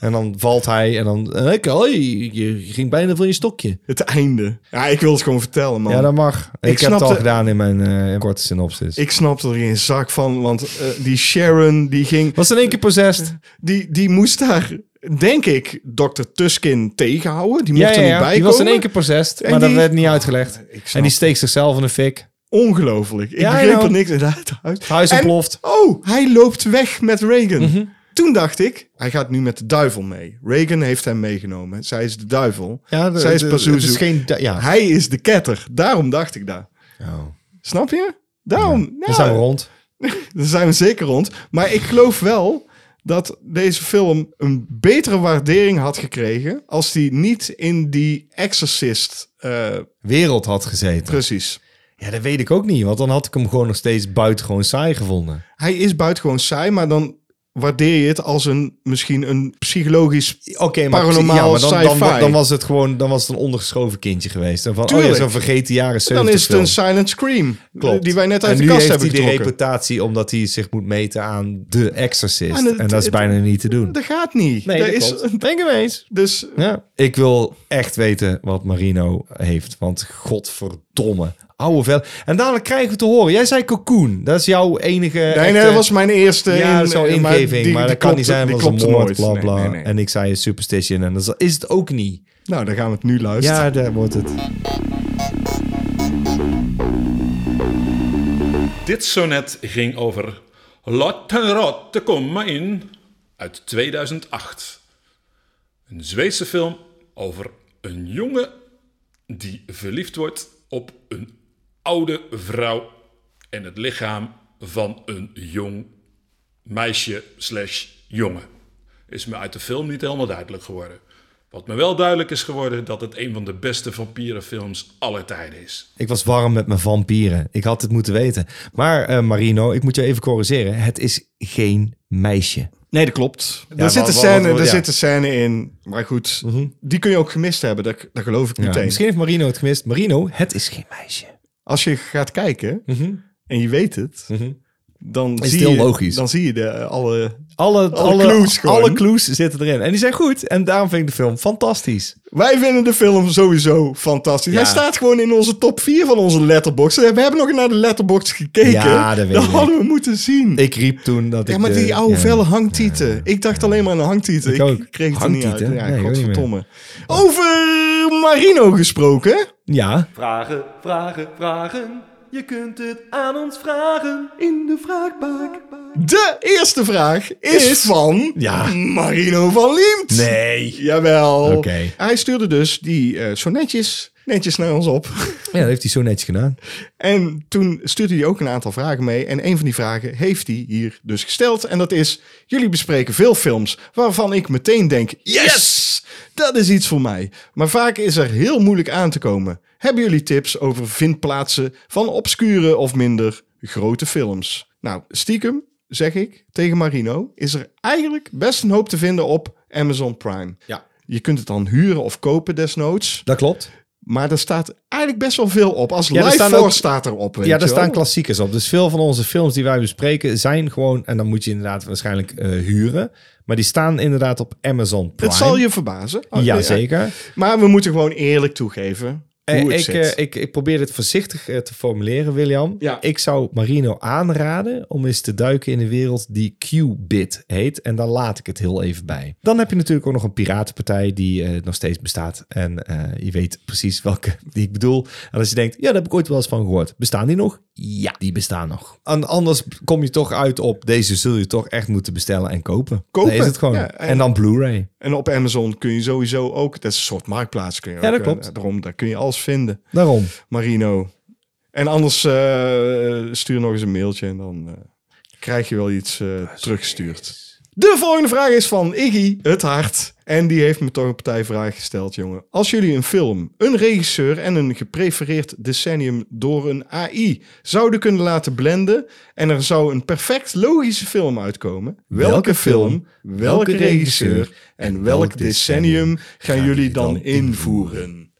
[SPEAKER 1] En dan valt hij en dan... en ik- oh, je, je ging bijna van je stokje.
[SPEAKER 2] Het einde. Ja, ik wil het gewoon vertellen, man.
[SPEAKER 1] Ja, dat mag. Ik, heb het
[SPEAKER 2] snapte-
[SPEAKER 1] al gedaan in mijn eh, korte synopsis.
[SPEAKER 2] Ik snapte er geen zak van, want eh, die Sharon, die ging...
[SPEAKER 1] was in één keer possessed.
[SPEAKER 2] die, die moest daar, denk ik, dokter Tuskin tegenhouden. Die
[SPEAKER 1] Ja,
[SPEAKER 2] mocht
[SPEAKER 1] ja,
[SPEAKER 2] er niet
[SPEAKER 1] ja.
[SPEAKER 2] bij
[SPEAKER 1] Die
[SPEAKER 2] komen.
[SPEAKER 1] was in één keer possessed,
[SPEAKER 2] En
[SPEAKER 1] maar dat
[SPEAKER 2] die-
[SPEAKER 1] werd niet uitgelegd.
[SPEAKER 2] snap
[SPEAKER 1] En die steekt zichzelf in de fik.
[SPEAKER 2] Ongelooflijk. Ik
[SPEAKER 1] Ja, nou. I
[SPEAKER 2] begreep
[SPEAKER 1] know.
[SPEAKER 2] er niks in uit. Het
[SPEAKER 1] huis ontploft.
[SPEAKER 2] Oh, hij loopt weg met Reagan.
[SPEAKER 1] Mhm.
[SPEAKER 2] Toen dacht ik, hij gaat nu met de duivel mee. Reagan heeft hem meegenomen. Zij is de duivel.
[SPEAKER 1] Ja, de-
[SPEAKER 2] Zij is
[SPEAKER 1] de-
[SPEAKER 2] Pazuzu.
[SPEAKER 1] het is geen du- ja.
[SPEAKER 2] Hij is de ketter. Daarom dacht ik daar. Snap je? Daarom.
[SPEAKER 1] Oh.
[SPEAKER 2] ja.
[SPEAKER 1] Dan zijn we rond.
[SPEAKER 2] Daar zijn we zeker rond. Maar ik geloof wel dat deze film een betere waardering had gekregen als die niet in die Exorcist. eh,
[SPEAKER 1] Wereld had gezeten.
[SPEAKER 2] precies.
[SPEAKER 1] Ja, dat weet ik ook niet. Want dan had ik hem gewoon nog steeds buitengewoon saai gevonden.
[SPEAKER 2] Hij is buitengewoon saai, maar dan waardeer je het als een misschien een psychologisch.
[SPEAKER 1] Oké, maar,
[SPEAKER 2] Paranormaal
[SPEAKER 1] ja, maar dan, dan,
[SPEAKER 2] sci-fi.
[SPEAKER 1] dan, was het gewoon dan was het een ondergeschoven kindje geweest. En van, oh
[SPEAKER 2] Tuurlijk.
[SPEAKER 1] ja, zo'n vergeten jaren 70
[SPEAKER 2] Dan is het
[SPEAKER 1] film.
[SPEAKER 2] een silent scream.
[SPEAKER 1] Klopt.
[SPEAKER 2] Die wij net uit
[SPEAKER 1] en
[SPEAKER 2] de
[SPEAKER 1] nu
[SPEAKER 2] kast
[SPEAKER 1] heeft
[SPEAKER 2] hebben
[SPEAKER 1] hij die
[SPEAKER 2] getrokken.
[SPEAKER 1] reputatie omdat hij zich moet meten aan The Exorcist.
[SPEAKER 2] En
[SPEAKER 1] En,
[SPEAKER 2] het-
[SPEAKER 1] dat is
[SPEAKER 2] het-
[SPEAKER 1] bijna niet te doen.
[SPEAKER 2] Dat gaat niet.
[SPEAKER 1] Nee,
[SPEAKER 2] dat
[SPEAKER 1] dat
[SPEAKER 2] is,
[SPEAKER 1] klopt.
[SPEAKER 2] Denk hem eens. Dus
[SPEAKER 1] Ja. Ik wil echt weten wat Marino heeft. Want godverdomme. Oude vel. En dadelijk krijgen we te horen. Jij zei Cocoon. Dat is jouw enige...
[SPEAKER 2] nee, nee,
[SPEAKER 1] echte-
[SPEAKER 2] dat was mijn eerste.
[SPEAKER 1] eh, ja, dat is jouw
[SPEAKER 2] eh, maar
[SPEAKER 1] ingeving. Maar, dat
[SPEAKER 2] die- die
[SPEAKER 1] kan niet
[SPEAKER 2] klopte-
[SPEAKER 1] zijn,
[SPEAKER 2] die
[SPEAKER 1] want dat is een
[SPEAKER 2] klopte
[SPEAKER 1] moord,
[SPEAKER 2] nooit.
[SPEAKER 1] bla
[SPEAKER 2] Nee,
[SPEAKER 1] bla.
[SPEAKER 2] nee, nee.
[SPEAKER 1] En ik zei Superstition en dat is het ook niet.
[SPEAKER 2] Nou, dan gaan we het nu luisteren.
[SPEAKER 1] Ja, daar wordt het.
[SPEAKER 6] Dit sonnet ging over Lotte Rotte, kom maar in uit 2008. Een Zweedse film over een jongen die verliefd wordt op een oude vrouw en het lichaam van een jong meisje slash jongen. Is me uit de film niet helemaal duidelijk geworden. Wat me wel duidelijk is geworden dat het een van de beste vampierenfilms aller tijden is.
[SPEAKER 1] Ik was warm met mijn vampieren. Ik had het moeten weten. Maar eh, Marino, ik moet je even corrigeren. Het is geen meisje.
[SPEAKER 2] Nee, dat klopt. Er
[SPEAKER 1] maar
[SPEAKER 2] zit een
[SPEAKER 1] wat-
[SPEAKER 2] scène,
[SPEAKER 1] wat- wat-
[SPEAKER 2] er
[SPEAKER 1] ja. Mhm.
[SPEAKER 2] zit een scène in. Maar goed, die kun je ook gemist hebben. Dat, dat geloof ik meteen.
[SPEAKER 1] Nou, Misschien heeft Marino het gemist. Marino, het is geen meisje.
[SPEAKER 2] Als je gaat kijken en je weet het, dan
[SPEAKER 1] Is
[SPEAKER 2] zie
[SPEAKER 1] heel
[SPEAKER 2] je,
[SPEAKER 1] logisch.
[SPEAKER 2] Dan zie je de, eh, alle...
[SPEAKER 1] Alle, alle,
[SPEAKER 2] Alle
[SPEAKER 1] alle,
[SPEAKER 2] clues
[SPEAKER 1] clues
[SPEAKER 2] gewoon.
[SPEAKER 1] zitten erin. En die zijn goed. En daarom vind ik de film fantastisch.
[SPEAKER 2] Wij vinden de film sowieso fantastisch.
[SPEAKER 1] Ja.
[SPEAKER 2] Hij staat gewoon in onze top 4 van onze letterbox. We hebben nog naar de letterbox gekeken.
[SPEAKER 1] Ja, dat weet ik.
[SPEAKER 2] hadden we moeten zien.
[SPEAKER 1] Ik riep toen dat ik...
[SPEAKER 2] ja, maar
[SPEAKER 1] de-
[SPEAKER 2] die oude
[SPEAKER 1] ja.
[SPEAKER 2] velle hangtieten. Ik dacht alleen maar aan de hangtieten.
[SPEAKER 1] Ik
[SPEAKER 2] Ik,
[SPEAKER 1] ook.
[SPEAKER 2] kreeg het er niet
[SPEAKER 1] Hangtieten?
[SPEAKER 2] uit. Ja,
[SPEAKER 1] Nee, ik ook niet meer.
[SPEAKER 2] godverdomme. Over Marino gesproken.
[SPEAKER 1] Ja,
[SPEAKER 8] Vragen, vragen, vragen. Je kunt het aan ons vragen in de vraagbak.
[SPEAKER 2] De eerste vraag is, van
[SPEAKER 1] Ja.
[SPEAKER 2] Marino van Liemt.
[SPEAKER 1] Nee.
[SPEAKER 2] Jawel.
[SPEAKER 1] Oké.
[SPEAKER 2] Hij stuurde dus die eh, zo netjes, netjes naar ons op.
[SPEAKER 1] ja dat heeft hij zo netjes gedaan.
[SPEAKER 2] En toen stuurde hij ook een aantal vragen mee. En een van die vragen heeft hij hier dus gesteld. En dat is, jullie bespreken veel films waarvan ik meteen denk, yes, dat is iets voor mij. Maar vaak is er heel moeilijk aan te komen. Hebben jullie tips over vindplaatsen van obscure of minder grote films? Nou, stiekem zeg ik tegen Marino, is er eigenlijk best een hoop te vinden op Amazon Prime.
[SPEAKER 1] Ja.
[SPEAKER 2] Je kunt het dan huren of kopen desnoods.
[SPEAKER 1] Dat klopt.
[SPEAKER 2] Maar er staat eigenlijk best wel veel op. Als
[SPEAKER 1] Ja, er
[SPEAKER 2] Life
[SPEAKER 1] staan
[SPEAKER 2] Force
[SPEAKER 1] ook-
[SPEAKER 2] staat erop. Weet
[SPEAKER 1] Ja, daar
[SPEAKER 2] je wel.
[SPEAKER 1] staan klassiekers op. Dus veel van onze films die wij bespreken zijn gewoon... En dan moet je inderdaad waarschijnlijk eh, huren. Maar die staan inderdaad op Amazon Prime.
[SPEAKER 2] Het zal je verbazen. Oh,
[SPEAKER 1] Ja,
[SPEAKER 2] nee,
[SPEAKER 1] zeker.
[SPEAKER 2] Maar we moeten gewoon eerlijk toegeven hoe
[SPEAKER 1] Eh,
[SPEAKER 2] het
[SPEAKER 1] ik,
[SPEAKER 2] zit.
[SPEAKER 1] eh, ik, ik probeer dit voorzichtig eh, te formuleren, William.
[SPEAKER 2] Ja.
[SPEAKER 1] Ik zou Marino aanraden om eens te duiken in een wereld die Qbit heet. En daar laat ik het heel even bij. Dan heb je natuurlijk ook nog een piratenpartij die eh, nog steeds bestaat. En eh, je weet precies welke die ik bedoel. En als je denkt, ja, daar heb ik ooit wel eens van gehoord. Bestaan die nog? Ja, die bestaan nog. En anders kom je toch uit op deze zul je toch echt moeten bestellen en kopen.
[SPEAKER 2] Kopen,
[SPEAKER 1] Dat is het gewoon.
[SPEAKER 2] ja,
[SPEAKER 1] en...
[SPEAKER 2] en-
[SPEAKER 1] dan Blu-ray.
[SPEAKER 2] En op Amazon kun je sowieso ook... Dat is een soort marktplaats. Kun je
[SPEAKER 1] Ja,
[SPEAKER 2] ook,
[SPEAKER 1] dat
[SPEAKER 2] eh,
[SPEAKER 1] klopt.
[SPEAKER 2] Daarom, daar kun je alles vinden.
[SPEAKER 1] Daarom.
[SPEAKER 2] Marino. En anders eh, stuur nog eens een mailtje en dan eh, krijg je wel iets eh, teruggestuurd. De volgende vraag is van Iggy het Hart. En die heeft me toch een partijvraag gesteld, jongen. Als jullie een film, een regisseur en een geprefereerd decennium door een AI zouden kunnen laten blenden en er zou een perfect logische film uitkomen, welke,
[SPEAKER 1] Welke film,
[SPEAKER 2] film, welke
[SPEAKER 1] welke
[SPEAKER 2] regisseur en welk decennium gaan jullie dan
[SPEAKER 1] dan invoeren?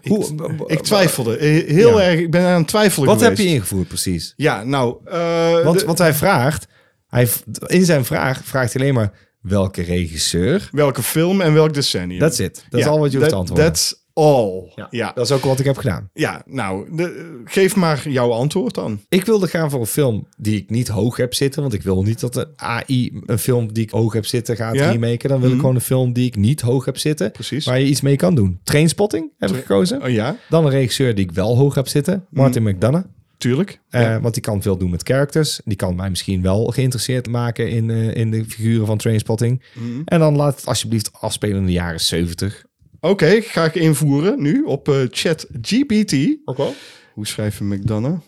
[SPEAKER 2] invoeren?
[SPEAKER 1] Hoe,
[SPEAKER 2] Ik twijfelde. Eh, Heel
[SPEAKER 1] Ja.
[SPEAKER 2] erg. Ik ben aan het twijfelen
[SPEAKER 1] wat heb
[SPEAKER 2] geweest.
[SPEAKER 1] je ingevoerd precies?
[SPEAKER 2] Ja, nou... eh,
[SPEAKER 1] Want
[SPEAKER 2] de-
[SPEAKER 1] wat hij vraagt, hij, v- in zijn vraag vraagt hij alleen maar welke regisseur.
[SPEAKER 2] welke film en welk decennium.
[SPEAKER 1] That's it. Dat is
[SPEAKER 2] Ja,
[SPEAKER 1] al wat je hoeft te
[SPEAKER 2] that-
[SPEAKER 1] antwoorden.
[SPEAKER 2] That's all. Ja, ja.
[SPEAKER 1] Dat is ook wat ik heb gedaan.
[SPEAKER 2] nou, de- geef maar jouw antwoord dan.
[SPEAKER 1] Ik wilde gaan voor een film die ik niet hoog heb zitten. Want ik wil niet dat de AI een film die ik hoog heb zitten gaat
[SPEAKER 2] Ja? Mhm.
[SPEAKER 1] remaken. Dan wil ik gewoon een film die ik niet hoog heb zitten.
[SPEAKER 2] Precies.
[SPEAKER 1] Waar je iets mee kan doen. Trainspotting heb ik gekozen.
[SPEAKER 2] Oh ja, Mhm.
[SPEAKER 1] Dan een regisseur die ik wel hoog heb zitten. Martin McDonough.
[SPEAKER 2] tuurlijk.
[SPEAKER 1] Eh, Want die kan veel doen met characters. Die kan mij misschien wel geïnteresseerd maken in, eh, in de figuren van Trainspotting. En dan laat het alsjeblieft afspelen in de jaren 70.
[SPEAKER 2] Oké, ga ik invoeren nu op eh, chat GPT.
[SPEAKER 1] Ook wel.
[SPEAKER 2] Hoe schrijf je McDonough?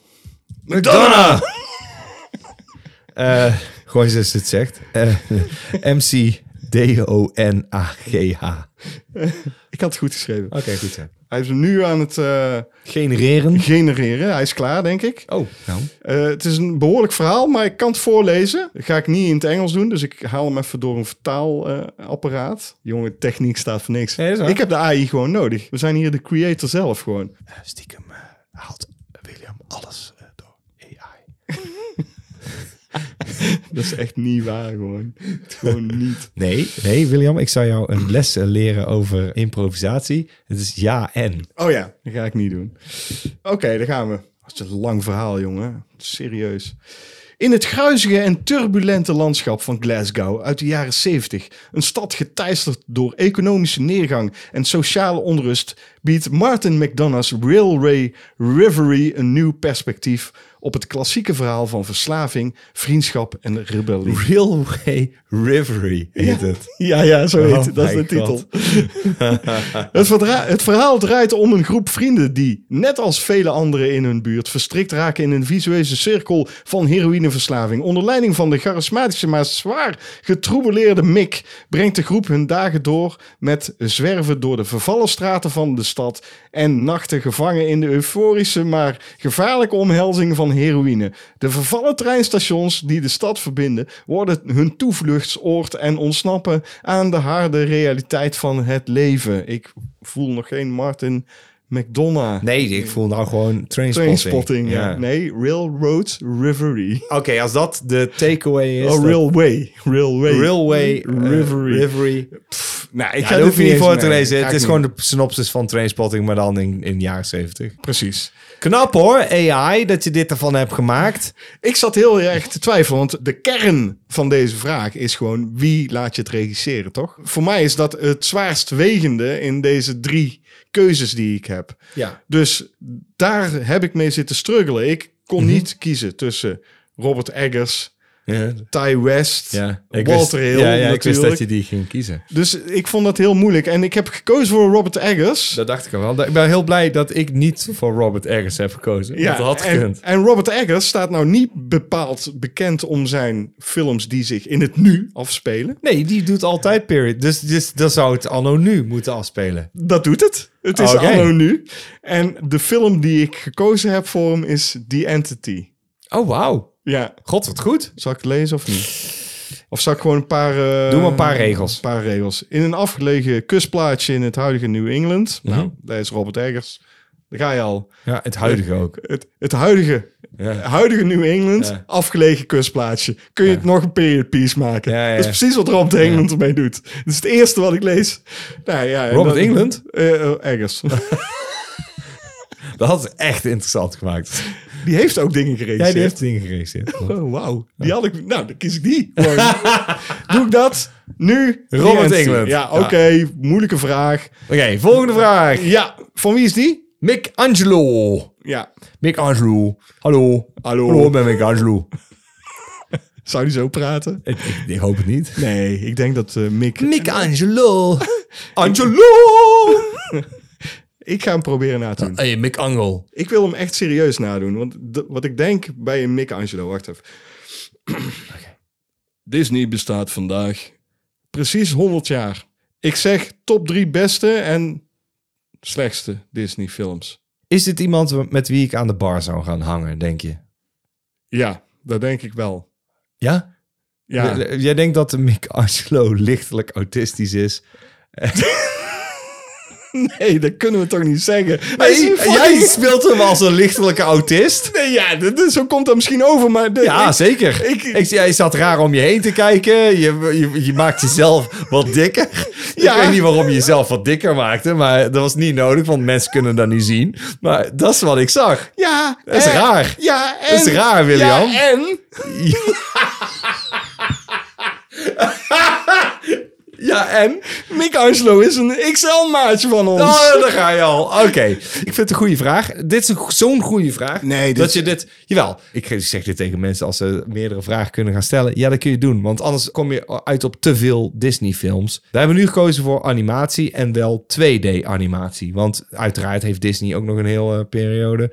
[SPEAKER 1] McDonough! Eh gewoon zoals het zegt. Eh, MC D-O-N-A-G-H. Oké,
[SPEAKER 2] Ik had het goed geschreven.
[SPEAKER 1] goed zo.
[SPEAKER 2] Hij is hem nu aan het eh,
[SPEAKER 1] Genereren.
[SPEAKER 2] genereren. Hij is klaar, denk ik.
[SPEAKER 1] Oh, nou.
[SPEAKER 2] Eh, het is een behoorlijk verhaal, maar ik kan het voorlezen. Dat ga ik niet in het Engels doen, dus ik haal hem even door een vertaalapparaat. Jongen, techniek staat voor niks.
[SPEAKER 1] Nee, dat is waar.
[SPEAKER 2] ik heb de AI gewoon nodig. We zijn hier de creator zelf gewoon.
[SPEAKER 1] Stiekem eh, haalt William alles eh, door AI.
[SPEAKER 2] Dat is echt niet waar gewoon. Het is gewoon niet.
[SPEAKER 1] Nee, nee, William, ik zou jou een les eh, leren over improvisatie. Het is ja en.
[SPEAKER 2] Oh ja, dat ga ik niet doen. Oké, daar gaan we. Dat is een lang verhaal, jongen. Serieus. In het gruizige en turbulente landschap van Glasgow uit de jaren 70, een stad geteisterd door economische neergang en sociale onrust, biedt Martin McDonough's Railway Reverie een nieuw perspectief op het klassieke verhaal van verslaving, vriendschap en rebellie.
[SPEAKER 1] Railway Rivery heet het.
[SPEAKER 2] Ja, ja, zo heet
[SPEAKER 1] Oh
[SPEAKER 2] het. Dat is
[SPEAKER 1] my
[SPEAKER 2] de titel. het, verdra- het verhaal draait om een groep vrienden die, net als vele anderen in hun buurt, verstrikt raken in een visueuze cirkel van heroïneverslaving. Onder leiding van de charismatische, maar zwaar getroebeleerde Mick brengt de groep hun dagen door met zwerven door de vervallen straten van de stad en nachten gevangen in de euforische, maar gevaarlijke omhelzing van heroïne. De vervallen treinstations die de stad verbinden, worden hun toevluchtsoord en ontsnappen aan de harde realiteit van het leven. Ik voel nog geen Martin McDonough.
[SPEAKER 1] Nee, ik voel nou gewoon trainspotting.
[SPEAKER 2] Trainspotting.
[SPEAKER 1] Ja.
[SPEAKER 2] ja. Nee, Railroad Rivery.
[SPEAKER 1] Oké, als dat de takeaway is.
[SPEAKER 2] Oh,
[SPEAKER 1] dan-
[SPEAKER 2] Railway. Railway.
[SPEAKER 1] Railway eh,
[SPEAKER 2] Rivery.
[SPEAKER 1] Rivery.
[SPEAKER 2] nou,
[SPEAKER 1] Ik ga er niet voor te
[SPEAKER 2] mee.
[SPEAKER 1] lezen.
[SPEAKER 2] Ga
[SPEAKER 1] Het is
[SPEAKER 2] ik niet.
[SPEAKER 1] gewoon de synopsis van Trainspotting, maar dan in, in de jaren 70.
[SPEAKER 2] Precies.
[SPEAKER 1] Knap hoor, AI, dat je dit ervan hebt gemaakt.
[SPEAKER 2] Ik zat heel erg te twijfelen, want de kern van deze vraag is gewoon wie laat je het regisseren, toch? Voor mij is dat het zwaarst wegende in deze drie keuzes die ik heb.
[SPEAKER 1] Ja.
[SPEAKER 2] Dus daar heb ik mee zitten struggelen. Ik kon
[SPEAKER 1] Mhm.
[SPEAKER 2] niet kiezen tussen Robert Eggers,
[SPEAKER 1] Ja.
[SPEAKER 2] Ty West,
[SPEAKER 1] Ja, ik wist-
[SPEAKER 2] Walter Hill
[SPEAKER 1] ja, ja, ik wist dat
[SPEAKER 2] natuurlijk.
[SPEAKER 1] je die ging kiezen.
[SPEAKER 2] Dus ik vond dat heel moeilijk. En ik heb gekozen voor Robert Eggers.
[SPEAKER 1] Dat dacht ik al wel. Ik ben heel blij dat ik niet voor Robert Eggers heb gekozen. dat had
[SPEAKER 2] en,
[SPEAKER 1] gekund.
[SPEAKER 2] en Robert Eggers staat nou niet bepaald bekend om zijn films die zich in het nu afspelen.
[SPEAKER 1] Nee, die doet altijd period. Dus, dus dan zou het anno nu moeten afspelen.
[SPEAKER 2] Dat doet het. Het is
[SPEAKER 1] Oké.
[SPEAKER 2] anno nu. En de film die ik gekozen heb voor hem is The Entity.
[SPEAKER 1] Oh, wauw.
[SPEAKER 2] Ja,
[SPEAKER 1] God, wat goed.
[SPEAKER 2] zal ik het lezen of niet? Of zal ik gewoon een paar... eh,
[SPEAKER 1] Doe maar een paar regels.
[SPEAKER 2] Een paar regels. In een afgelegen kustplaatsje in het huidige New England.
[SPEAKER 1] Mhm.
[SPEAKER 2] Nou, daar is Robert Eggers. Daar ga je al.
[SPEAKER 1] Ja, het huidige ook.
[SPEAKER 2] Het, het huidige,
[SPEAKER 1] Ja.
[SPEAKER 2] huidige New England,
[SPEAKER 1] Ja.
[SPEAKER 2] afgelegen kustplaatsje. Kun je het nog een period piece maken?
[SPEAKER 1] Ja, ja,
[SPEAKER 2] Dat
[SPEAKER 1] ja.
[SPEAKER 2] is precies wat Robert Engeland ermee doet. Dat is het eerste wat ik lees. Nou, ja, en
[SPEAKER 1] Robert
[SPEAKER 2] dan-
[SPEAKER 1] Englund?
[SPEAKER 2] Eh, eh, Eggers.
[SPEAKER 1] Dat had het echt interessant gemaakt.
[SPEAKER 2] die heeft ook dingen geregisseerd.
[SPEAKER 1] Jij die heeft dingen geregisseerd.
[SPEAKER 2] Oh, wauw. Die had ik... Nou, dan kies ik die. Gewoon. Doe ik dat? Nu?
[SPEAKER 1] Robert
[SPEAKER 2] Entity.
[SPEAKER 1] Englund.
[SPEAKER 2] Ja,
[SPEAKER 1] Ja.
[SPEAKER 2] oké. Moeilijke vraag.
[SPEAKER 1] Oké, volgende vraag.
[SPEAKER 2] Ja, van wie is die?
[SPEAKER 1] Mick Angelo.
[SPEAKER 2] Ja.
[SPEAKER 1] Mick Angelo. Hallo.
[SPEAKER 2] Hallo.
[SPEAKER 1] Hallo, ik ben Mick Angelo.
[SPEAKER 2] Zou die zo praten?
[SPEAKER 1] ik, ik, ik hoop het niet.
[SPEAKER 2] Nee, ik denk dat eh, Mick...
[SPEAKER 1] Mick Angelo.
[SPEAKER 2] Angelo! ik ga hem proberen na te doen.
[SPEAKER 1] Hey, Mick Angel.
[SPEAKER 2] Ik wil hem echt serieus nadoen. Want de- wat ik denk bij een Mick Angelo, wacht even. Disney bestaat vandaag precies 100 jaar. Ik zeg top drie beste en slechtste Disney films.
[SPEAKER 1] Is dit iemand met wie ik aan de bar zou gaan hangen, denk je?
[SPEAKER 2] Ja, dat denk ik wel.
[SPEAKER 1] Ja?
[SPEAKER 2] Ja,
[SPEAKER 1] J- Jij denkt dat Mick Angelo lichtelijk autistisch is.
[SPEAKER 2] nee, dat kunnen we toch niet zeggen. Hij is een fucking-
[SPEAKER 1] jij speelt hem als een lichtelijke autist.
[SPEAKER 2] Nee, ja, dit, dit- zo komt dat misschien over, maar... de-
[SPEAKER 1] Ja,
[SPEAKER 2] ik-
[SPEAKER 1] zeker.
[SPEAKER 2] ik-
[SPEAKER 1] Ik, jij zat raar om je heen te kijken. Je, je, je maakt jezelf wat dikker.
[SPEAKER 2] Ja.
[SPEAKER 1] Ik weet niet waarom je jezelf wat dikker maakte, maar dat was niet nodig, want mensen kunnen dat nu zien. Maar dat is wat ik zag.
[SPEAKER 2] Ja,
[SPEAKER 1] Dat is
[SPEAKER 2] en-
[SPEAKER 1] raar.
[SPEAKER 2] Ja, en...
[SPEAKER 1] Dat is raar, William.
[SPEAKER 2] Ja, en...
[SPEAKER 1] Ja, en?
[SPEAKER 2] Mick Angelo is een XL-maatje van ons.
[SPEAKER 1] Oh, daar ga je al. Oké. Ik vind het een goede vraag. Dit is een go- zo'n goede vraag.
[SPEAKER 2] Nee, dit-
[SPEAKER 1] Dat je dit... Jawel. Ik zeg dit tegen mensen als ze meerdere vragen kunnen gaan stellen. Ja, dat kun je doen. Want anders kom je uit op te veel Disney films. Daar hebben we nu gekozen voor animatie en wel 2D animatie. Want uiteraard heeft Disney ook nog een hele eh, periode...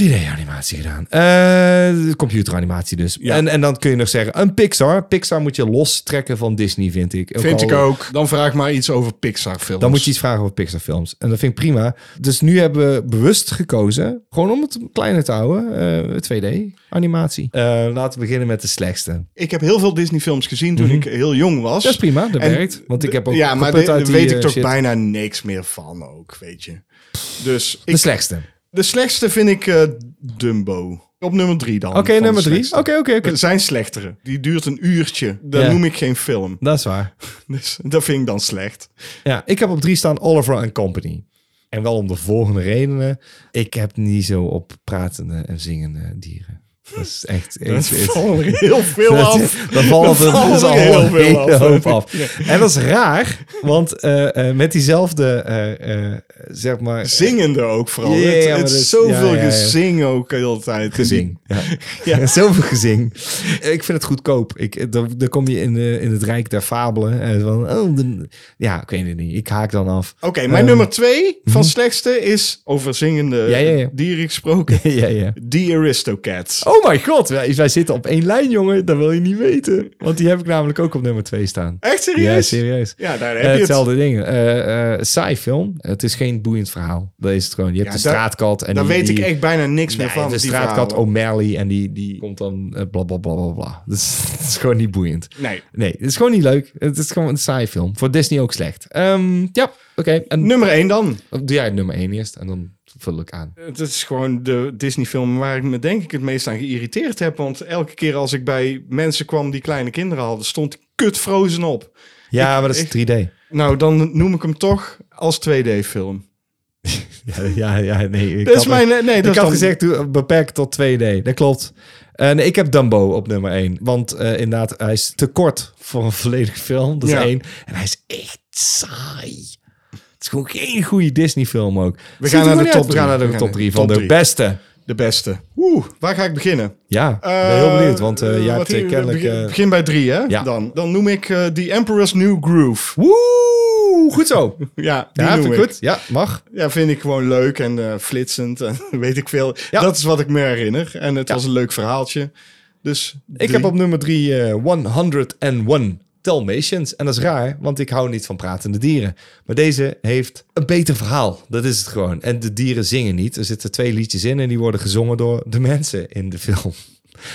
[SPEAKER 1] 3D-animatie gedaan. Eh, computeranimatie dus. En, en dan kun je nog zeggen, een Pixar. Pixar moet je lostrekken van Disney, vind ik.
[SPEAKER 2] Vind ik
[SPEAKER 1] al-
[SPEAKER 2] ook. Dan vraag maar iets over Pixar-films.
[SPEAKER 1] dan moet je iets vragen over Pixar-films. En dat vind ik prima. Dus nu hebben we bewust gekozen, gewoon om het kleiner te houden, eh, 2D-animatie. Eh, laten we beginnen met de slechtste.
[SPEAKER 2] Ik heb heel veel Disney-films gezien toen ik heel jong was.
[SPEAKER 1] Mhm. Dat is prima, dat
[SPEAKER 2] En-
[SPEAKER 1] werkt. Want ik heb ook
[SPEAKER 2] ja, maar
[SPEAKER 1] geput
[SPEAKER 2] daar
[SPEAKER 1] uit die,
[SPEAKER 2] weet ik
[SPEAKER 1] eh,
[SPEAKER 2] toch
[SPEAKER 1] shit.
[SPEAKER 2] bijna niks meer van ook, weet je. Dus
[SPEAKER 1] De
[SPEAKER 2] ik,
[SPEAKER 1] slechtste.
[SPEAKER 2] de slechtste vind ik eh, Dumbo. Op nummer drie dan.
[SPEAKER 1] Oké,
[SPEAKER 2] van de
[SPEAKER 1] nummer drie.
[SPEAKER 2] slechtste.
[SPEAKER 1] Oké, oké, oké.
[SPEAKER 2] Er zijn slechtere. Die duurt een uurtje. Dat
[SPEAKER 1] Ja.
[SPEAKER 2] noem ik geen film.
[SPEAKER 1] Dat is waar.
[SPEAKER 2] Dus dat vind ik dan slecht.
[SPEAKER 1] Ja, ik heb op drie staan Oliver and Company. En wel om de volgende redenen. Ik heb niet zo op pratende en zingende dieren. Dat is echt...
[SPEAKER 2] Dat
[SPEAKER 1] echt- echt-
[SPEAKER 2] valt er heel veel
[SPEAKER 1] Dat-
[SPEAKER 2] af.
[SPEAKER 1] Dan valt
[SPEAKER 2] Dan
[SPEAKER 1] er
[SPEAKER 2] vallen
[SPEAKER 1] dus
[SPEAKER 2] er
[SPEAKER 1] al
[SPEAKER 2] heel
[SPEAKER 1] een
[SPEAKER 2] veel
[SPEAKER 1] hele
[SPEAKER 2] af.
[SPEAKER 1] hoop af. En dat is raar, want eh, eh, met diezelfde, eh, eh, zeg maar...
[SPEAKER 2] Zingende ook vooral.
[SPEAKER 1] Ja, ja,
[SPEAKER 2] het
[SPEAKER 1] ja, maar
[SPEAKER 2] het
[SPEAKER 1] dat
[SPEAKER 2] is
[SPEAKER 1] is-
[SPEAKER 2] zoveel
[SPEAKER 1] ja, ja, ja.
[SPEAKER 2] gezing ook de hele tijd.
[SPEAKER 1] Gezing. Ja.
[SPEAKER 2] Ja.
[SPEAKER 1] Zoveel gezing. Ik vind het goedkoop. Ik, eh, dan, dan kom je in, de, in het rijk der fabelen. En van, oh, de- ja, ik weet het niet. Ik haak dan af.
[SPEAKER 2] Oké, mijn
[SPEAKER 1] Ehm,
[SPEAKER 2] nummer twee van slechtste is over zingende
[SPEAKER 1] Ja, ja, ja.
[SPEAKER 2] dieren gesproken.
[SPEAKER 1] ja, ja.
[SPEAKER 2] The Aristocats.
[SPEAKER 1] Oh, Oh mijn god, wij, wij zitten op één lijn, jongen. Dat wil je niet weten. Want die heb ik namelijk ook op nummer twee staan.
[SPEAKER 2] Echt
[SPEAKER 1] Ja,
[SPEAKER 2] serieus?
[SPEAKER 1] serieus.
[SPEAKER 2] Ja, daar
[SPEAKER 1] Eh,
[SPEAKER 2] heb je het.
[SPEAKER 1] hetzelfde ding. Eh, eh, saai film. Het is geen boeiend verhaal. Dat is het gewoon. Je hebt
[SPEAKER 2] Ja,
[SPEAKER 1] de
[SPEAKER 2] daar-
[SPEAKER 1] straatkat. En
[SPEAKER 2] Daar
[SPEAKER 1] die-
[SPEAKER 2] weet ik
[SPEAKER 1] die-
[SPEAKER 2] echt bijna niks
[SPEAKER 1] Nee,
[SPEAKER 2] meer van.
[SPEAKER 1] de
[SPEAKER 2] die
[SPEAKER 1] straatkat
[SPEAKER 2] verhalen.
[SPEAKER 1] O'Malley en die, die komt dan eh, bla bla bla bla bla. Dus het is gewoon niet boeiend.
[SPEAKER 2] Nee.
[SPEAKER 1] Nee, het is gewoon niet leuk. Het is gewoon een saai film. Voor Disney ook slecht. Ehm, ja, oké. En
[SPEAKER 2] Nummer 1 dan.
[SPEAKER 1] doe jij nummer één eerst en dan vul ik aan.
[SPEAKER 2] Het is gewoon de Disney-film waar ik me denk ik het meest aan geïrriteerd heb. Want elke keer als ik bij mensen kwam die kleine kinderen hadden, stond kut Frozen op.
[SPEAKER 1] Ja, maar dat is 3D.
[SPEAKER 2] Nou, dan noem ik hem toch als 2D-film.
[SPEAKER 1] Ja, ja, ja, nee. Ik
[SPEAKER 2] Dat is
[SPEAKER 1] had-
[SPEAKER 2] mijn... Nee, dat
[SPEAKER 1] ik
[SPEAKER 2] is
[SPEAKER 1] had
[SPEAKER 2] dan-
[SPEAKER 1] gezegd, doe- beperk tot 2D. Dat klopt. Eh, nee, ik heb Dumbo op nummer 1. Want eh, inderdaad, hij is te kort voor een volledige film. Dat is
[SPEAKER 2] Ja.
[SPEAKER 1] één. En hij is echt saai. Het is gewoon geen goede Disney film ook. Ziet
[SPEAKER 2] gaan
[SPEAKER 1] er
[SPEAKER 2] naar
[SPEAKER 1] gewoon
[SPEAKER 2] de
[SPEAKER 1] niet
[SPEAKER 2] top
[SPEAKER 1] uit. We
[SPEAKER 2] drie.
[SPEAKER 1] gaan naar
[SPEAKER 2] We
[SPEAKER 1] de
[SPEAKER 2] gaan
[SPEAKER 1] top
[SPEAKER 2] naar
[SPEAKER 1] 3
[SPEAKER 2] de
[SPEAKER 1] van
[SPEAKER 2] top
[SPEAKER 1] de
[SPEAKER 2] drie.
[SPEAKER 1] beste.
[SPEAKER 2] De beste. Oeh, waar ga ik beginnen?
[SPEAKER 1] Ja, ik ben heel benieuwd. Want eh,
[SPEAKER 2] Eh,
[SPEAKER 1] jij
[SPEAKER 2] wat
[SPEAKER 1] hebt eh,
[SPEAKER 2] hier-
[SPEAKER 1] kennelijk...
[SPEAKER 2] begin,
[SPEAKER 1] eh,
[SPEAKER 2] begin bij drie, hè?
[SPEAKER 1] Ja.
[SPEAKER 2] Dan, dan noem ik eh The Emperor's New Groove.
[SPEAKER 1] Woe, goed zo.
[SPEAKER 2] Ja, die
[SPEAKER 1] Ja,
[SPEAKER 2] noem
[SPEAKER 1] vind ik
[SPEAKER 2] ik.
[SPEAKER 1] goed. Ja, mag.
[SPEAKER 2] Ja, vind ik gewoon leuk en eh, flitsend en weet ik veel.
[SPEAKER 1] Ja.
[SPEAKER 2] Dat is wat ik me herinner. En het was een leuk verhaaltje. Dus
[SPEAKER 1] Ik heb op nummer 3 eh 101 Dalmatians. En dat is raar, want ik hou niet van pratende dieren. Maar deze heeft een beter verhaal. Dat is het gewoon. En de dieren zingen niet. Er zitten twee liedjes in en die worden gezongen door de mensen in de film.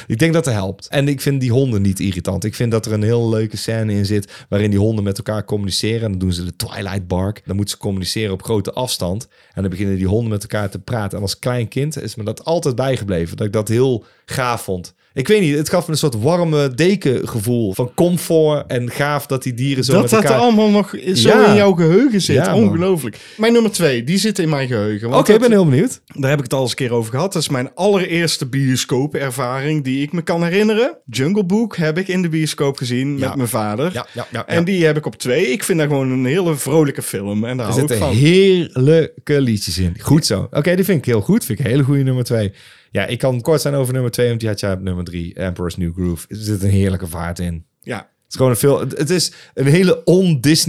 [SPEAKER 1] Ik denk dat dat helpt. En ik vind die honden niet irritant. Ik vind dat er een heel leuke scène in zit... waarin die honden met elkaar communiceren. En dan doen ze de Twilight Bark. Dan moeten ze communiceren op grote afstand. En dan beginnen die honden met elkaar te praten. En als klein kind is me dat altijd bijgebleven. Dat ik dat heel gaaf vond. Ik weet niet, het gaf me een soort warme dekengevoel. Van comfort en gaaf dat die dieren zo
[SPEAKER 2] dat
[SPEAKER 1] met
[SPEAKER 2] dat
[SPEAKER 1] elkaar...
[SPEAKER 2] allemaal nog zo
[SPEAKER 1] Ja.
[SPEAKER 2] in jouw geheugen zit.
[SPEAKER 1] Ja, man.
[SPEAKER 2] Ongelooflijk. Mijn nummer twee, die zit in mijn geheugen.
[SPEAKER 1] Oké,
[SPEAKER 2] want
[SPEAKER 1] ik
[SPEAKER 2] dat-
[SPEAKER 1] ben heel benieuwd.
[SPEAKER 2] Daar heb ik het al eens een keer over gehad. Dat is mijn allereerste bioscoopervaring die ik me kan herinneren. Jungle Book heb ik in de bioscoop gezien
[SPEAKER 1] Ja.
[SPEAKER 2] met mijn vader.
[SPEAKER 1] Ja, ja, ja, ja.
[SPEAKER 2] En die heb ik op twee. Ik vind dat gewoon een hele vrolijke film. En daar
[SPEAKER 1] Er
[SPEAKER 2] hou ik
[SPEAKER 1] zitten
[SPEAKER 2] van.
[SPEAKER 1] heerlijke liedjes in. Goed zo. Oké, die vind ik heel goed. Vind ik een hele goede nummer twee. Ja, ik kan kort zijn over nummer twee, want die had jij op nummer drie. Emperor's New Groove. Er zit een heerlijke vaart in.
[SPEAKER 2] Ja,
[SPEAKER 1] Het is gewoon een film. het- Het is een hele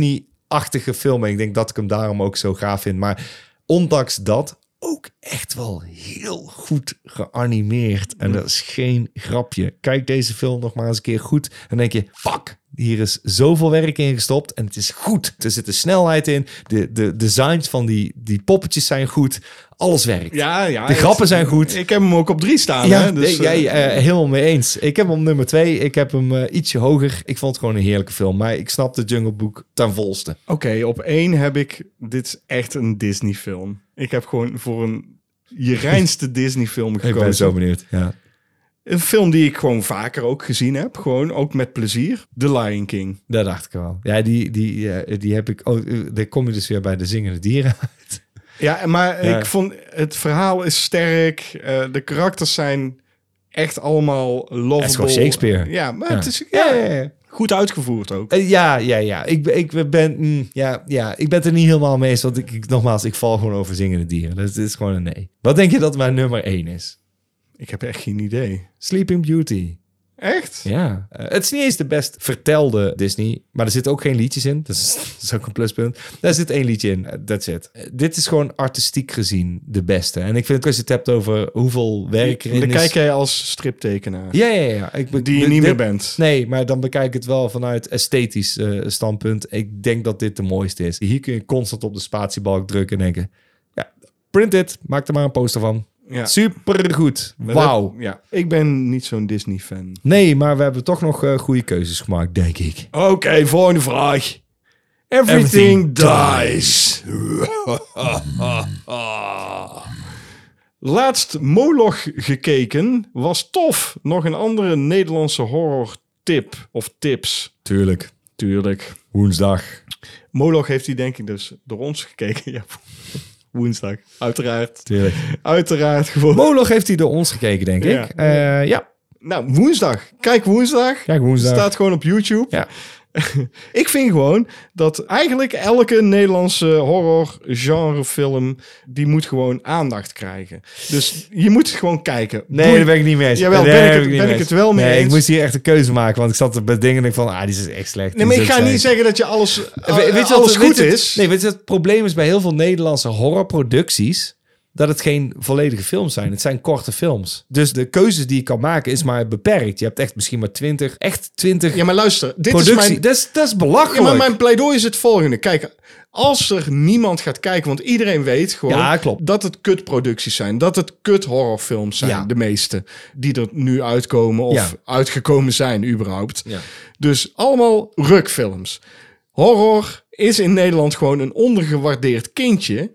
[SPEAKER 1] on-Disney-achtige film. En ik denk dat ik hem daarom ook zo gaaf vind. Maar ondanks dat ook echt wel heel goed geanimeerd. En dat is geen grapje. Kijk deze film nog maar eens een keer goed. En denk je, fuck, hier is zoveel werk in gestopt. En het is goed. Er zit de snelheid in. De, de designs van die, die poppetjes zijn goed. Alles werkt.
[SPEAKER 2] ja, ja.
[SPEAKER 1] De grappen zijn goed.
[SPEAKER 2] Ik heb hem ook op drie staan.
[SPEAKER 1] Ja,
[SPEAKER 2] hè? Dus,
[SPEAKER 1] nee,
[SPEAKER 2] eh,
[SPEAKER 1] jij eh, helemaal mee eens. Ik heb hem op nummer twee. Ik heb hem eh, ietsje hoger. Ik vond het gewoon een heerlijke film. Maar ik snap de Jungle Book ten volste.
[SPEAKER 2] Oké, op één heb ik... Dit is echt een Disney-film. Ik heb gewoon voor een... Je reinste Disney-film
[SPEAKER 1] Ik
[SPEAKER 2] gekozen.
[SPEAKER 1] ben zo benieuwd. Ja.
[SPEAKER 2] Een film die ik gewoon vaker ook gezien heb. Gewoon ook met plezier. The Lion King.
[SPEAKER 1] Dat dacht ik wel. Ja, die, die, eh, die heb ik... Oh, eh, daar kom je dus weer bij de zingende dieren uit.
[SPEAKER 2] Ja, maar
[SPEAKER 1] Ja.
[SPEAKER 2] ik vond... Het verhaal is sterk. eh, de karakters zijn echt allemaal lovable.
[SPEAKER 1] gewoon Shakespeare.
[SPEAKER 2] Ja, maar
[SPEAKER 1] Ja.
[SPEAKER 2] het is
[SPEAKER 1] Ja,
[SPEAKER 2] ja,
[SPEAKER 1] ja, ja.
[SPEAKER 2] goed uitgevoerd ook.
[SPEAKER 1] Eh, ja, ja, ja. Ik, ben- ik ben... mm, ja, ja, ik ben het er niet helemaal mee eens. Want ik, ik- nogmaals, ik val gewoon over zingende dieren. Dat is gewoon een nee. Wat denk je dat mijn nummer één is?
[SPEAKER 2] Ik heb echt geen idee.
[SPEAKER 1] Sleeping Beauty.
[SPEAKER 2] Echt?
[SPEAKER 1] Ja. Eh, het is niet eens de best vertelde Disney, maar er zitten ook geen liedjes in. Dat is, dat is ook een pluspunt. Daar zit één liedje in, Eh, that's it. Eh, dit is gewoon artistiek gezien de beste. En ik vind het als je het hebt over hoeveel werk erin
[SPEAKER 2] Dan
[SPEAKER 1] is...
[SPEAKER 2] kijk jij als striptekenaar.
[SPEAKER 1] Ja, ja, ja. Ik, be-
[SPEAKER 2] Die je
[SPEAKER 1] dit-
[SPEAKER 2] niet meer
[SPEAKER 1] dit-
[SPEAKER 2] bent.
[SPEAKER 1] Nee, maar dan bekijk ik het wel vanuit esthetisch eh, standpunt. Ik denk dat dit de mooiste is. Hier kun je constant op de spatiebalk drukken en denken... Ja, print dit. Maak er maar een poster van.
[SPEAKER 2] Ja.
[SPEAKER 1] Supergoed.
[SPEAKER 2] Maar
[SPEAKER 1] Wauw.
[SPEAKER 2] dat- Ja. Ik ben niet zo'n Disney-fan.
[SPEAKER 1] Nee, maar we hebben toch nog eh, goede keuzes gemaakt, denk ik.
[SPEAKER 2] Oké, volgende vraag.
[SPEAKER 1] Everything
[SPEAKER 2] dies. Laatst Moloch gekeken. Was tof. Nog een andere Nederlandse horror tip of tips.
[SPEAKER 1] Tuurlijk.
[SPEAKER 2] Tuurlijk.
[SPEAKER 1] Woensdag.
[SPEAKER 2] Moloch heeft die denk ik dus door ons gekeken. Ja, woensdag. Uiteraard.
[SPEAKER 1] Tuurlijk.
[SPEAKER 2] Uiteraard gewoon.
[SPEAKER 1] Moloch heeft hij door ons gekeken, denk
[SPEAKER 2] Ja.
[SPEAKER 1] ik. Eh, ja.
[SPEAKER 2] Nou, woensdag. Kijk woensdag.
[SPEAKER 1] Kijk, woensdag.
[SPEAKER 2] Staat gewoon op YouTube.
[SPEAKER 1] Ja.
[SPEAKER 2] Ik vind gewoon dat eigenlijk elke Nederlandse horror genrefilm die moet gewoon aandacht krijgen. Dus je moet gewoon kijken.
[SPEAKER 1] Nee,
[SPEAKER 2] Boei-
[SPEAKER 1] daar ben ik niet mee eens.
[SPEAKER 2] Jawel,
[SPEAKER 1] Nee,
[SPEAKER 2] ben ik
[SPEAKER 1] daar
[SPEAKER 2] het-
[SPEAKER 1] niet
[SPEAKER 2] ben ik
[SPEAKER 1] eens.
[SPEAKER 2] het wel mee
[SPEAKER 1] nee, ik
[SPEAKER 2] eens.
[SPEAKER 1] moest hier echt een keuze maken, want ik zat te bedenken en ik van, ah, dit is echt slecht.
[SPEAKER 2] Nee, maar
[SPEAKER 1] Dit
[SPEAKER 2] ik
[SPEAKER 1] is
[SPEAKER 2] ga
[SPEAKER 1] echt
[SPEAKER 2] niet
[SPEAKER 1] slecht.
[SPEAKER 2] zeggen dat je alles,
[SPEAKER 1] We-
[SPEAKER 2] alles
[SPEAKER 1] wat-
[SPEAKER 2] goed
[SPEAKER 1] weet je-
[SPEAKER 2] is.
[SPEAKER 1] Nee, weet je wat het probleem is bij heel veel Nederlandse horrorproducties? dat het geen volledige films zijn. Het zijn korte films. Dus de keuzes die je kan maken is maar beperkt. Je hebt echt misschien maar twintig, echt twintig
[SPEAKER 2] Ja, maar luister. Dit
[SPEAKER 1] productie.
[SPEAKER 2] is mijn...
[SPEAKER 1] dat, is, dat is
[SPEAKER 2] Ja,
[SPEAKER 1] belachelijk.
[SPEAKER 2] maar mijn pleidooi is het volgende. Kijk, als er niemand gaat kijken, want iedereen weet gewoon
[SPEAKER 1] Ja, klopt.
[SPEAKER 2] dat het kutproducties zijn, dat het kut horrorfilms zijn,
[SPEAKER 1] Ja.
[SPEAKER 2] de meeste die er nu uitkomen of
[SPEAKER 1] Ja.
[SPEAKER 2] uitgekomen zijn überhaupt.
[SPEAKER 1] Ja.
[SPEAKER 2] Dus allemaal rukfilms. Horror is in Nederland gewoon een ondergewaardeerd kindje.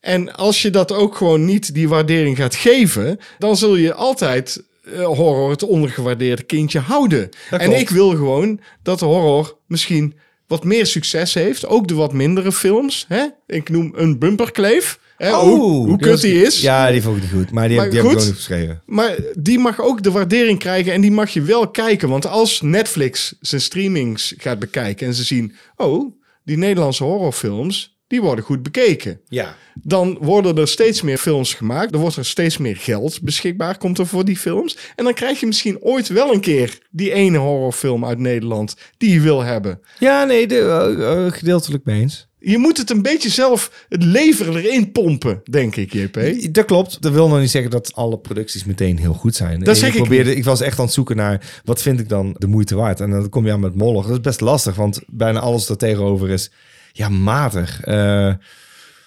[SPEAKER 2] En als je dat ook gewoon niet die waardering gaat geven, dan zul je altijd eh, horror het ondergewaardeerde kindje houden. En
[SPEAKER 1] klopt.
[SPEAKER 2] ik wil gewoon dat horror misschien wat meer succes heeft. Ook de wat mindere films. Hè? Ik noem een bumperkleef. Hè? hoe hoe
[SPEAKER 1] Oh, die
[SPEAKER 2] kut
[SPEAKER 1] was-
[SPEAKER 2] die is.
[SPEAKER 1] Ja, die vond ik niet goed. Maar die, heb-
[SPEAKER 2] Maar
[SPEAKER 1] die heb ik
[SPEAKER 2] goed.
[SPEAKER 1] gewoon niet geschreven.
[SPEAKER 2] Maar die mag ook de waardering krijgen en die mag je wel kijken. Want als Netflix zijn streamings gaat bekijken en ze zien... oh, die Nederlandse horrorfilms, die worden goed bekeken.
[SPEAKER 1] Ja.
[SPEAKER 2] Dan worden er steeds meer films gemaakt. Er wordt er steeds meer geld beschikbaar, komt er voor die films. En dan krijg je misschien ooit wel een keer die ene horrorfilm uit Nederland... die je wil hebben.
[SPEAKER 1] Ja, nee, de, eh, eh, gedeeltelijk mee eens.
[SPEAKER 2] Je moet het een beetje zelf het leven erin pompen, denk ik, JP.
[SPEAKER 1] Dat klopt. Dat wil nog niet zeggen dat alle producties meteen heel goed zijn. En
[SPEAKER 2] zeg ik
[SPEAKER 1] probeerde, ik, was echt aan het zoeken naar wat vind ik dan de moeite waard. En dan kom je aan met Moloch. Dat is best lastig, want bijna alles daar tegenover is ja matig. Eh,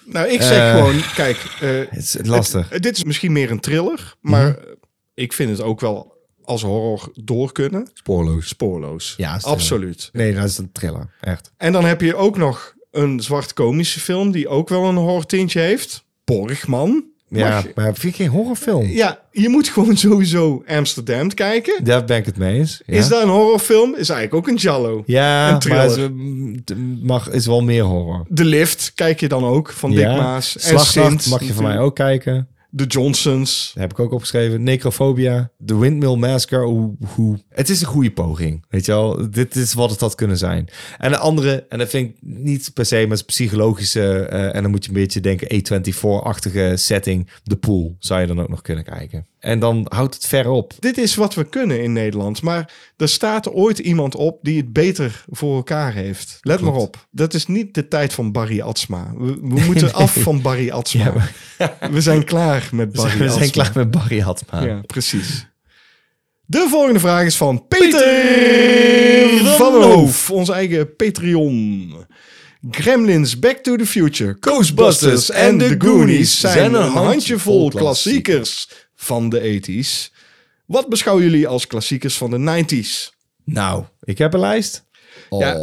[SPEAKER 2] Nou, ik zeg
[SPEAKER 1] Eh.
[SPEAKER 2] gewoon, kijk, eh,
[SPEAKER 1] het is lastig. Mhm.
[SPEAKER 2] eh, dit is misschien meer een thriller, maar eh, ik vind het ook wel als horror door kunnen.
[SPEAKER 1] Spoorloos.
[SPEAKER 2] Spoorloos.
[SPEAKER 1] Ja, is thriller.
[SPEAKER 2] absoluut.
[SPEAKER 1] Nee, dat is een thriller. Echt.
[SPEAKER 2] En dan heb je ook nog een zwart-komische film die ook wel een horror tintje heeft. Borgman.
[SPEAKER 1] Ja,
[SPEAKER 2] Mag je-
[SPEAKER 1] maar vind ik geen horrorfilm?
[SPEAKER 2] ja, je moet gewoon sowieso Amsterdam kijken.
[SPEAKER 1] Daar ben ik het mee eens. Ja.
[SPEAKER 2] Is dat een horrorfilm? Is eigenlijk ook een giallo.
[SPEAKER 1] Ja,
[SPEAKER 2] een
[SPEAKER 1] maar
[SPEAKER 2] thriller?
[SPEAKER 1] is, mm, t- mag, is wel meer horror.
[SPEAKER 2] De Lift kijk je dan ook, van Dick
[SPEAKER 1] ja.
[SPEAKER 2] Maas. En
[SPEAKER 1] Slagnacht
[SPEAKER 2] Sint
[SPEAKER 1] mag je van mij
[SPEAKER 2] natuurlijk.
[SPEAKER 1] ook kijken.
[SPEAKER 2] De Johnsons.
[SPEAKER 1] Dat heb ik ook opgeschreven. Necrophobia. The Windmill Massacre. Hoe, hoe. Het is een goede poging. Weet je wel? Dit is wat het had kunnen zijn. En de andere, en dat vind ik niet per se, maar het is psychologische. eh, en dan moet je een beetje denken, A24-achtige setting. De Pool zou je dan ook nog kunnen kijken. En dan houdt het ver op.
[SPEAKER 2] dit is wat we kunnen in Nederland. Maar er staat ooit iemand op die het beter voor elkaar heeft. Let maar op. Dat is niet de tijd van Barry Atsma. We, we moeten af van Barry Atsma. We zijn klaar met Barry
[SPEAKER 1] We
[SPEAKER 2] Atsma.
[SPEAKER 1] zijn klaar met Barry Hadma.
[SPEAKER 2] Ja, precies. De volgende vraag is van Peter, van Hoof. Ons eigen Patreon. Gremlins, Back to the Future, Ghostbusters en The Goonies zijn een handjevol klassiekers van de 80s. Wat beschouwen jullie als klassiekers van de 90s?
[SPEAKER 1] Nou, ik heb een lijst.
[SPEAKER 2] Ja,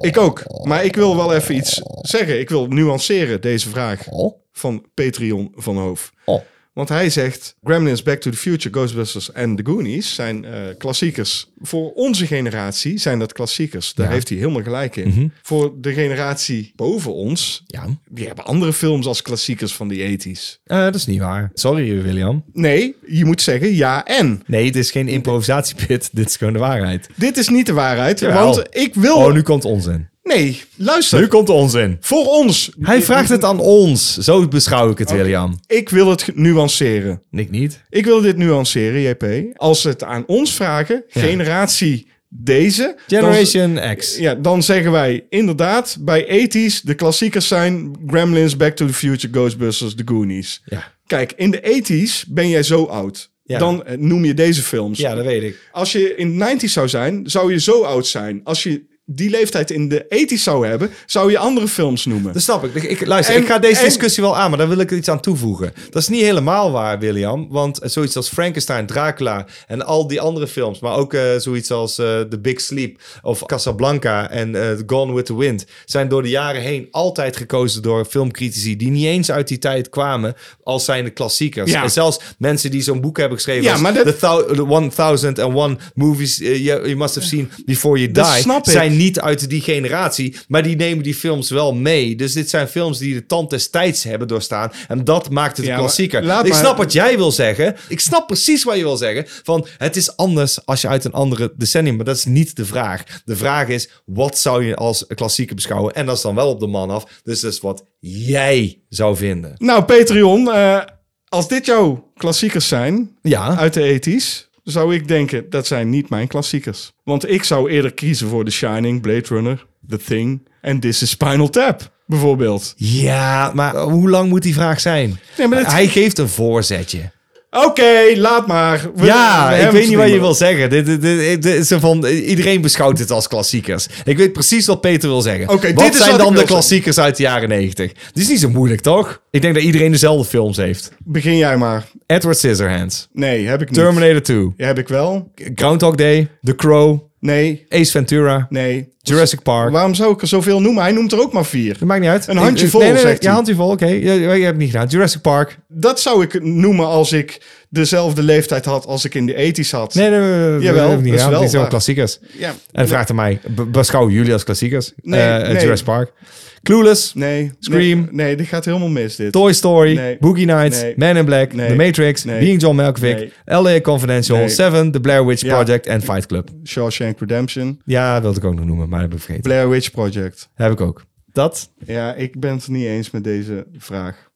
[SPEAKER 2] ik ook. Maar ik wil wel even iets zeggen. Ik wil nuanceren deze vraag
[SPEAKER 1] Oh.
[SPEAKER 2] van Patreon van Hoof.
[SPEAKER 1] Oh.
[SPEAKER 2] Want hij zegt: Gremlins, Back to the Future, Ghostbusters en The Goonies zijn eh, klassiekers. Voor onze generatie zijn dat klassiekers. Daar heeft hij helemaal gelijk in.
[SPEAKER 1] Mhm.
[SPEAKER 2] Voor de generatie boven ons,
[SPEAKER 1] Ja.
[SPEAKER 2] die hebben andere films als klassiekers van de 80s.
[SPEAKER 1] Eh, dat is niet waar. Sorry, William.
[SPEAKER 2] Nee, je moet zeggen ja en.
[SPEAKER 1] Nee, dit is geen improvisatiepit. Dit is gewoon de waarheid.
[SPEAKER 2] Dit is niet de waarheid.
[SPEAKER 1] Jawel.
[SPEAKER 2] Want ik wil.
[SPEAKER 1] Oh, nu komt onzin.
[SPEAKER 2] Nee, luister.
[SPEAKER 1] Nu komt onzin.
[SPEAKER 2] Voor ons.
[SPEAKER 1] Hij vraagt het aan ons. Zo beschouw ik het, William.
[SPEAKER 2] Ik wil het nuanceren.
[SPEAKER 1] Ik niet.
[SPEAKER 2] Ik wil dit nuanceren, JP. Als ze het aan ons vragen, generatie deze. dan-
[SPEAKER 1] Generation X.
[SPEAKER 2] ja, dan zeggen wij inderdaad bij 80s de klassiekers zijn Gremlins, Back to the Future, Ghostbusters, The Goonies.
[SPEAKER 1] Ja.
[SPEAKER 2] Kijk, in de 80s ben jij zo oud.
[SPEAKER 1] Ja.
[SPEAKER 2] Dan eh, noem je deze films.
[SPEAKER 1] ja, dat weet ik.
[SPEAKER 2] Als je in de 90s zou zijn, zou je zo oud zijn. Als je die leeftijd in de 80s zou hebben, zou je andere films noemen.
[SPEAKER 1] Dat snap ik. ik. ik- luister,
[SPEAKER 2] En-
[SPEAKER 1] ik ga deze
[SPEAKER 2] en-
[SPEAKER 1] discussie wel aan, maar daar wil ik iets aan toevoegen. Dat is niet helemaal waar, William. Want eh, zoiets als Frankenstein, Dracula en al die andere films, maar ook eh, zoiets als eh, The Big Sleep of Casablanca en eh, Gone with the Wind, zijn door de jaren heen altijd gekozen door filmcritici die niet eens uit die tijd kwamen als zijnde klassiekers.
[SPEAKER 2] Ja.
[SPEAKER 1] En zelfs mensen die zo'n boek hebben geschreven
[SPEAKER 2] Ja,
[SPEAKER 1] als
[SPEAKER 2] maar dat-
[SPEAKER 1] The Thou- The 1001 Movies eh, you, you Must Have Seen Before You Die,
[SPEAKER 2] Dat snap ik.
[SPEAKER 1] zijn niet uit die generatie, maar die nemen die films wel mee. Dus dit zijn films die de tand des tijds hebben doorstaan. En dat maakt het
[SPEAKER 2] Ja,
[SPEAKER 1] een
[SPEAKER 2] maar
[SPEAKER 1] klassieker.
[SPEAKER 2] laat
[SPEAKER 1] ik
[SPEAKER 2] maar-
[SPEAKER 1] snap wat jij wil zeggen. Ik snap precies wat je wil zeggen. Van het is anders als je uit een andere decennium. Maar dat is niet de vraag. De vraag is: wat zou je als klassieker beschouwen? En dat is dan wel op de man af. Dus dat is wat jij zou vinden.
[SPEAKER 2] Nou, Patreon, eh, als dit jouw klassiekers zijn,
[SPEAKER 1] Ja,
[SPEAKER 2] uit de 80s, zou ik denken dat zijn niet mijn klassiekers. Want ik zou eerder kiezen voor The Shining, Blade Runner, The Thing en This is Spinal Tap. bijvoorbeeld.
[SPEAKER 1] Ja, maar hoe lang moet die vraag zijn?
[SPEAKER 2] Nee, maar dit-
[SPEAKER 1] Hij geeft een voorzetje.
[SPEAKER 2] Oké, laat maar. We- we
[SPEAKER 1] Ja, ik
[SPEAKER 2] hebben
[SPEAKER 1] weet
[SPEAKER 2] het
[SPEAKER 1] niet wat je
[SPEAKER 2] meer.
[SPEAKER 1] wil zeggen. Dit, dit, dit, dit is een van, iedereen beschouwt dit als klassiekers. Ik weet precies wat Peter wil zeggen.
[SPEAKER 2] Oké,
[SPEAKER 1] wat
[SPEAKER 2] dit is
[SPEAKER 1] zijn
[SPEAKER 2] wat ik
[SPEAKER 1] dan de
[SPEAKER 2] wil
[SPEAKER 1] klassiekers uit de jaren negentig? Het is niet zo moeilijk, toch? Ik denk dat iedereen dezelfde films heeft.
[SPEAKER 2] Begin jij maar.
[SPEAKER 1] Edward Scissorhands,
[SPEAKER 2] Nee, heb ik niet.
[SPEAKER 1] Terminator 2,
[SPEAKER 2] Ja, heb ik wel.
[SPEAKER 1] Groundhog Day, The Crow,
[SPEAKER 2] Nee,
[SPEAKER 1] Ace Ventura,
[SPEAKER 2] nee.
[SPEAKER 1] Jurassic Park.
[SPEAKER 2] Waarom zou ik er zoveel noemen? Hij noemt er ook maar vier.
[SPEAKER 1] Dat maakt niet uit.
[SPEAKER 2] Een handje vol,
[SPEAKER 1] nee, nee, nee,
[SPEAKER 2] zegt
[SPEAKER 1] Ja,
[SPEAKER 2] hij.
[SPEAKER 1] handje vol, oké. Ja, Je, hebt het niet gedaan. Jurassic Park.
[SPEAKER 2] Dat zou ik noemen als ik dezelfde leeftijd had als ik in de 80s had.
[SPEAKER 1] Nee, nee, nee, nee, nee,
[SPEAKER 2] Jawel,
[SPEAKER 1] dat heb ik niet
[SPEAKER 2] dat is
[SPEAKER 1] gedaan.
[SPEAKER 2] wel
[SPEAKER 1] Dit zijn
[SPEAKER 2] waar.
[SPEAKER 1] klassiekers.
[SPEAKER 2] Ja.
[SPEAKER 1] En vraagt aan mij, be- beschouwen jullie als klassiekers?
[SPEAKER 2] Nee,
[SPEAKER 1] Eh,
[SPEAKER 2] nee.
[SPEAKER 1] Jurassic Park. Clueless.
[SPEAKER 2] Nee.
[SPEAKER 1] Scream.
[SPEAKER 2] Nee, nee, dit gaat helemaal mis dit.
[SPEAKER 1] Toy Story,
[SPEAKER 2] Nee.
[SPEAKER 1] Boogie Nights,
[SPEAKER 2] Nee.
[SPEAKER 1] Man in Black,
[SPEAKER 2] Nee.
[SPEAKER 1] The Matrix,
[SPEAKER 2] Nee.
[SPEAKER 1] Being John Malkovich, LA Confidential,
[SPEAKER 2] Nee.
[SPEAKER 1] Seven, The Blair Witch
[SPEAKER 2] Ja.
[SPEAKER 1] Project en Fight Club.
[SPEAKER 2] Shawshank Redemption.
[SPEAKER 1] Ja, dat wilde ik ook nog noemen, maar dat heb ik vergeten.
[SPEAKER 2] Blair Witch Project.
[SPEAKER 1] heb ik ook. Dat?
[SPEAKER 2] Ja, ik ben het niet eens met deze vraag.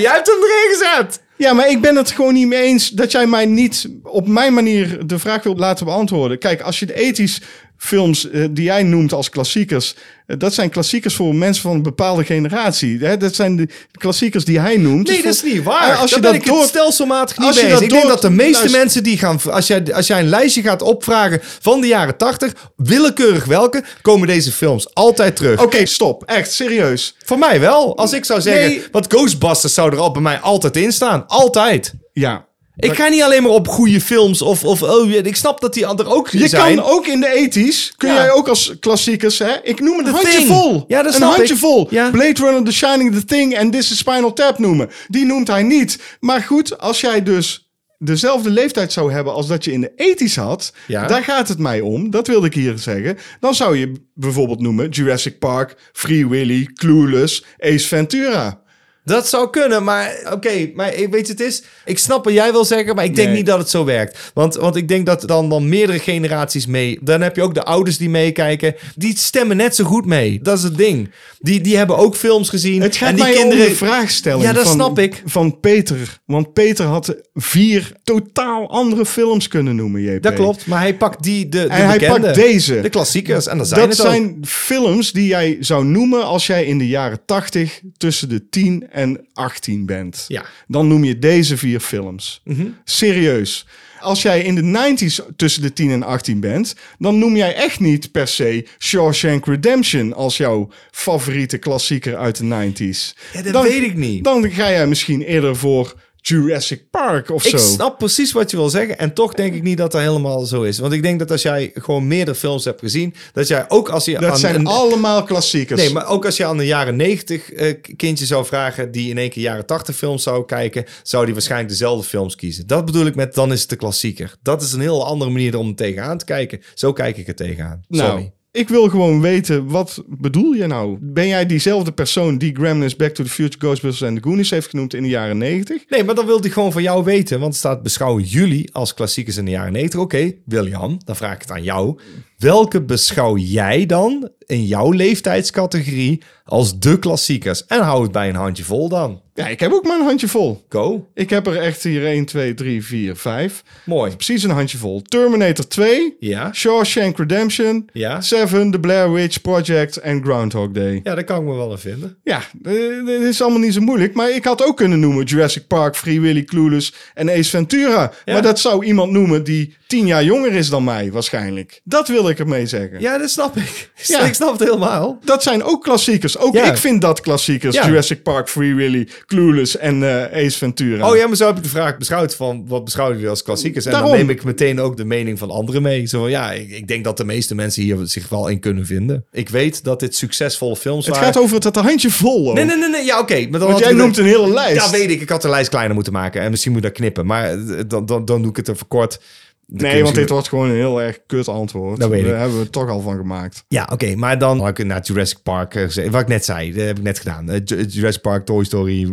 [SPEAKER 1] jij hebt hem erin gezet!
[SPEAKER 2] Ja, maar ik ben het gewoon niet mee eens dat jij mij niet op mijn manier de vraag wilt laten beantwoorden. Kijk, als je de ethisch films eh, die jij noemt als klassiekers, eh, dat zijn klassiekers voor mensen van een bepaalde generatie. Hè? Dat zijn de klassiekers die hij noemt.
[SPEAKER 1] Nee,
[SPEAKER 2] Dus
[SPEAKER 1] dat is
[SPEAKER 2] voor-
[SPEAKER 1] niet waar.
[SPEAKER 2] Eh, Als
[SPEAKER 1] Daar
[SPEAKER 2] je
[SPEAKER 1] ben
[SPEAKER 2] dat
[SPEAKER 1] ik het
[SPEAKER 2] door...
[SPEAKER 1] stelselmatig niet
[SPEAKER 2] Als je
[SPEAKER 1] mee
[SPEAKER 2] dat
[SPEAKER 1] eens. Ik denk
[SPEAKER 2] door-
[SPEAKER 1] dat de meeste
[SPEAKER 2] Luister.
[SPEAKER 1] mensen die gaan... Als jij, als jij een lijstje gaat opvragen van de jaren 80, willekeurig welke, komen deze films altijd terug.
[SPEAKER 2] Oké, stop. Echt, serieus.
[SPEAKER 1] Voor mij wel. Als ik zou zeggen,
[SPEAKER 2] Nee.
[SPEAKER 1] want Ghostbusters zou er al bij mij altijd in staan. Altijd.
[SPEAKER 2] Ja.
[SPEAKER 1] Ik ga niet alleen maar op goede films of, of oh, ja, ik snap dat die er ook
[SPEAKER 2] Je
[SPEAKER 1] zijn.
[SPEAKER 2] kan ook in de ethisch, kun
[SPEAKER 1] Ja.
[SPEAKER 2] jij ook als klassiekers, hè? Ik noem het een
[SPEAKER 1] The
[SPEAKER 2] handje
[SPEAKER 1] Thing.
[SPEAKER 2] vol.
[SPEAKER 1] Ja, dat
[SPEAKER 2] een
[SPEAKER 1] snap ik.
[SPEAKER 2] handje vol.
[SPEAKER 1] Ja.
[SPEAKER 2] Blade Runner, The Shining, The Thing en This is Spinal Tap noemen. Die noemt hij niet. Maar goed, als jij dus dezelfde leeftijd zou hebben als dat je in de ethisch had,
[SPEAKER 1] Ja.
[SPEAKER 2] daar gaat het mij om. Dat wilde ik hier zeggen. Dan zou je bijvoorbeeld noemen Jurassic Park, Free Willy, Clueless, Ace Ventura.
[SPEAKER 1] Dat zou kunnen, maar oké, maar ik weet je, het is. Ik snap wat jij wil zeggen, maar ik denk
[SPEAKER 2] Nee.
[SPEAKER 1] niet dat het zo werkt. Want, want ik denk dat dan, dan meerdere generaties mee. Dan heb je ook de ouders die meekijken. Die stemmen net zo goed mee. Dat is het ding. Die, die hebben ook films gezien.
[SPEAKER 2] Het gaat
[SPEAKER 1] en die
[SPEAKER 2] mij
[SPEAKER 1] kinderen
[SPEAKER 2] om de vraagstelling
[SPEAKER 1] Ja, dat
[SPEAKER 2] van,
[SPEAKER 1] snap ik.
[SPEAKER 2] van Peter. Want Peter had vier totaal andere films kunnen noemen, JP.
[SPEAKER 1] Dat klopt, maar hij pakt die de, de
[SPEAKER 2] En hij
[SPEAKER 1] bekende,
[SPEAKER 2] pakt deze.
[SPEAKER 1] de klassiekers en dat zijn
[SPEAKER 2] Dat
[SPEAKER 1] het ook.
[SPEAKER 2] zijn films die jij zou noemen als jij in de jaren 80 tussen de 10 en 18 bent.
[SPEAKER 1] Ja. Mhm.
[SPEAKER 2] Dan noem je deze vier films. Serieus. Als jij in de 90s tussen de 10 en 18 bent, dan noem jij echt niet per se Shawshank Redemption als jouw favoriete klassieker uit de 90s.
[SPEAKER 1] Ja, dat weet ik niet.
[SPEAKER 2] Dan ga jij misschien eerder voor Jurassic Park of
[SPEAKER 1] Ik
[SPEAKER 2] zo.
[SPEAKER 1] snap precies wat je wil zeggen. En toch denk ik niet dat dat helemaal zo is. Want ik denk dat als jij gewoon meerdere films hebt gezien, dat jij ook als je.
[SPEAKER 2] Dat
[SPEAKER 1] aan
[SPEAKER 2] zijn
[SPEAKER 1] een-
[SPEAKER 2] allemaal klassiekers.
[SPEAKER 1] Nee, maar ook als je aan een jaren 90 eh, kindje zou vragen, die in één keer jaren 80 films zou kijken, zou die waarschijnlijk dezelfde films kiezen. Dat bedoel ik met dan is het de klassieker. Dat is een heel andere manier om er tegenaan te kijken. Zo kijk ik er tegenaan.
[SPEAKER 2] Nou,
[SPEAKER 1] Sorry.
[SPEAKER 2] ik wil gewoon weten, wat bedoel je nou? Ben jij diezelfde persoon die Gremlins, Back to the Future, Ghostbusters en The Goonies heeft genoemd in de jaren 90?
[SPEAKER 1] Nee, maar dan wil ik gewoon van jou weten. Want er staat beschouwen jullie als klassiekers in de jaren 90. Oké, William, dan vraag ik het aan jou. Welke beschouw jij dan in jouw leeftijdscategorie als de klassiekers? En hou het bij een handje vol dan.
[SPEAKER 2] Ja, ik heb ook maar een handje vol.
[SPEAKER 1] Go.
[SPEAKER 2] Ik heb er echt hier 1, 2, 3, 4, 5.
[SPEAKER 1] Mooi.
[SPEAKER 2] Precies een handje vol. Terminator 2,
[SPEAKER 1] Ja.
[SPEAKER 2] Shawshank Redemption,
[SPEAKER 1] Ja.
[SPEAKER 2] Seven, The Blair Witch Project en Groundhog Day.
[SPEAKER 1] Ja, dat kan ik me wel aan vinden.
[SPEAKER 2] Ja, eh, dit is allemaal niet zo moeilijk. Maar ik had ook kunnen noemen Jurassic Park, Free Willy, Clueless en Ace Ventura. Maar dat zou iemand noemen die tien jaar jonger is dan mij waarschijnlijk. Dat wil ik ermee zeggen.
[SPEAKER 1] Ja, dat snap ik.
[SPEAKER 2] Ja.
[SPEAKER 1] Ik snap het helemaal.
[SPEAKER 2] Dat zijn ook klassiekers. Ook
[SPEAKER 1] Ja.
[SPEAKER 2] ik vind dat klassiekers.
[SPEAKER 1] Ja.
[SPEAKER 2] Jurassic Park, Free Willy, Clueless en eh, Ace Ventura.
[SPEAKER 1] Oh ja, maar zo heb ik de vraag beschouwd van wat beschouwen jullie als klassiekers? En
[SPEAKER 2] Daarom.
[SPEAKER 1] dan neem ik meteen ook de mening van anderen mee. Zo van, ja, ik, ik denk dat de meeste mensen hier zich wel in kunnen vinden. Ik weet dat dit succesvolle films
[SPEAKER 2] Het
[SPEAKER 1] waren.
[SPEAKER 2] gaat over het, dat handje vol. hoor.
[SPEAKER 1] Nee, nee, nee, nee. Ja, oké. Maar dan
[SPEAKER 2] Oh. Want
[SPEAKER 1] had
[SPEAKER 2] jij
[SPEAKER 1] ik-
[SPEAKER 2] noemt een hele lijst.
[SPEAKER 1] Ja, weet ik. Ik had de lijst kleiner moeten maken. En misschien moet ik dat knippen. Maar eh, dan, dan, dan doe ik het even kort. Dan kun je
[SPEAKER 2] Nee, want dit
[SPEAKER 1] misschien-
[SPEAKER 2] wordt gewoon een heel erg kut antwoord.
[SPEAKER 1] Dat weet ik.
[SPEAKER 2] Daar hebben we het toch al van gemaakt.
[SPEAKER 1] Ja, oké. maar dan had ik naar Jurassic Park eh, gezegd. Wat ik net zei. Dat heb ik net gedaan. Eh, Ju- Jurassic Park, Toy Story,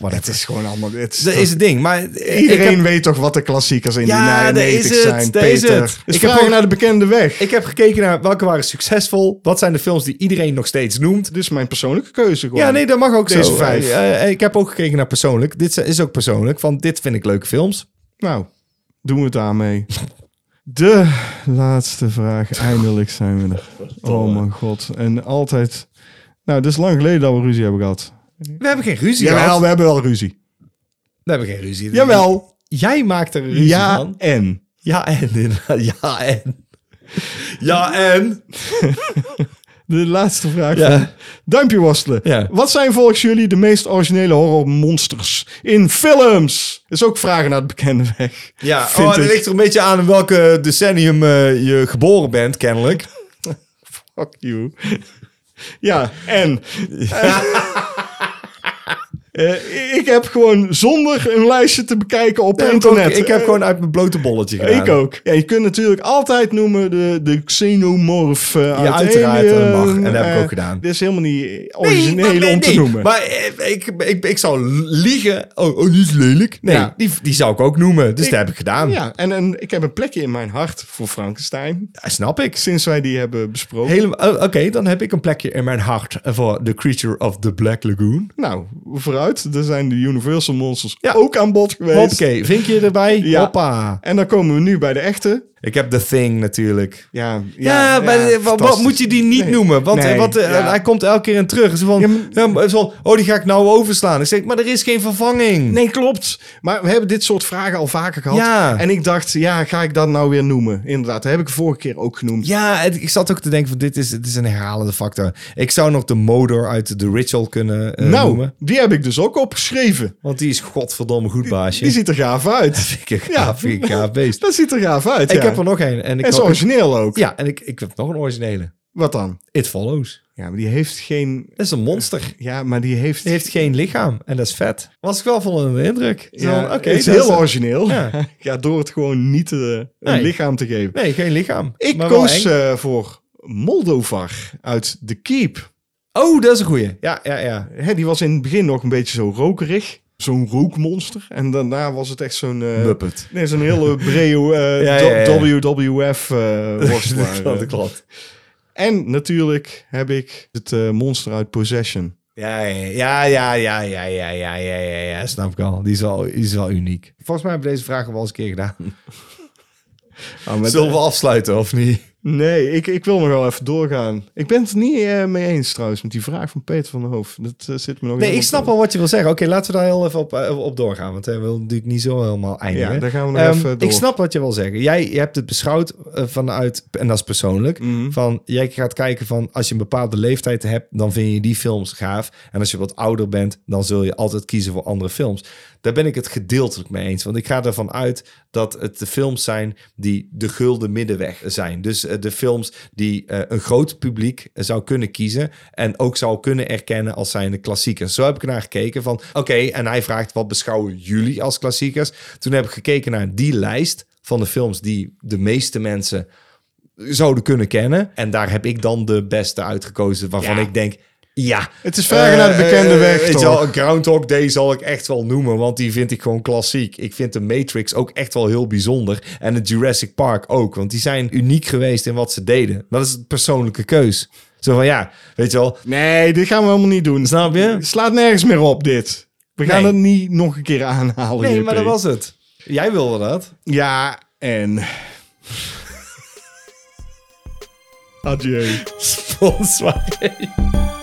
[SPEAKER 1] wat
[SPEAKER 2] Het is gewoon allemaal... Het is,
[SPEAKER 1] Dat is het ding. Maar eh, ik
[SPEAKER 2] Iedereen
[SPEAKER 1] heb-
[SPEAKER 2] weet toch wat de klassiekers in
[SPEAKER 1] Ja,
[SPEAKER 2] die
[SPEAKER 1] daar is
[SPEAKER 2] 90
[SPEAKER 1] het,
[SPEAKER 2] zijn,
[SPEAKER 1] daar is
[SPEAKER 2] Peter.
[SPEAKER 1] het.
[SPEAKER 2] Dus
[SPEAKER 1] Ik heb
[SPEAKER 2] vragen
[SPEAKER 1] gewoon-
[SPEAKER 2] naar de bekende weg.
[SPEAKER 1] Ik heb gekeken naar welke waren succesvol. Wat zijn de films die iedereen nog steeds noemt.
[SPEAKER 2] Dit is mijn persoonlijke keuze gewoon.
[SPEAKER 1] Ja, nee, dat mag ook
[SPEAKER 2] Deze
[SPEAKER 1] zo.
[SPEAKER 2] vijf.
[SPEAKER 1] Eh, eh, ik heb ook gekeken naar persoonlijk. Dit is ook persoonlijk. Van dit vind ik leuke films.
[SPEAKER 2] Nou, doen we het daarmee. De laatste vraag. Eindelijk zijn we er. Oh mijn god. En altijd Nou, het is lang geleden dat we ruzie hebben gehad.
[SPEAKER 1] We hebben geen ruzie
[SPEAKER 2] Jawel,
[SPEAKER 1] gehad.
[SPEAKER 2] we hebben wel ruzie.
[SPEAKER 1] We hebben geen ruzie.
[SPEAKER 2] Jawel.
[SPEAKER 1] Jij maakt er een ruzie
[SPEAKER 2] Ja
[SPEAKER 1] van.
[SPEAKER 2] en.
[SPEAKER 1] Ja en, inderdaad. ja en. Ja en.
[SPEAKER 2] De laatste vraag.
[SPEAKER 1] Ja.
[SPEAKER 2] Duimpje worstelen.
[SPEAKER 1] Ja.
[SPEAKER 2] Wat zijn volgens jullie de meest originele horrormonsters in films? Is ook vragen naar het bekende weg.
[SPEAKER 1] Ja,
[SPEAKER 2] Vind
[SPEAKER 1] oh, dat
[SPEAKER 2] ik.
[SPEAKER 1] ligt er een beetje aan in welke decennium eh, je geboren bent, kennelijk.
[SPEAKER 2] Fuck you. Ja, en. Eh, eh, ik heb gewoon zonder een lijstje te bekijken op
[SPEAKER 1] Ik,
[SPEAKER 2] internet.
[SPEAKER 1] ook- ik heb gewoon uit mijn blote bolletje
[SPEAKER 2] Eh,
[SPEAKER 1] gedaan.
[SPEAKER 2] ik ook. Ja, je kunt natuurlijk altijd noemen de, de xenomorf eh uit
[SPEAKER 1] uiteraard,
[SPEAKER 2] Alien.
[SPEAKER 1] dat mag. En dat heb ik
[SPEAKER 2] Eh,
[SPEAKER 1] ook gedaan.
[SPEAKER 2] Dit is helemaal niet
[SPEAKER 1] Nee,
[SPEAKER 2] origineel
[SPEAKER 1] maar- nee,
[SPEAKER 2] om te
[SPEAKER 1] nee.
[SPEAKER 2] noemen.
[SPEAKER 1] Maar eh, ik, ik, ik zou liegen. Oh, oh, die is lelijk. Nee,
[SPEAKER 2] Ja.
[SPEAKER 1] die, die zou ik ook noemen. Dus
[SPEAKER 2] Ik-
[SPEAKER 1] dat heb ik gedaan.
[SPEAKER 2] ja, en, en ik heb een plekje in mijn hart voor Frankenstein.
[SPEAKER 1] Ja, snap ik.
[SPEAKER 2] Sinds wij die hebben besproken.
[SPEAKER 1] Helemaal, oh, Oké, dan heb ik een plekje in mijn hart voor The Creature of the Black Lagoon.
[SPEAKER 2] Nou, vooruit. Er zijn de Universal Monsters
[SPEAKER 1] Ja.
[SPEAKER 2] ook aan bod geweest.
[SPEAKER 1] Hoppakee, vinkje erbij.
[SPEAKER 2] Ja.
[SPEAKER 1] Hoppa.
[SPEAKER 2] En dan komen we nu bij de echte.
[SPEAKER 1] Ik heb The Thing natuurlijk.
[SPEAKER 2] Ja, ja,
[SPEAKER 1] Ja, maar eh, wa- wat
[SPEAKER 2] fantastisch.
[SPEAKER 1] moet je die niet
[SPEAKER 2] Nee.
[SPEAKER 1] noemen? Want eh,
[SPEAKER 2] Nee,
[SPEAKER 1] wat, eh,
[SPEAKER 2] ja.
[SPEAKER 1] hij komt elke keer in terug. Zo van,
[SPEAKER 2] Ja,
[SPEAKER 1] ja,
[SPEAKER 2] maar-
[SPEAKER 1] maar zo, oh, die ga ik nou overslaan. Ik zeg, maar er is geen vervanging.
[SPEAKER 2] Nee, klopt. Maar we hebben dit soort vragen al vaker gehad.
[SPEAKER 1] Ja.
[SPEAKER 2] En ik dacht, ja, ga ik dat nou weer noemen? Inderdaad, dat heb ik vorige keer ook genoemd.
[SPEAKER 1] Ja, het- ik zat ook te denken van dit is, dit is een herhalende factor. Ik zou nog de Modor uit The Ritual kunnen eh,
[SPEAKER 2] nou,
[SPEAKER 1] noemen.
[SPEAKER 2] die heb ik dus ook opgeschreven.
[SPEAKER 1] Want die is godverdomme goed baasje.
[SPEAKER 2] Die ziet er gaaf uit.
[SPEAKER 1] ik een gaaf, vind ik een gaaf beest.
[SPEAKER 2] dat ziet er gaaf uit,
[SPEAKER 1] Ik
[SPEAKER 2] ja.
[SPEAKER 1] heb er nog een. En ik
[SPEAKER 2] En is
[SPEAKER 1] had-
[SPEAKER 2] origineel ook.
[SPEAKER 1] Ja, en ik, ik heb nog een originele.
[SPEAKER 2] Wat dan?
[SPEAKER 1] It Follows.
[SPEAKER 2] Ja, maar die heeft geen...
[SPEAKER 1] Dat is een monster.
[SPEAKER 2] Ja, maar die heeft...
[SPEAKER 1] Die heeft geen lichaam en dat is vet. Was ik wel van onder de indruk. Zo
[SPEAKER 2] Ja,
[SPEAKER 1] van, oké,
[SPEAKER 2] het is
[SPEAKER 1] dat
[SPEAKER 2] heel origineel. Ja.
[SPEAKER 1] Ja.
[SPEAKER 2] door het gewoon niet eh, een
[SPEAKER 1] Nee.
[SPEAKER 2] lichaam te geven.
[SPEAKER 1] Nee, geen lichaam.
[SPEAKER 2] Ik
[SPEAKER 1] maar wel
[SPEAKER 2] koos
[SPEAKER 1] eng.
[SPEAKER 2] eh, voor Moldovar uit The Keep.
[SPEAKER 1] Oh, dat is een goeie. Ja, ja, ja.
[SPEAKER 2] Hè, die was in het begin nog een beetje zo rokerig. Zo'n rookmonster. En daarna was het echt zo'n... eh,
[SPEAKER 1] Muppet.
[SPEAKER 2] Nee, zo'n hele breu eh,
[SPEAKER 1] Ja, ja, ja.
[SPEAKER 2] do- WWF eh worstelaar.
[SPEAKER 1] Dat klopt.
[SPEAKER 2] en natuurlijk heb ik het eh, monster uit Possession.
[SPEAKER 1] Ja, ja, ja, ja, ja, ja, ja, ja, ja, ja, snap ik al. Die is wel, die is wel uniek. Volgens mij hebben we deze vragen wel eens een keer gedaan.
[SPEAKER 2] Ah, maar-
[SPEAKER 1] we afsluiten of niet?
[SPEAKER 2] Nee, ik, ik wil nog wel even doorgaan. Ik ben het er niet eh, mee eens trouwens met die vraag van Peter van der Hoof. Dat eh, zit me nog
[SPEAKER 1] Nee,
[SPEAKER 2] in
[SPEAKER 1] ik
[SPEAKER 2] de
[SPEAKER 1] snap al wat je wil zeggen. Oké, laten we daar heel even op, eh, op doorgaan. Want eh, we willen natuurlijk niet zo helemaal eindigen.
[SPEAKER 2] Ja, daar gaan we nog
[SPEAKER 1] Ehm,
[SPEAKER 2] even door.
[SPEAKER 1] Ik snap wat je wil zeggen. Jij je hebt het beschouwd eh, vanuit, en dat is persoonlijk,
[SPEAKER 2] Mhm.
[SPEAKER 1] van jij gaat kijken van als je een bepaalde leeftijd hebt, dan vind je die films gaaf. En als je wat ouder bent, dan zul je altijd kiezen voor andere films. Daar ben ik het gedeeltelijk mee eens. Want ik ga ervan uit dat het de films zijn die de gulden middenweg zijn. Dus eh, de films die eh, een groot publiek eh, zou kunnen kiezen. En ook zou kunnen erkennen als zijnde klassiekers. Zo heb ik naar gekeken van oké, en hij vraagt wat beschouwen jullie als klassiekers. Toen heb ik gekeken naar die lijst van de films die de meeste mensen zouden kunnen kennen. En daar heb ik dan de beste uitgekozen waarvan ik denk... Ja,
[SPEAKER 2] Het is vragen naar de
[SPEAKER 1] Eh,
[SPEAKER 2] bekende
[SPEAKER 1] eh,
[SPEAKER 2] weg,
[SPEAKER 1] weet je
[SPEAKER 2] toch?
[SPEAKER 1] wel, Groundhog Day zal ik echt wel noemen, want die vind ik gewoon klassiek. Ik vind de Matrix ook echt wel heel bijzonder. En de Jurassic Park ook, want die zijn uniek geweest in wat ze deden. Maar dat is een persoonlijke keus. Zo van ja, weet je wel.
[SPEAKER 2] Nee, dit gaan we helemaal niet doen.
[SPEAKER 1] Snap je?
[SPEAKER 2] Het slaat nergens meer op, dit. We gaan
[SPEAKER 1] Nee.
[SPEAKER 2] het niet nog een keer aanhalen.
[SPEAKER 1] Nee,
[SPEAKER 2] JP.
[SPEAKER 1] maar dat was het. Jij wilde dat.
[SPEAKER 2] Ja, en... Adieu.
[SPEAKER 1] Sponsor.